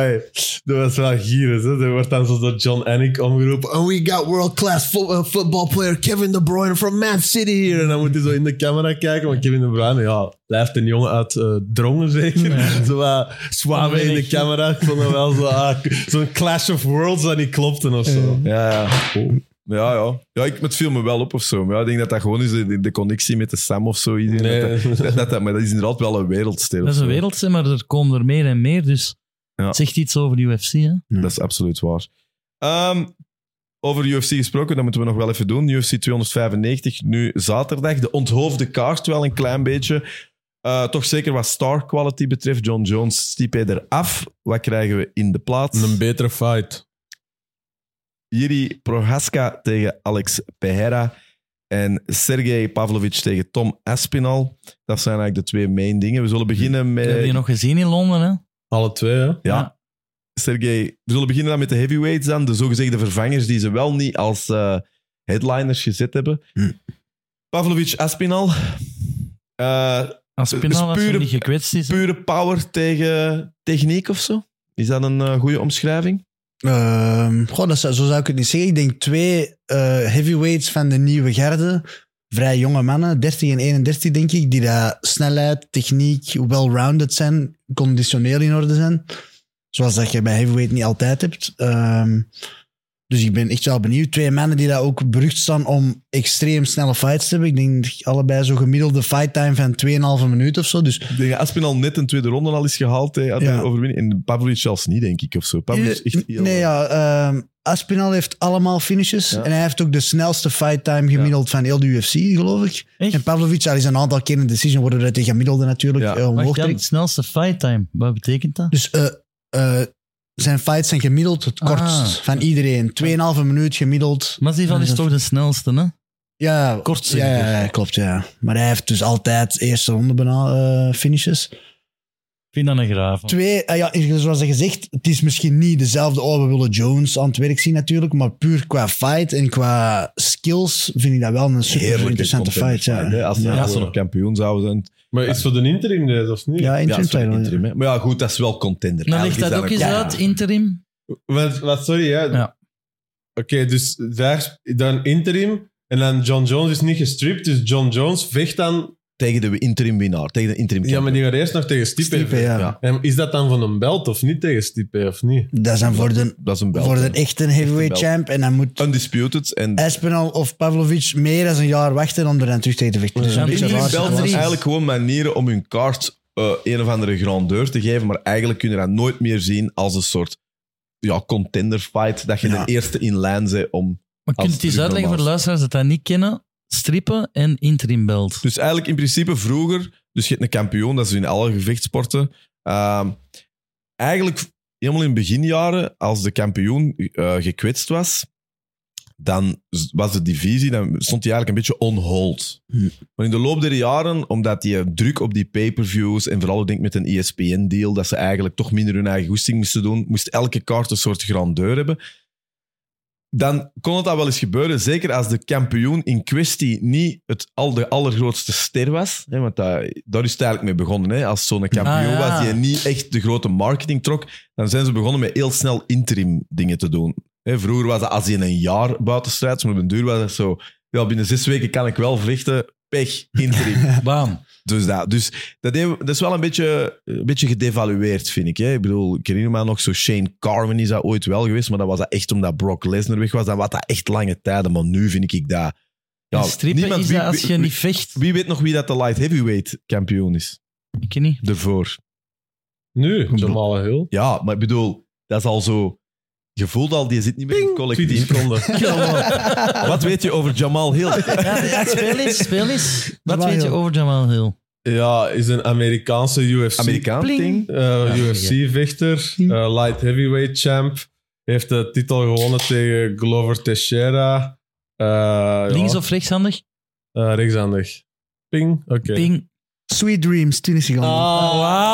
Speaker 4: Hey, dat was wel gierig. Hè. Er wordt dan zo door John Anik omgeroepen. And we got world-class fo- eh, football player Kevin De Bruyne from Man City here. En dan moet hij zo in de camera kijken. Want Kevin De Bruyne, ja, blijft een jongen uit eh, Drongen zeker. Zo wat zwaar in de camera. Ik vond dat wel zo, ah, zo'n clash of worlds dat niet klopte of zo.
Speaker 1: Ja, ja. Ja, ja. ja ik, het viel me wel op of zo. Maar ja, ik denk dat dat gewoon is de, de connectie met de Sam of zo. iedereen.
Speaker 4: Nee.
Speaker 1: Dat, dat, dat, dat- maar dat is inderdaad wel een wereldster.
Speaker 3: Dat is een
Speaker 1: wereld.
Speaker 3: wereldse, maar er komen er meer en meer. Dus
Speaker 1: Ja. Eh,
Speaker 3: het zegt iets over de UFC. Hè?
Speaker 1: Dat is absoluut waar. Ehm, over UFC gesproken, dat moeten we nog wel even doen. UFC 295, nu zaterdag. De onthoofde kaart wel een klein beetje. Eh, toch zeker wat star quality betreft. John Jones, Stipe eraf. Wat krijgen we in de plaats?
Speaker 4: betere fight.
Speaker 1: Jiri Prohaska tegen Alex Pereira. En Sergej Pavlovic tegen Tom Aspinal. Dat zijn eigenlijk de twee main dingen. We
Speaker 2: Hmm.
Speaker 1: zullen beginnen met...
Speaker 3: Heb je nog gezien in Londen? Hè?
Speaker 4: Alle twee, hè?
Speaker 1: Ja. Sergej, we zullen beginnen dan met de heavyweights dan. De zogezegde vervangers die ze wel niet als eh, headliners gezet hebben.
Speaker 2: Hmm.
Speaker 1: Pavlovic Aspinal. Eh,
Speaker 3: Als
Speaker 1: Het
Speaker 3: Pinal
Speaker 1: is
Speaker 3: als hij
Speaker 1: pure-
Speaker 3: niet gekwetst is.
Speaker 1: pure power tegen techniek of zo. Is dat een eh, goede omschrijving?
Speaker 2: Ehm, goh, dat zou, zo zou ik het niet zeggen. Ik denk twee eh, heavyweights van de nieuwe garde. Vrij jonge mannen, 30 en 31 denk ik, die daar snelheid, techniek, well-rounded zijn, conditioneel in orde zijn. Zoals dat je bij heavyweight niet altijd hebt. Ehm, Dus ik ben echt wel benieuwd. Twee mannen die daar ook berucht staan om extreem snelle fights te hebben. Ik denk dat allebei zo'n gemiddelde fight time van 2,5 minuut of zo. Dus
Speaker 1: Ik denk dat Aspinall net een tweede ronde al is gehaald. Hè, uit
Speaker 2: Ja.
Speaker 1: de overwinning. En Pavlovic zelfs niet, denk ik. Of zo. Pavlovic is echt heel...
Speaker 2: nee, ja, ehm, Aspinall heeft allemaal finishes.
Speaker 1: Ja.
Speaker 2: En hij heeft ook de snelste fight time gemiddeld van heel de UFC, geloof ik.
Speaker 3: Echt?
Speaker 2: En Pavlovic daar is een aantal keer een decision worden dat hij gemiddelde natuurlijk
Speaker 1: Ja.
Speaker 2: eh, omhoog
Speaker 3: Wacht, Jan,
Speaker 2: trekt.
Speaker 3: snelste fight time. Wat betekent dat?
Speaker 2: Dus eh, eh, zijn fights zijn gemiddeld het
Speaker 3: Ah.
Speaker 2: kortst van iedereen. 2,5 minuut gemiddeld.
Speaker 3: Masvidal is
Speaker 2: dat-
Speaker 3: toch de snelste, hè?
Speaker 2: Ja,
Speaker 3: Kort, zeg
Speaker 2: ja, ja, ja, klopt. Ja. Maar hij heeft dus altijd eerste ronde bijna eh, finishes.
Speaker 3: Ik vind dat een graaf. man.
Speaker 2: Twee, eh, ja, zoals gezegd, het is misschien niet dezelfde. Oh, we willen Jones aan het werk zien natuurlijk. Maar puur qua fight en qua skills vind ik dat wel een super
Speaker 1: Heerlijke
Speaker 2: interessante
Speaker 1: contender
Speaker 2: fight. Ja,
Speaker 1: fight, hè. Als,
Speaker 2: ja.
Speaker 1: als ze nog kampioen zouden zijn.
Speaker 4: Maar is het voor de interim deze, of niet?
Speaker 2: ja interim
Speaker 1: Ja, sorry,
Speaker 2: title, ja.
Speaker 1: interim, hè. Maar ja, goed, dat is wel contender.
Speaker 3: Dan ligt
Speaker 1: Eigenlijk
Speaker 3: dat
Speaker 1: is
Speaker 3: ook eens
Speaker 1: een-
Speaker 3: uit, interim.
Speaker 4: Wat, wat, sorry, hè?
Speaker 3: Ja.
Speaker 4: Oké, dus daar, dan interim. En dan John Jones is niet gestript, dus John Jones vecht dan...
Speaker 1: Tegen de interim winnaar. Tegen de interim
Speaker 4: Ja, maar
Speaker 1: kampioen.
Speaker 4: die gaat eerst nog tegen Stipe.
Speaker 2: Stipe, ja.
Speaker 1: Ja.
Speaker 4: En is dat dan van een belt of niet tegen Stipe, of niet?
Speaker 2: Dat zijn voor de,
Speaker 1: Dat is een bel.
Speaker 2: voor de echte heavyweight
Speaker 1: belt.
Speaker 2: champ. En dan moet
Speaker 1: Undisputed. En
Speaker 2: Espinal of Pavlovic meer dan een jaar wachten om er dan terug tegen te vechten. Dus
Speaker 3: Ja,
Speaker 2: een beetje
Speaker 1: interim
Speaker 2: raar.
Speaker 1: belt zijn
Speaker 3: Precies.
Speaker 1: eigenlijk gewoon manieren om hun kaart eh, een of andere grandeur te geven. Maar eigenlijk kun je dat nooit meer zien als een soort ja, contender fight. Dat je
Speaker 2: Ja.
Speaker 1: de eerste in lijn bent om...
Speaker 3: Maar kun je
Speaker 1: Als
Speaker 3: het eens
Speaker 1: terug
Speaker 3: uitleggen voor de
Speaker 1: normaal.
Speaker 3: luisteraars dat dat niet kennen? Strippen en interim belt.
Speaker 1: Dus eigenlijk in principe vroeger... Dus je hebt een kampioen, dat is in alle gevechtsporten. Ehm, eigenlijk helemaal in beginjaren, als de kampioen eh, gekwetst was... dan was de divisie, dan stond die eigenlijk een beetje on hold.
Speaker 3: Hm.
Speaker 2: Hmm.
Speaker 1: Maar in de loop der jaren, omdat die eh, druk op die pay-per-views en vooral ik denk met een E ESPN-deal, dat ze eigenlijk toch minder hun eigen goesting moesten doen, moest elke kaart een soort grandeur hebben. Dan kon het dat wel eens gebeuren, zeker als de kampioen in kwestie niet het al de allergrootste ster was. Hè, want dat, daar is het eigenlijk mee begonnen. Hè. Als zo'n kampioen
Speaker 3: Ah, ja.
Speaker 1: was die niet echt de grote marketing trok, dan zijn ze begonnen met heel snel interim dingen te doen. Hè, vroeger was dat als je een jaar buitenstrijds, maar op een duur was dat zo... Ja, binnen zes weken kan ik wel vechten. Pech, interim.
Speaker 3: Bam.
Speaker 1: dus dat, dus dat, heeft- dat is wel een beetje, een beetje gedevalueerd, vind ik. Hè? Ik bedoel, ik herinner me nog zo Shane Carmen is dat ooit wel geweest, maar dat was dat echt omdat Brock Lesnar weg was. Dan was dat echt lange tijden, maar nu vind ik dat...
Speaker 3: En strippen is dat als je
Speaker 1: wie,
Speaker 3: niet vecht.
Speaker 1: wie weet nog wie dat de light heavyweight kampioen is?
Speaker 3: Ik ken niet.
Speaker 1: Ervoor.
Speaker 4: Nu, Jamal Hill.
Speaker 1: Ja, maar ik bedoel, dat is al zo... Je voelt al, die zit niet meer in het collectief.
Speaker 4: 20 seconden.
Speaker 1: Wat weet je over Jamal Hill?
Speaker 3: Ja, ja, speel eens, speel eens. Wat
Speaker 2: Jamal
Speaker 3: weet je
Speaker 2: Hill.
Speaker 3: over Jamal Hill?
Speaker 4: ja, is een Amerikaanse UFC...
Speaker 1: Amerikaan
Speaker 3: Pling.
Speaker 4: eh,
Speaker 1: ding.
Speaker 3: Ja, Hm.
Speaker 4: UFC-vechter, eh, light heavyweight champ. Heeft de titel gewonnen tegen Glover Teixeira. Eh,
Speaker 3: Links
Speaker 4: ja.
Speaker 3: of rechtshandig?
Speaker 4: Eh, rechtshandig. Ping, oké.
Speaker 3: Ping.
Speaker 2: Sweet Dreams, 20 seconden.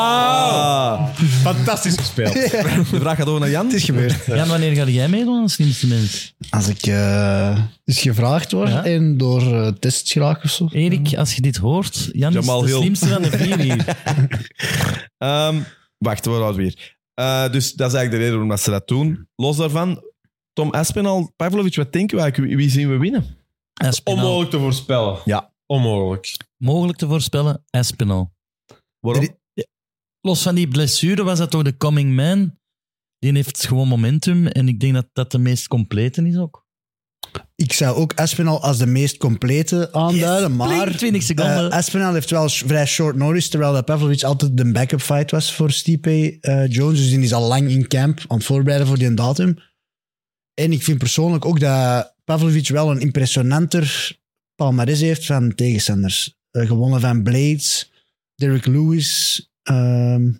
Speaker 1: Ah.
Speaker 4: Fantastisch gespeeld.
Speaker 3: Ah.
Speaker 1: De vraag gaat over naar Jan.
Speaker 2: Het is gebeurd.
Speaker 3: Jan, wanneer ga jij meedoen als slimste mens?
Speaker 2: Als ik eh dus gevraagd word
Speaker 3: Ja.
Speaker 2: en door eh, tests geraak of zo.
Speaker 3: Erik, als je dit hoort, Jan
Speaker 1: Jamal
Speaker 3: is de
Speaker 1: Hill.
Speaker 3: slimste van de vier hier.
Speaker 1: Ehm, wacht, waar houden we hier? Eh, dus dat is eigenlijk de reden waarom dat ze dat doen. Los daarvan, Tom Aspinall, Pavlovic, wat denken we eigenlijk? Wie- Wie zien we winnen?
Speaker 3: Aspinall.
Speaker 4: Onmogelijk te voorspellen.
Speaker 1: Ja.
Speaker 4: Onmogelijk.
Speaker 3: Mogelijk te voorspellen, Espinal.
Speaker 1: Waarom?
Speaker 3: Los van die blessure was dat toch de coming man? Die heeft gewoon momentum en ik denk dat dat de meest complete is ook.
Speaker 2: Ik zou ook Espinal als de meest complete aanduiden, maar...
Speaker 3: Blink, 20 seconden.
Speaker 2: eh Espinal heeft wel sh- vrij short notice, terwijl dat Pavlovic altijd de backup fight was voor Stipe eh, Jones. Dus die is al lang in camp aan het voorbereiden voor die datum. En ik vind persoonlijk ook dat Pavlovic wel een impressionanter palmarès heeft van tegenstanders. Eh, gewonnen van Blades, Derek Lewis, ehm,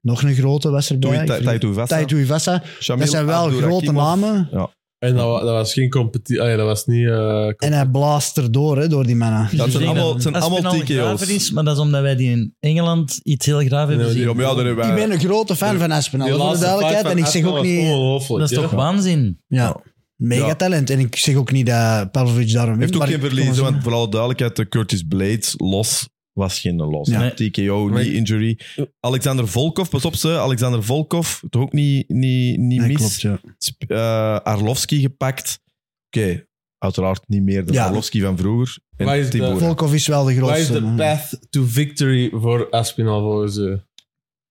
Speaker 2: nog een grote was erbij.
Speaker 1: Toei-
Speaker 2: Ik
Speaker 1: Ta-
Speaker 2: vergeet-
Speaker 1: Taito Vassa.
Speaker 2: Taito Ivasa.
Speaker 1: Shamil
Speaker 2: Dat zijn wel
Speaker 1: Abdurakhimov.
Speaker 2: grote namen.
Speaker 4: En dat, wa- dat was geen competitie. Ah, ja, dat was niet... eh,
Speaker 2: En hij blaast erdoor hè, door die mannen.
Speaker 3: Dus
Speaker 1: Dat zijn allemaal- het zijn allemaal TKO's.
Speaker 3: graver is, maar dat is omdat wij die in Engeland iets heel graaf hebben
Speaker 4: Nee,
Speaker 3: gezien.
Speaker 1: Ja, maar ja, daar hebben
Speaker 2: Ik
Speaker 1: wij-
Speaker 2: ben een grote fan van Aspinall,
Speaker 4: die
Speaker 2: voor de
Speaker 4: laatste
Speaker 2: duidelijkheid. En
Speaker 4: fight van
Speaker 2: ik zeg ook
Speaker 4: Aspinall was
Speaker 2: niet...
Speaker 4: Ongelooflijk.
Speaker 3: dat is
Speaker 4: ja.
Speaker 3: toch waanzin?
Speaker 2: Ja, mega
Speaker 1: Ja.
Speaker 2: talent. En ik zeg ook niet dat Pavlovic daarom
Speaker 1: heeft
Speaker 2: wint,
Speaker 1: ook
Speaker 2: maar
Speaker 1: geen
Speaker 2: ik-
Speaker 1: verliezen, want voor alle duidelijkheid, de Curtis Blades los was geen los.
Speaker 2: Ja.
Speaker 1: Nee. TKO,
Speaker 4: Maar-
Speaker 1: knee injury. Alexander Volkov, pas op ze. Alexander Volkov, toch ook niet, niet, niet
Speaker 2: Nee,
Speaker 1: mis.
Speaker 2: klopt, ja.
Speaker 1: Sp- eh, Arlovski gepakt. Oké, uiteraard niet meer dan
Speaker 2: Ja.
Speaker 1: Arlovski van vroeger.
Speaker 4: Waar is
Speaker 1: En
Speaker 4: de-
Speaker 1: Tibor.
Speaker 2: Volkov is eh, wel de
Speaker 4: Waar is
Speaker 2: grootste.
Speaker 4: de
Speaker 2: man.
Speaker 4: path to victory voor Aspinall volgens u?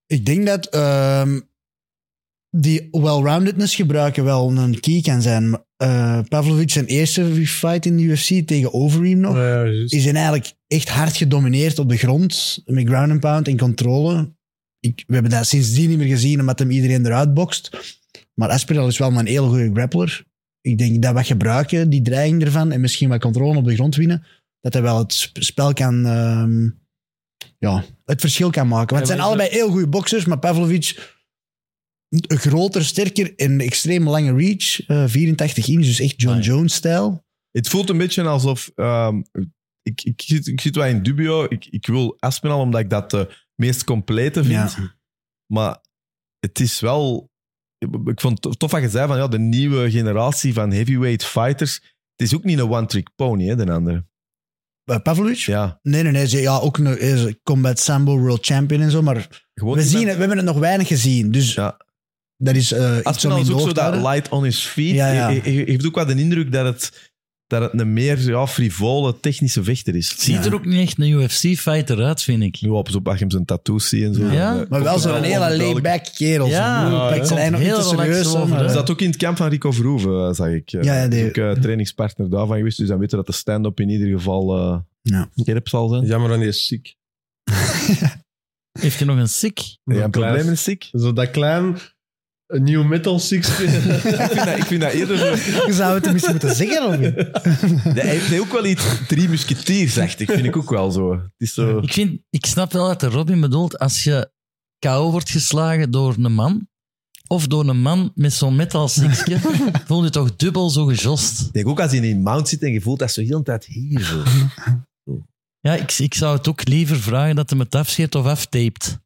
Speaker 2: Ik denk dat ehm, die well-roundedness gebruiken wel een key kan zijn. Eh Pavlovic, zijn eerste fight in de UFC tegen Overeem nog,
Speaker 4: Ja, juist.
Speaker 2: is in eigenlijk echt hard gedomineerd op de grond, met ground and pound en controle. Ik, we hebben dat sindsdien niet meer gezien, omdat hem iedereen eruit bokst. Maar Aspiral is wel maar een heel goede grappler. Ik denk dat wat gebruiken, die dreiging ervan, en misschien wat controle op de grond winnen, dat hij wel het sp- spel kan... ehm, ja, het verschil kan maken. Want het zijn
Speaker 4: Ja, maar
Speaker 2: allebei heel goede boxers, maar Pavlovic... een Groter, sterker en extreem lange reach. eh, 84 inch, dus echt John
Speaker 3: Ah, ja.
Speaker 2: Jones-stijl.
Speaker 1: Het voelt een beetje alsof... ehm, ik, ik, zit, ik zit wel in dubio. Ik, ik wil Aspinall omdat ik dat de meest complete vind. Maar het is wel... Ik vond het tof wat je zei van ja, de nieuwe generatie van heavyweight fighters. Het is ook niet een one-trick pony, hè, de andere.
Speaker 2: Eh, Pavlovic?
Speaker 1: Ja,
Speaker 2: Nee, nee, nee. ze- Ja, ook een is een combat sambo world champion en zo. Maar
Speaker 1: gewoon
Speaker 2: we,
Speaker 1: iemand-
Speaker 2: zien het, we hebben het nog weinig gezien. Dus
Speaker 1: Ja.
Speaker 2: dat is eh iets om
Speaker 1: Aspinall
Speaker 2: in
Speaker 1: is
Speaker 2: de
Speaker 1: ook zo
Speaker 2: oog te
Speaker 1: dat
Speaker 2: houden.
Speaker 1: light on his feet.
Speaker 2: Ja, ja.
Speaker 1: Je, je- je hebt ook wel de indruk dat het, dat het een meer ja, frivole technische vechter is.
Speaker 3: Ziet
Speaker 2: Ja.
Speaker 3: er ook niet echt een UFC-fighter uit, vind ik.
Speaker 1: Nu op zo'n als je hem zijn tattoos ziet en zo.
Speaker 2: Ja.
Speaker 1: dan, eh,
Speaker 3: Maar
Speaker 1: komt
Speaker 2: Maar wel
Speaker 1: het
Speaker 2: zo'n hele
Speaker 1: onduidelijk.
Speaker 2: laid-back kerel.
Speaker 3: Ja,
Speaker 2: zo.
Speaker 4: ja,
Speaker 2: Pakt
Speaker 4: ja.
Speaker 2: zijn eigen
Speaker 3: Komt
Speaker 2: nog niet te serieus.
Speaker 3: heel relaxed
Speaker 2: zo,
Speaker 3: over,
Speaker 2: maar-
Speaker 1: Hij
Speaker 3: hè?
Speaker 1: zat ook in het kamp van Rico Verhoeven, eh, zag ik. Eh,
Speaker 2: Ja, ja, die-
Speaker 1: is ook eh, trainingspartner daarvan geweest, dus dan weten we dat de stand-up in ieder geval eh
Speaker 2: Ja.
Speaker 1: scherp zal zijn.
Speaker 4: Jammer, dan die is ziek.
Speaker 3: Heeft hij nog een sick?
Speaker 1: Ja, een
Speaker 4: Klaas.
Speaker 1: probleem is ziek.
Speaker 4: Zo dat klein een nieuw metal six.
Speaker 1: ik, vind dat, ik vind dat eerder... zo-
Speaker 2: Je zou het tenminste moeten zeggen, Robin.
Speaker 1: Nee, Hij heeft ook wel iets drie musketiersachtig, vind ik ook wel zo. Het is zo...
Speaker 3: Ik, vind, ik snap wel wat de Robin bedoelt. Als je KO wordt geslagen door een man, of door een man met zo'n metal sixje, voel je toch dubbel zo gejost.
Speaker 1: Ik denk ook als hij in mount zit en je voelt dat zo heel de tijd hier zo.
Speaker 3: Ja, ik, ik zou het ook liever vragen dat hij het afscheert of aftaped.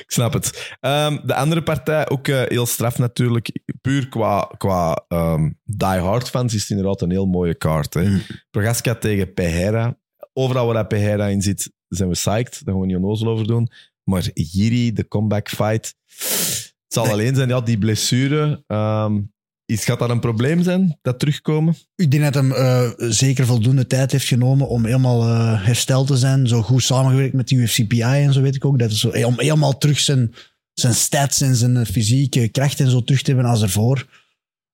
Speaker 1: Ik snap het. Ehm, de andere partij, ook eh, heel straf natuurlijk. Puur qua, qua ehm, Die Hard fans is het inderdaad een heel mooie kaart. Hè?
Speaker 2: Mm.
Speaker 1: Prochaska tegen Pereira. Overal waar dat Pereira in zit, zijn we psyched. Daar gaan we niet onnozel over doen. Maar Jiri, de comeback fight. Het zal
Speaker 2: Nee.
Speaker 1: alleen zijn, ja, die blessure. ehm, is, gaat dat een probleem zijn, dat terugkomen?
Speaker 2: Ik denk dat hem eh, zeker voldoende tijd heeft genomen om helemaal eh, hersteld te zijn. Zo goed samengewerkt met die UFCPI en zo weet ik ook. Dat is zo, eh, om helemaal terug zijn, zijn stats en zijn eh, fysieke kracht en zo terug te hebben als ervoor.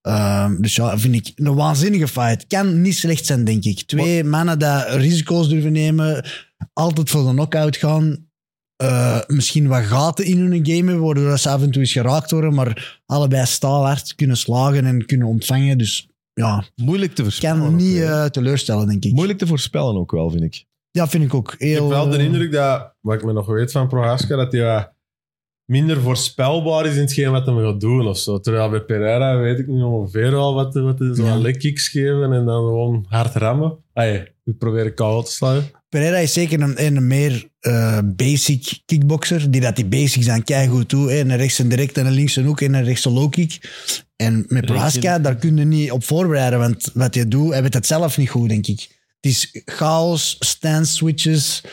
Speaker 2: Ehm, dus ja, vind ik een waanzinnige fight. Kan niet slecht zijn, denk ik. Twee mannen die risico's durven nemen, altijd voor de knockout gaan. Eh, misschien wat gaten in hun game hebben, waardoor ze af en toe eens geraakt worden, maar allebei staalhard kunnen slagen en kunnen ontvangen. Dus ja,
Speaker 1: Moeilijk te
Speaker 2: ik
Speaker 1: voorspellen.
Speaker 2: kan
Speaker 1: ook
Speaker 2: niet
Speaker 1: weer.
Speaker 2: eh, teleurstellen, denk ik.
Speaker 1: Moeilijk te voorspellen ook wel, vind ik.
Speaker 2: Ja, vind ik ook.
Speaker 4: Ik
Speaker 2: Heel,
Speaker 4: heb wel de
Speaker 2: eh,
Speaker 4: indruk dat, wat ik me nog weet van Prohaska, dat hij wat minder voorspelbaar is in hetgeen wat hem gaat doen of zo. Terwijl bij Pereira weet ik niet ongeveer al wat wat is.
Speaker 2: Ja.
Speaker 4: Zo'n leg kicks geven en dan gewoon hard rammen. Ah ja, we proberen koud te slaan.
Speaker 2: eh, Pereira is zeker een, een meer eh, basic kickboxer. Die dat die basics aan keigoed toe. hè. Een rechts en direct en een links en hoek en een rechts een low kick. En met Prohaska, daar kun je niet op voorbereiden. Want wat je doet, hij weet het zelf niet goed, denk ik. Het is chaos, stance switches,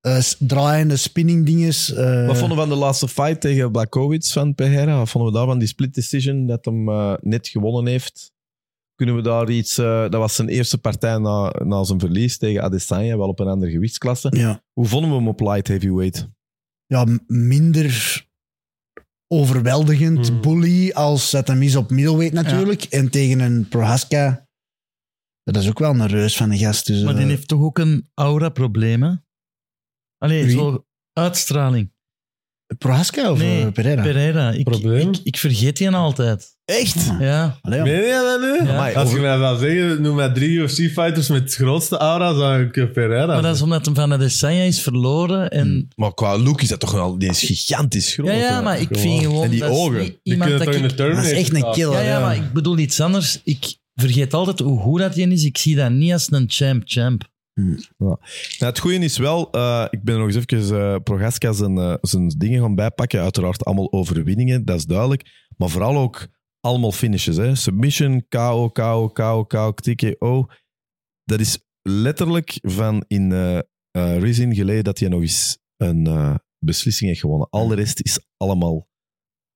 Speaker 2: eh, s- draaiende spinning dinges. eh,
Speaker 1: Wat vonden we van de laatste fight tegen Blakowicz van Pereira? Wat vonden we daarvan? Die split decision dat hem eh, net gewonnen heeft. Kunnen we daar iets... eh, dat was zijn eerste partij na, na zijn verlies tegen Adesanya, wel op een andere gewichtsklasse.
Speaker 2: ja.
Speaker 1: Hoe vonden we hem op light heavyweight?
Speaker 2: ja, m- minder overweldigend
Speaker 4: Hmm.
Speaker 2: bully als dat hem is op middleweight natuurlijk. En tegen een Prohaska, dat is ook wel een reus van de gast. Dus,
Speaker 3: Maar
Speaker 2: eh,
Speaker 3: die heeft toch ook een aura-probleem, hè? Allee,
Speaker 2: Wie?
Speaker 3: zo uitstraling.
Speaker 2: Prohaska of
Speaker 3: Nee,
Speaker 2: eh, Pereira?
Speaker 3: Pereira, ik,
Speaker 4: Probleem?
Speaker 3: ik, ik vergeet die altijd.
Speaker 2: Echt?
Speaker 3: Ja,
Speaker 2: Allee, ja.
Speaker 4: Meen je dat nu?
Speaker 3: Ja.
Speaker 1: Amai,
Speaker 4: Als
Speaker 1: over-
Speaker 4: je mij zou zeggen, noem mij drie UFC-fighters met het grootste aura, zou ik eh, Pereira
Speaker 3: maar dat is omdat hem van Adesanya is verloren. En,
Speaker 1: Maar qua look is dat toch wel... Die is gigantisch groot.
Speaker 3: ja, ja,
Speaker 1: hè?
Speaker 3: maar ik vind gewoon...
Speaker 1: En die
Speaker 3: dat is
Speaker 1: ogen,
Speaker 3: niet
Speaker 4: Die
Speaker 3: iemand
Speaker 4: kunnen
Speaker 3: dat
Speaker 4: toch in de
Speaker 2: Dat
Speaker 3: ik,
Speaker 4: Terminator
Speaker 2: is echt een
Speaker 4: staan?
Speaker 2: killer.
Speaker 3: ja, ja,
Speaker 2: ja.
Speaker 3: maar ik bedoel iets anders. Ik vergeet altijd hoe goed dat die is. Ik zie dat niet als een champ-champ.
Speaker 1: Nou, het goede is wel, eh, ik ben nog eens even eh, Prochaska zijn, eh, zijn dingen gaan bijpakken. Uiteraard allemaal overwinningen, dat is duidelijk. Maar vooral ook allemaal finishes. Hè? Submission, KO, KO, KO, KO, TKO. Dat is letterlijk van in eh eh, Rizin geleden dat hij nog eens een eh, beslissing heeft gewonnen. Al de rest is allemaal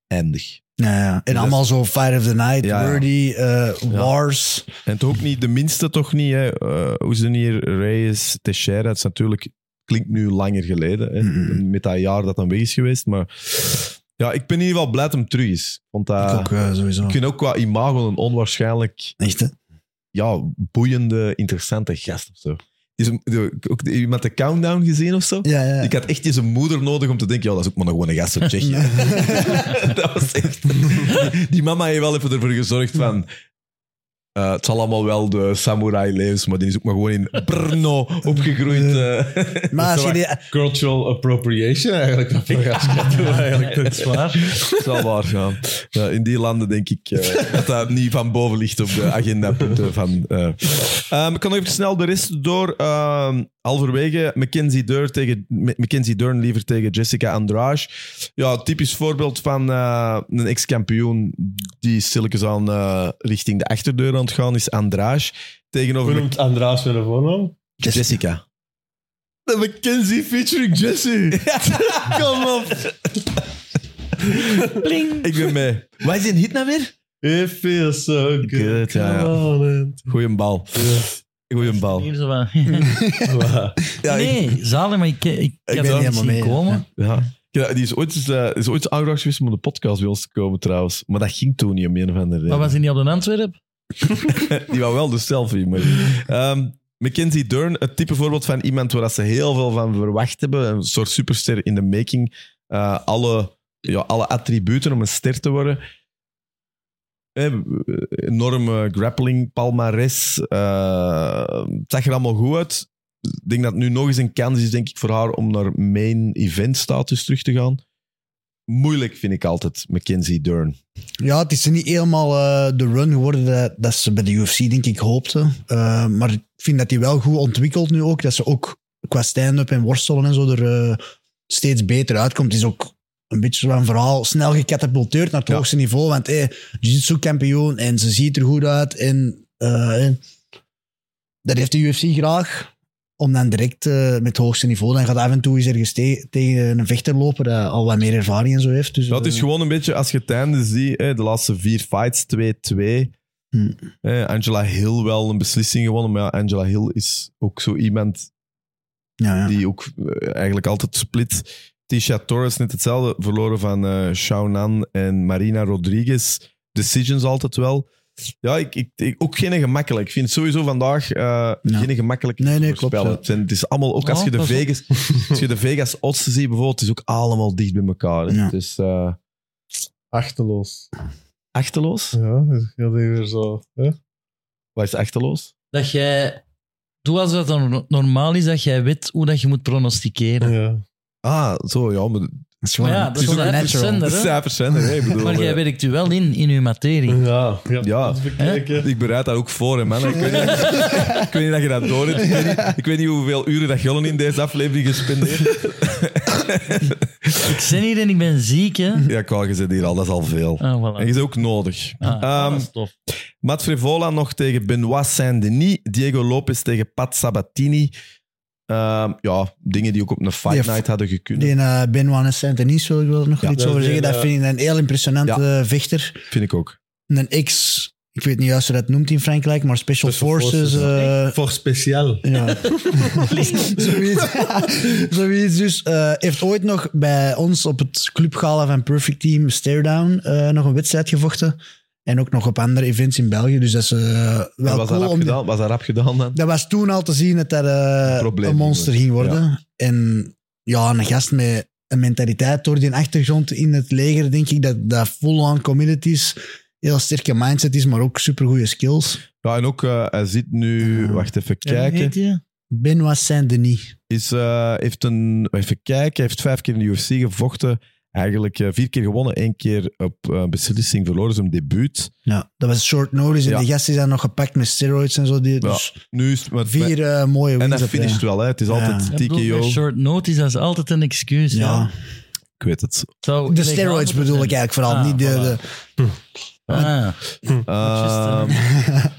Speaker 1: eindig.
Speaker 2: Ja, ja. En
Speaker 1: Dus-
Speaker 2: allemaal zo Fight of the Night,
Speaker 1: Ja, ja.
Speaker 2: Wordy, eh, Wars.
Speaker 1: En toch ook niet de minste, toch niet. Hè? Eh, hoe is het hier? Reyes, Teixeira, het is natuurlijk Klinkt nu langer geleden, hè,
Speaker 2: Mhm.
Speaker 1: met dat jaar dat dan weg is geweest. Maar ja, ik ben in ieder geval blij dat hem terug is. Want dat,
Speaker 2: ik ook, eh, sowieso.
Speaker 1: ik vind ook qua imago een onwaarschijnlijk
Speaker 2: Echt, hè?
Speaker 1: ja, boeiende, interessante gast of zo. Is hem- de- ook de- iemand de countdown gezien of zo?
Speaker 2: Ja, ja.
Speaker 1: Ik had echt eens een moeder nodig om te denken, ja, dat is ook maar gewoon een gast uit Tsjechië. dat was echt... Die mama heeft wel even ervoor gezorgd van... eh, het zal allemaal wel de samurai levens, maar die is ook maar gewoon in Brno opgegroeid. eh.
Speaker 2: Maar als je die...
Speaker 4: Cultural appropriation eigenlijk. Dat ik eigenlijk.
Speaker 3: Dat is waar.
Speaker 1: Dat is wel waar, ja. Ja, in die landen denk ik eh, dat dat niet van boven ligt op de agendapunten. Van, eh. Ehm, ik kan nog even snel de rest door. Ehm, halverwege Mackenzie Dern, tegen, M- Mackenzie Dern liever tegen Jessica Andrade. Ja, typisch voorbeeld van eh, een ex-kampioen die stilletjes aan eh, richting de achterdeur aan het gaan is Andrade.
Speaker 4: Hoe
Speaker 1: Tegenover
Speaker 4: noemt Andraas met een voornaam?
Speaker 1: Mac- Jessica.
Speaker 4: De Mackenzie featuring Jesse. Kom op.
Speaker 1: Ik ben mee. Wat is een hit nou weer?
Speaker 4: It feels so good.
Speaker 1: Good, ja, ja.
Speaker 4: Come on and-
Speaker 1: Goeie bal. Goeie bal.
Speaker 3: Hier zo van-
Speaker 4: Wow.
Speaker 1: Ja, ik-
Speaker 3: nee, zalig, maar ik, ik, ik, heb
Speaker 2: ben
Speaker 3: het niet
Speaker 2: helemaal
Speaker 3: zien
Speaker 2: mee,
Speaker 3: komen.
Speaker 2: ja.
Speaker 1: Ja. Ja, die is ooit, eens, eh, is ooit aangebracht geweest om op de podcast bij ons te komen trouwens. Maar dat ging toen niet om een of andere reden.
Speaker 3: Maar was hij niet op de Antwerp?
Speaker 1: Die wou wel de selfie. Maar... Ehm, Mackenzie Dern, het type voorbeeld van iemand waar dat ze heel veel van verwacht hebben. Een soort superster in de making. Eh, alle, ja, alle attributen om een ster te worden. Eh, enorme grappling, palmares. Eh, het zag er allemaal goed uit. Ik denk dat het nu nog eens een kans is denk ik, voor haar om naar main event status terug te gaan. Moeilijk vind ik altijd Mackenzie Dern.
Speaker 2: Ja, het is niet helemaal eh, de run geworden dat, dat ze bij de UFC, denk ik, hoopte. Eh, maar ik vind dat die wel goed ontwikkelt nu ook. Dat ze ook qua stand-up en worstelen en zo er eh, steeds beter uitkomt. Het is ook een beetje zo'n verhaal snel gecatapulteerd naar het
Speaker 1: Ja.
Speaker 2: hoogste niveau. Want eh jiu-jitsu-kampioen en ze ziet er goed uit. En, eh, en dat heeft de UFC graag. Om dan direct eh, met het hoogste niveau, dan gaat af en toe eens ergens te- tegen een vechter lopen dat al wat meer ervaring en zo heeft. Dus,
Speaker 1: Dat is
Speaker 2: eh,
Speaker 1: gewoon een beetje, als je het einde ziet, hè, de laatste vier fights, 2-2.
Speaker 2: Hmm.
Speaker 1: Hè, Angela Hill wel een beslissing gewonnen, maar ja, Angela Hill is ook zo iemand
Speaker 2: ja, ja.
Speaker 1: die ook eh, eigenlijk altijd split. Tisha Torres net hetzelfde, verloren van eh Shaunan en Marina Rodriguez. Decisions altijd wel. Ja, ik, ik, ik- ook geen gemakkelijk. Ik vind het sowieso vandaag eh, geen gemakkelijk
Speaker 2: Nee, nee,
Speaker 1: te voorspellen.
Speaker 2: klopt, ja.
Speaker 1: Het zijn- Het is allemaal, ook als
Speaker 3: Oh,
Speaker 1: je de
Speaker 3: pas op.
Speaker 1: Vegas, als je de Vegas odds ziet bijvoorbeeld, het is ook allemaal dicht bij elkaar. hè.
Speaker 2: Ja.
Speaker 1: Het is eh,
Speaker 4: Achterloos.
Speaker 1: achterloos.
Speaker 4: Ja, dus ik had die weer zo. Hè?
Speaker 1: Wat is achterloos?
Speaker 3: Dat jij... Doe als dat dan no- normaal is, dat jij weet hoe dat je moet pronosticeren.
Speaker 4: Ja.
Speaker 1: Ah, zo ja. Maar,
Speaker 2: Dat is
Speaker 3: Maar ja, dat is
Speaker 1: het
Speaker 3: onze
Speaker 1: ook-
Speaker 3: uitzender,
Speaker 1: de
Speaker 3: hè?
Speaker 1: cijfers zijn er. hè, ik bedoel,
Speaker 3: Maar jij
Speaker 1: eh,
Speaker 3: werkt u wel in, in uw materie.
Speaker 4: Ja, je hebt
Speaker 1: Ja.
Speaker 4: het bekeken.
Speaker 1: ik bereid daar ook voor, hè, man. Ik weet, niet, ik weet niet dat je dat door hebt. Ik weet niet, ik weet niet hoeveel uren dat Jollen in deze aflevering gespendeerd heeft.
Speaker 3: Ik zit hier en ik ben ziek, hè.
Speaker 1: Ja, kwal, je zit hier al. Dat is al veel.
Speaker 3: Ah, voilà.
Speaker 1: En je is ook nodig.
Speaker 3: Ah,
Speaker 1: Ehm,
Speaker 3: dat is tof.
Speaker 1: Matt Frivola nog tegen Benoit Saint-Denis. Diego Lopez tegen Pat Sabatini. Ehm, ja, dingen die ook op een fight
Speaker 2: Die-
Speaker 1: night hadden gekund.
Speaker 2: Die uh, Benoit en Saint-Denis wil ik wel nog
Speaker 1: Ja.
Speaker 2: iets
Speaker 4: Ja,
Speaker 2: over
Speaker 4: die,
Speaker 2: zeggen. Dat
Speaker 4: eh,
Speaker 2: vind ik een heel impressionante eh, vechter.
Speaker 1: Vind ik ook.
Speaker 2: Een ex, ik weet niet juist hoe dat noemt in Frankrijk, maar Special,
Speaker 4: Special
Speaker 2: Forces.
Speaker 4: Forces,
Speaker 2: eh,
Speaker 4: Voor speciaal.
Speaker 2: ja. Zoiets. Zoiets dus. eh, heeft ooit nog bij ons op het clubgala van Perfect Team Stairdown eh nog een wedstrijd gevochten. En ook nog op andere events in België. Dus dat is eh, wel
Speaker 1: En was,
Speaker 2: cool
Speaker 1: dat rap
Speaker 2: om-
Speaker 1: gedaan? was dat rap gedaan dan?
Speaker 2: Dat was toen al te zien dat dat eh,
Speaker 1: probleem
Speaker 2: een monster ging
Speaker 1: ging
Speaker 2: worden.
Speaker 1: worden.
Speaker 2: En ja, een gast met een mentaliteit door die achtergrond in het leger, denk ik, dat, dat full-on committed is. Heel sterke mindset is, maar ook supergoeie skills.
Speaker 1: Ja, en ook, eh, hij zit nu...
Speaker 2: Ja.
Speaker 1: Wacht even
Speaker 3: Ja,
Speaker 1: kijken.
Speaker 3: weet je?
Speaker 2: Benoit Saint-Denis.
Speaker 1: is, eh, heeft een, even kijken, hij heeft vijf keer in de UFC gevochten. Eigenlijk eh, vier keer gewonnen, één keer op eh, beslissing verloren, zijn debuut.
Speaker 2: Ja, dat was short notice. En
Speaker 1: Ja.
Speaker 2: die gast is dan nog gepakt met steroids en zo. Die, dus
Speaker 1: Nu is het met,
Speaker 2: vier eh, mooie
Speaker 1: en
Speaker 2: wins.
Speaker 1: dat
Speaker 2: op
Speaker 1: finisht
Speaker 2: rij.
Speaker 1: wel, hè. het is
Speaker 2: Ja.
Speaker 1: altijd
Speaker 3: Ik bedoel, bij
Speaker 1: TKO.
Speaker 3: Short notice, dat is altijd een excuus.
Speaker 2: Ja.
Speaker 3: Ja.
Speaker 1: Ik weet het.
Speaker 2: De steroids bedoel ik eigenlijk vooral,
Speaker 3: Ah,
Speaker 2: niet de...
Speaker 3: voilà.
Speaker 2: de-
Speaker 3: Ah,
Speaker 1: Ehm,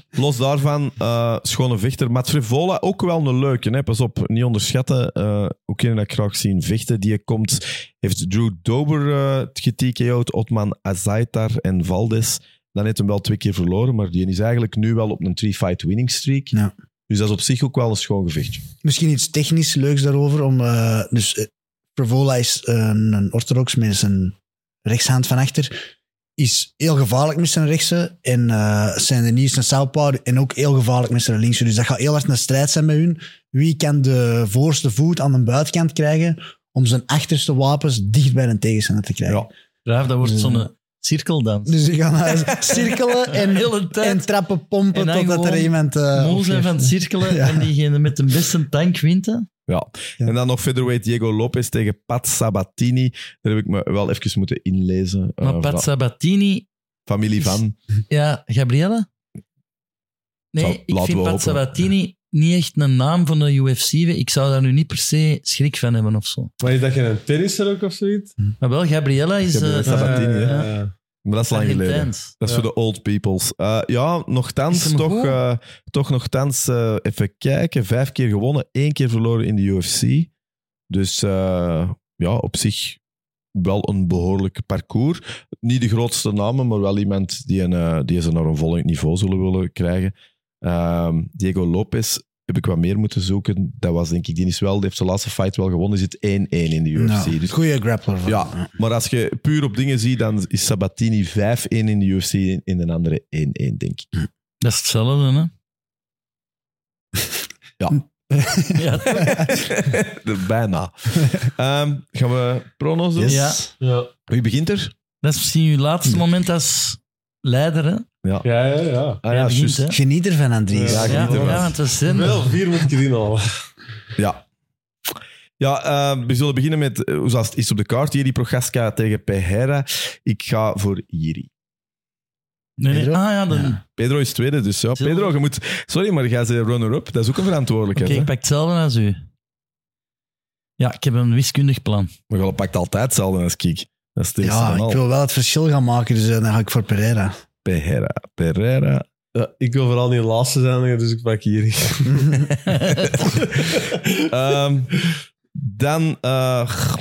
Speaker 1: los daarvan, eh, schone vechter. Matt Frivola, ook wel een leuke. Hè? Pas op, niet onderschatten. Eh, ook een dat ik graag zien vechten. Die komt, heeft Drew Dober eh getko'd, Otman Azaitar en Valdes. Dan heeft hem wel twee keer verloren, maar die is eigenlijk nu wel op een three-fight winning streak.
Speaker 2: Ja.
Speaker 1: Dus dat is op zich ook wel een schoon gevechtje.
Speaker 2: Misschien iets technisch leuks daarover. Om, eh, dus eh, Provola is een, een orthodox met zijn rechtshand van achter. Is heel gevaarlijk met zijn rechtse. En eh zijn Denis is een southpaw en ook heel gevaarlijk met zijn linkse. Dus dat gaat heel hard een strijd zijn bij hun. Wie kan de voorste voet aan de buitenkant krijgen om zijn achterste wapens dicht bij een tegenstander te krijgen?
Speaker 1: Ja.
Speaker 3: Raaf, dat wordt
Speaker 2: Ja.
Speaker 3: zo'n cirkeldans.
Speaker 2: Dus die gaan eh, cirkelen
Speaker 3: De
Speaker 2: en,
Speaker 3: hele tijd
Speaker 2: en trappen pompen
Speaker 3: En dan
Speaker 2: totdat er
Speaker 3: gewoon
Speaker 2: iemand... eh,
Speaker 3: moe zijn
Speaker 2: opgeeft.
Speaker 3: van het cirkelen
Speaker 2: Ja.
Speaker 3: en diegene met de beste tank wint. hè.
Speaker 1: Ja.
Speaker 2: Ja.
Speaker 1: En dan nog featherweight Diego Lopez tegen Pat Sabatini. Daar heb ik me wel even moeten inlezen. Eh,
Speaker 3: Maar Pat
Speaker 1: va-
Speaker 3: Sabatini...
Speaker 1: familie van.
Speaker 3: Ja, Gabrielle? Nee,
Speaker 1: Zal-
Speaker 3: ik
Speaker 1: laten
Speaker 3: vind
Speaker 1: we
Speaker 3: Pat
Speaker 1: hopen.
Speaker 3: Sabatini niet echt een naam van de UFC. Ik zou daar nu niet per se schrik van hebben of zo.
Speaker 4: Maar is dat geen tennisser ook of zoiets?
Speaker 3: Maar wel, Gabriella is...
Speaker 1: Gabriella
Speaker 3: eh,
Speaker 1: Sabatini, hè?
Speaker 4: Ja.
Speaker 1: Maar dat is lang geleden.
Speaker 3: Argentijns.
Speaker 1: Dat is
Speaker 4: Ja.
Speaker 1: voor de old peoples. Eh, ja,
Speaker 3: Is
Speaker 1: nogthans,
Speaker 3: hem
Speaker 1: toch,
Speaker 3: goed?
Speaker 1: eh, toch nogthans eh, even kijken. Vijf keer gewonnen, één keer verloren in de UFC. Dus eh, ja, op zich wel een behoorlijk parcours. Niet de grootste namen, maar wel iemand die, een, eh, die ze naar een volgend niveau zullen willen krijgen. Ehm, Diego Lopez heb ik wat meer moeten zoeken. Dat was denk ik, die is wel, die heeft zijn laatste fight wel gewonnen. Die zit 1-1 in de UFC.
Speaker 2: Nou,
Speaker 1: Dus
Speaker 2: goeie grappler. van-
Speaker 1: ja, maar als je puur op dingen ziet, dan is Sabatini 5-1 in de UFC en in de andere 1-1, denk ik.
Speaker 3: Dat is hetzelfde, hè?
Speaker 1: Ja.
Speaker 3: ja,
Speaker 1: Bijna. Ehm, gaan we pronos doen?
Speaker 2: Yes.
Speaker 3: Ja.
Speaker 4: Ja.
Speaker 1: Wie begint er?
Speaker 3: dat is misschien je laatste moment als leider, hè?
Speaker 4: Ja, ja, ja.
Speaker 1: Ah,
Speaker 3: Jij begint,
Speaker 1: juist.
Speaker 3: hè?
Speaker 2: Geniet ervan, Andries.
Speaker 1: Ja,
Speaker 3: Ja,
Speaker 1: geniet ervan.
Speaker 3: ja, want dat is zin.
Speaker 4: Wel, vier moet ik erin halen.
Speaker 1: Ja. Ja, eh, we zullen beginnen met, eh, zoals het is op de kaart, Jiri Prochaska tegen Pereira. Ik ga voor Jiri.
Speaker 3: Nee, nee. Ah
Speaker 2: Pedro?
Speaker 3: ja, dan...
Speaker 2: Ja.
Speaker 1: Pedro is tweede, dus ja.
Speaker 3: Zullen we-
Speaker 1: Pedro, je moet... Sorry, maar jij bent runner-up. Dat is ook een
Speaker 3: Oké,
Speaker 1: verantwoordelijkheid.
Speaker 3: ik
Speaker 1: hè?
Speaker 3: pak hetzelfde als u. Ja, ik heb een wiskundig plan.
Speaker 1: Maar je pakt altijd hetzelfde als ik. Dat is het eerste
Speaker 2: Ja,
Speaker 1: van al.
Speaker 2: ik wil wel het verschil gaan maken, dus eh, dan ga ik voor Pereira.
Speaker 1: Pereira. Pereira.
Speaker 4: Ja, ik wil vooral niet de laatste zijn, dus ik pak hier.
Speaker 1: Ehm, dan eh,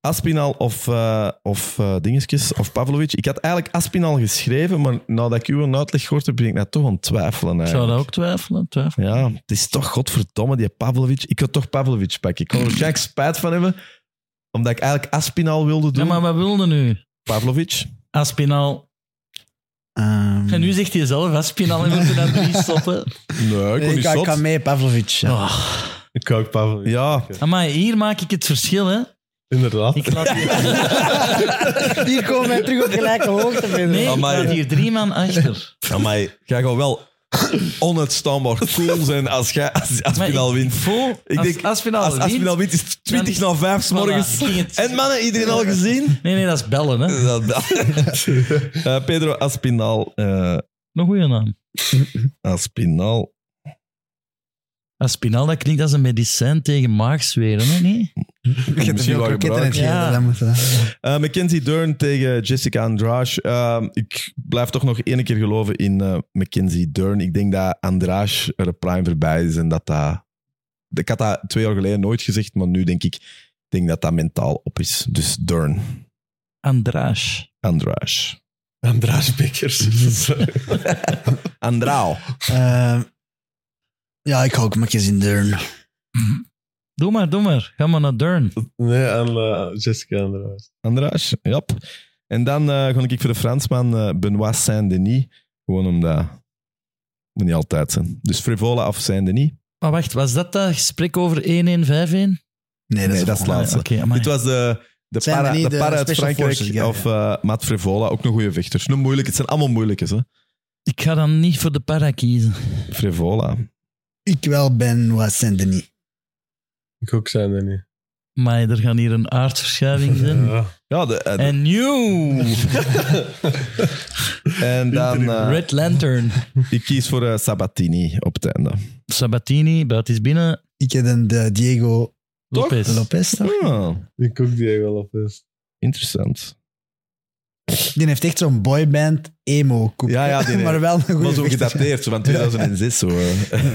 Speaker 1: Aspinal of, eh, of eh, dingetjes, of Pavlovic. Ik had eigenlijk Aspinal geschreven, maar nadat ik uw uitleg gehoord heb, ben ik daar toch aan het twijfelen.
Speaker 3: Ik zou
Speaker 1: Eigenlijk.
Speaker 3: dat ook twijfelen. twijfelen.
Speaker 1: Ja, het is toch godverdomme, die Pavlovic. Ik had toch Pavlovic pakken. Ik kon er waarschijnlijk spijt van hebben, omdat ik eigenlijk Aspinal wilde
Speaker 3: Ja,
Speaker 1: doen.
Speaker 3: maar wat wilde nu?
Speaker 1: Pavlovic.
Speaker 3: Aspinal.
Speaker 1: Hmm.
Speaker 2: Ehm,
Speaker 3: En nu zegt hij zelf Aspinal en moeten dat niet stoppen.
Speaker 1: Nee, ik kon
Speaker 2: ik
Speaker 1: niet
Speaker 2: ga, ik
Speaker 1: zot.
Speaker 2: ga mee, Pavlovic. Ja.
Speaker 3: Oh.
Speaker 4: Ik ook, Pavel.
Speaker 1: Ja,
Speaker 3: Amai, hier maak ik het verschil, hè.
Speaker 4: Inderdaad.
Speaker 3: Ik laat hier,
Speaker 2: Hier komen wij terug op gelijke hoogte. Pedro.
Speaker 3: nee, ik
Speaker 1: Amai.
Speaker 3: laat hier drie man achter.
Speaker 1: maar jij gaat wel onuitstaanbaar cool zijn als jij als
Speaker 3: Maar
Speaker 1: Aspinal
Speaker 3: ik,
Speaker 1: wint.
Speaker 3: ik voel,
Speaker 1: Ik
Speaker 3: als
Speaker 1: denk,
Speaker 3: Aspinal
Speaker 1: Als
Speaker 3: wint-
Speaker 1: Aspinal wint, is het 20 na 5 s
Speaker 3: Voilà,
Speaker 1: morgens.
Speaker 3: ging het-
Speaker 1: En mannen, iedereen al gezien?
Speaker 3: Nee, nee, dat is bellen, hè.
Speaker 1: Dat- dat- Eh, Pedro Aspinal. eh,
Speaker 3: Een goede naam.
Speaker 1: Aspinal.
Speaker 3: Aspinal, dat klinkt als een medicijn tegen maagzweren, hè? Nee?
Speaker 2: Ik heb te
Speaker 1: Misschien
Speaker 2: veel
Speaker 1: wel
Speaker 2: kroketten in het
Speaker 3: gebruikt.
Speaker 2: geven, dat moet, eh.
Speaker 1: Eh, Mackenzie Dern tegen Jessica Andrade. Eh, ik blijf toch nog één keer geloven in eh, Mackenzie Dern. Ik denk dat Andrade er een prime voorbij is en dat dat... Ik had dat twee jaar geleden nooit gezegd, maar nu denk ik, ik denk dat dat mentaal op is. Dus Dern.
Speaker 3: Andrage.
Speaker 1: Andrade.
Speaker 4: Andraas Bekkers.
Speaker 1: Andraal.
Speaker 2: Ehm, ja, ik ga ook Mackenzie in Dern.
Speaker 3: Doe maar, doe maar. Ga maar naar Dern.
Speaker 4: nee, aan eh, Jessica Andraas.
Speaker 1: Andraas, ja. En dan eh ga ik voor de Fransman eh, Benoit Saint-Denis. Gewoon omdat... Moet niet altijd zijn. Dus Frivola of Saint-Denis.
Speaker 3: Maar wacht, was dat dat gesprek over 1-1-5-1?
Speaker 2: Nee, dat
Speaker 1: Nee,
Speaker 2: is
Speaker 1: dat is
Speaker 2: volgende.
Speaker 1: laat. Laatste.
Speaker 3: Oké, amai.
Speaker 1: Dit was de, de
Speaker 2: Saint-Denis,
Speaker 1: para, de
Speaker 2: de
Speaker 1: para uit
Speaker 2: Special
Speaker 1: Frankrijk.
Speaker 2: Forces, ja,
Speaker 1: of eh, Matt Frivola, ook een goede vechter. Een moeilijke, het zijn allemaal moeilijkes, hè.
Speaker 3: Ik ga dan niet voor de para kiezen.
Speaker 1: Frivola.
Speaker 2: Ik wel ben Wassin Denis.
Speaker 4: Ik ook zijn er niet.
Speaker 3: Maar er gaan hier een aardverschuiving zijn.
Speaker 4: Ja.
Speaker 1: Ja, de, eh, de-
Speaker 3: En new!
Speaker 1: en dan... eh,
Speaker 3: Red Lantern.
Speaker 1: ik kies voor eh, Sabatini op het einde.
Speaker 3: Sabatini, buiten is binnen.
Speaker 2: Ik heb dan de Diego
Speaker 1: Toch?
Speaker 3: Lopez.
Speaker 2: Lopez. toch?
Speaker 1: Ah,
Speaker 4: Ik ook die wel op is.
Speaker 1: interessant.
Speaker 2: Die heeft echt zo'n boyband emo koek.
Speaker 1: Ja, ja, die-
Speaker 2: maar wel een
Speaker 1: Maar
Speaker 2: goede
Speaker 1: zo
Speaker 2: vechter.
Speaker 1: gedateerd, zo van 2006. Zo. eh.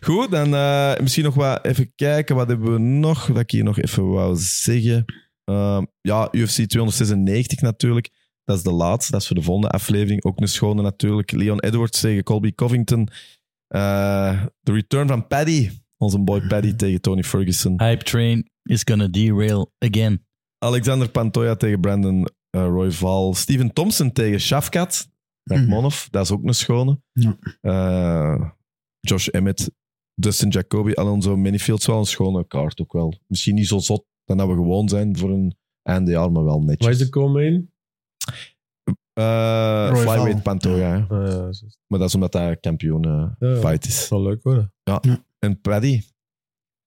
Speaker 1: Goed, dan eh, misschien nog wat even kijken. Wat hebben we nog? Wat ik hier nog even wou zeggen. Ehm, ja, UFC 296 natuurlijk. Dat is de laatste. Dat is voor de volgende aflevering. Ook een schone natuurlijk. Leon Edwards tegen Colby Covington. Eh, Eh, de return van Paddy. Onze boy Paddy tegen Tony Ferguson.
Speaker 3: Hype train is gonna derail again.
Speaker 1: Alexander Pantoja tegen Brandon eh, Royval. Steven Thompson tegen Shafkat. Rachmanov,
Speaker 4: Mhm.
Speaker 1: dat is ook een schone.
Speaker 2: Ja.
Speaker 1: Eh, Josh Emmett, Dustin Jacoby, Alonso Minifield. Wel een schone kaart ook wel. Misschien niet zo zot dan dat we gewoon zijn voor een eindjaar, maar wel netjes.
Speaker 4: Waar is de komen in?
Speaker 1: Eh,
Speaker 2: Royval.
Speaker 1: Flyweight Pantoja. hè.
Speaker 4: Ah, ja, dat is-
Speaker 1: Maar dat is omdat hij kampioen eh,
Speaker 4: Ja, ja.
Speaker 1: fight
Speaker 4: dat
Speaker 1: is.
Speaker 4: zal leuk worden.
Speaker 1: En Paddy.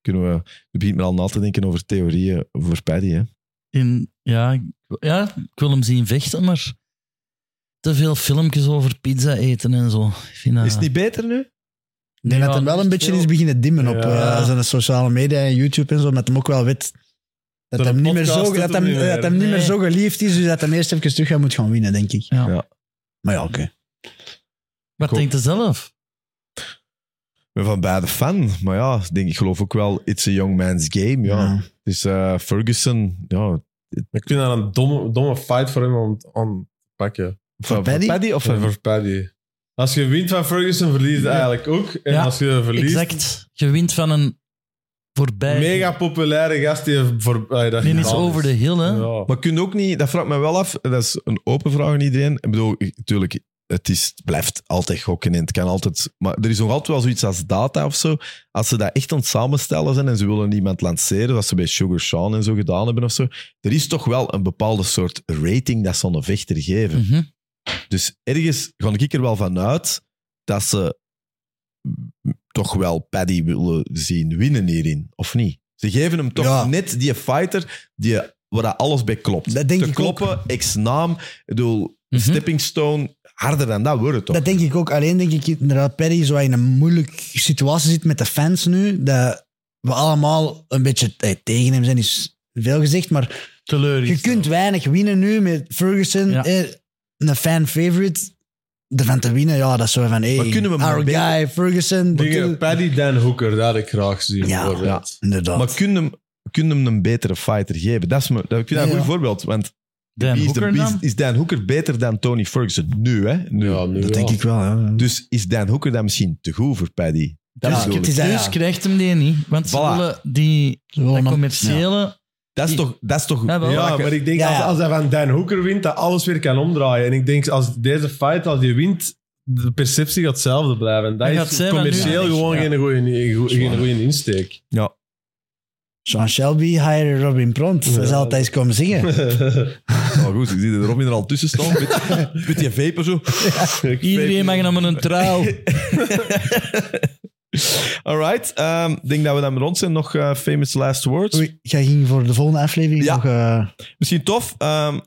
Speaker 1: Kunnen we, je begint me al na te denken over theorieën voor Paddy. Hè?
Speaker 3: In, ja, ik- ja, ik wil hem zien vechten, maar te veel filmpjes over pizza eten en zo. Ik vind
Speaker 4: Ah.
Speaker 3: dat-
Speaker 1: Is het niet beter nu?
Speaker 2: Ik denk
Speaker 3: Ja,
Speaker 2: dat hem wel
Speaker 3: dat
Speaker 2: een
Speaker 3: is
Speaker 2: beetje
Speaker 3: veel.
Speaker 2: is beginnen dimmen op
Speaker 4: Ja.
Speaker 2: eh, zijn sociale media en YouTube en zo, omdat hem ook wel weet dat hem
Speaker 4: Dat een
Speaker 2: niet meer
Speaker 4: podcast
Speaker 2: zo,
Speaker 4: doet
Speaker 2: dat
Speaker 4: hem
Speaker 2: hem,
Speaker 4: niet meer.
Speaker 2: dat hem niet meer
Speaker 3: Nee.
Speaker 2: zo geliefd is, dus dat hem eerst even terug gaat moet gaan winnen, denk ik.
Speaker 3: Ja.
Speaker 1: Ja.
Speaker 2: Maar ja, oké.
Speaker 3: Wat
Speaker 1: Goed.
Speaker 3: denkt hij zelf?
Speaker 1: Ik ben van beide fan, maar ja, ik denk, ik geloof ook wel, it's a young man's game. Ja.
Speaker 2: Ja.
Speaker 1: Het is eh, Ferguson, ja.
Speaker 4: Ik vind dat een domme, domme fight voor hem om, om te pakken.
Speaker 1: Van-
Speaker 2: Paddy?
Speaker 1: van of
Speaker 4: Voor,
Speaker 1: van...
Speaker 4: voor Paddy. Als je wint van Ferguson, verlies je eigenlijk ook. En
Speaker 3: Ja,
Speaker 4: als je verliest...
Speaker 3: Exact. Je wint van een voorbij.
Speaker 4: Mega populaire gast die voor... Ay, dat
Speaker 3: Die is
Speaker 4: gedaan
Speaker 3: over de hill, hè?
Speaker 4: Ja.
Speaker 1: Maar kun je ook niet, dat vraagt me wel af, dat is een open vraag aan iedereen. Ik bedoel, ik- tuurlijk, het, is, het blijft altijd gokken en het kan altijd... Maar er is nog altijd wel zoiets als data of zo. Als ze dat echt aan het samenstellen zijn en ze willen iemand lanceren, zoals ze bij Sugar Sean en zo gedaan hebben of zo, er is toch wel een bepaalde soort rating dat zo'n vechter geven.
Speaker 3: Mhm.
Speaker 1: Dus ergens ga ik er wel van uit dat ze m, toch wel Paddy willen zien winnen hierin, of niet? Ze geven hem toch
Speaker 2: Ja.
Speaker 1: net die fighter die, waar dat alles bij klopt.
Speaker 2: Dat denk
Speaker 1: Te
Speaker 2: ik
Speaker 1: kloppen, ex-naam, ik bedoel,
Speaker 3: Mhm.
Speaker 1: stepping stone, harder dan dat wordt het toch?
Speaker 2: Dat denk ik ook. Alleen denk ik inderdaad, Perry zo in een moeilijke situatie zit met de fans nu, dat we allemaal een beetje eh, tegen hem zijn, is veel gezegd, maar Je
Speaker 3: Teleurgesteld.
Speaker 2: kunt weinig winnen nu met Ferguson.
Speaker 3: Ja.
Speaker 2: eh, Een fan-favorite. Ervan te winnen, ja, dat is zo van... Hey,
Speaker 1: Maar kunnen we maar
Speaker 2: our
Speaker 1: beter-
Speaker 2: guy, Ferguson. dat
Speaker 4: Dingen,
Speaker 2: doe-
Speaker 4: Paddy Dan Hooker, dat had ik graag zien.
Speaker 2: Ja.
Speaker 1: Ja.
Speaker 2: Inderdaad.
Speaker 1: Maar kun je hem, kun je hem een betere fighter geven? Dat is me, dat, ik vind dat een
Speaker 2: Ja.
Speaker 1: goed voorbeeld, want
Speaker 3: Dan
Speaker 1: wie is, de-
Speaker 3: Hoeker
Speaker 1: wie is-
Speaker 3: dan?
Speaker 1: is Dan Hoeker beter dan Tony Ferguson? Nu, hè? Nu.
Speaker 4: Ja, nu
Speaker 2: dat
Speaker 4: wel.
Speaker 2: denk ik wel, ja.
Speaker 1: Dus is Dan Hoeker dan misschien te goed voor Paddy? Dat
Speaker 2: Ja,
Speaker 1: bedoel
Speaker 2: het
Speaker 1: ik.
Speaker 2: is dat,
Speaker 3: Dus
Speaker 2: ja.
Speaker 3: krijgt hem die niet. Want ze
Speaker 1: Voilà.
Speaker 3: willen die
Speaker 2: Ze willen
Speaker 3: dat
Speaker 2: hem-
Speaker 3: commerciële...
Speaker 1: Dat is toch... Dat is toch
Speaker 3: Ja, wel.
Speaker 4: Ja, maar ik denk
Speaker 2: Ja,
Speaker 4: als,
Speaker 2: ja.
Speaker 4: als hij van Dan Hooker wint, dat alles weer kan omdraaien. En ik denk als deze fight, als die wint, de perceptie gaat hetzelfde blijven. En dat
Speaker 3: Hij
Speaker 4: is
Speaker 3: gaat zeggen,
Speaker 4: commercieel
Speaker 3: nu- Ja,
Speaker 4: gewoon
Speaker 3: ja.
Speaker 4: geen goede geen goeie insteek.
Speaker 1: ja.
Speaker 2: Sean Shelby, hire Robin Pront.
Speaker 4: Ja.
Speaker 2: Dat is altijd eens komen zingen.
Speaker 1: Nou goed, ik zie de Robin er al tussen staan. Met, met die vapen zo.
Speaker 3: Iedereen mag hem een trouw.
Speaker 1: Alright. ehm, Ik denk dat we dan rond zijn. Nog eh, famous last words.
Speaker 2: Oei, jij ging voor de volgende aflevering
Speaker 1: Ja.
Speaker 2: nog... eh,
Speaker 1: Misschien tof. ehm,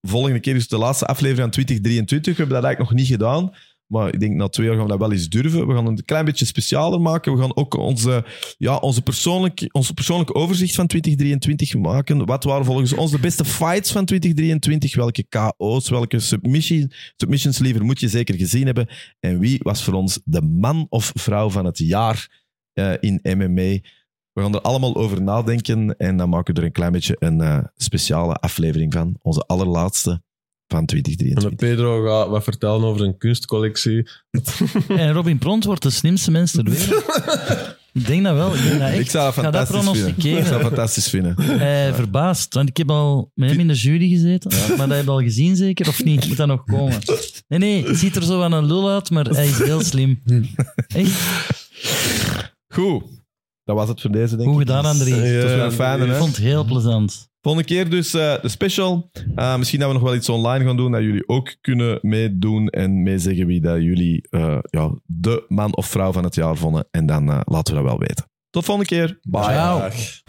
Speaker 1: volgende keer is de laatste aflevering aan 2023. We hebben dat eigenlijk nog niet gedaan. Maar ik denk na twee jaar gaan we dat wel eens durven. We gaan het een klein beetje specialer maken. We gaan ook onze, ja, onze persoonlijk, onze persoonlijk overzicht van 2023 maken. Wat waren volgens ons de beste fights van 2023? Welke KO's, welke submission, submissions liever moet je zeker gezien hebben? En wie was voor ons de man of vrouw van het jaar eh, in MMA? We gaan er allemaal over nadenken en dan maken we er een klein beetje een eh, speciale aflevering van. Onze allerlaatste van
Speaker 4: En
Speaker 1: 2023.
Speaker 4: Pedro gaat wat vertellen over zijn kunstcollectie.
Speaker 3: En Robin Pront wordt de slimste mens ter wereld. Ik denk dat wel. Ik, denk dat echt.
Speaker 1: Ik zou dat
Speaker 3: Ga dat
Speaker 1: fantastisch vinden.
Speaker 3: pronosticeren.
Speaker 1: Ik zou dat fantastisch vinden.
Speaker 3: Eh, verbaasd, want ik heb al met hem in de jury gezeten. Maar dat heb je al gezien zeker, of niet? Moet dat nog komen? Nee, nee, het ziet er zo aan een lul uit, maar hij is heel slim. Echt,
Speaker 1: Goed. Dat was het voor deze, denk
Speaker 3: goed
Speaker 1: ik.
Speaker 3: gedaan, André.
Speaker 1: Het was weer een fijne,
Speaker 3: Ik
Speaker 1: hè?
Speaker 3: vond het heel plezant.
Speaker 1: Volgende keer dus eh, de special. Eh, misschien dat we nog wel iets online gaan doen, dat jullie ook kunnen meedoen en meezeggen wie dat jullie eh, ja, de man of vrouw van het jaar vonden. En dan eh, laten we dat wel weten. Tot volgende keer. Bye.
Speaker 3: Ciao.
Speaker 4: Dag.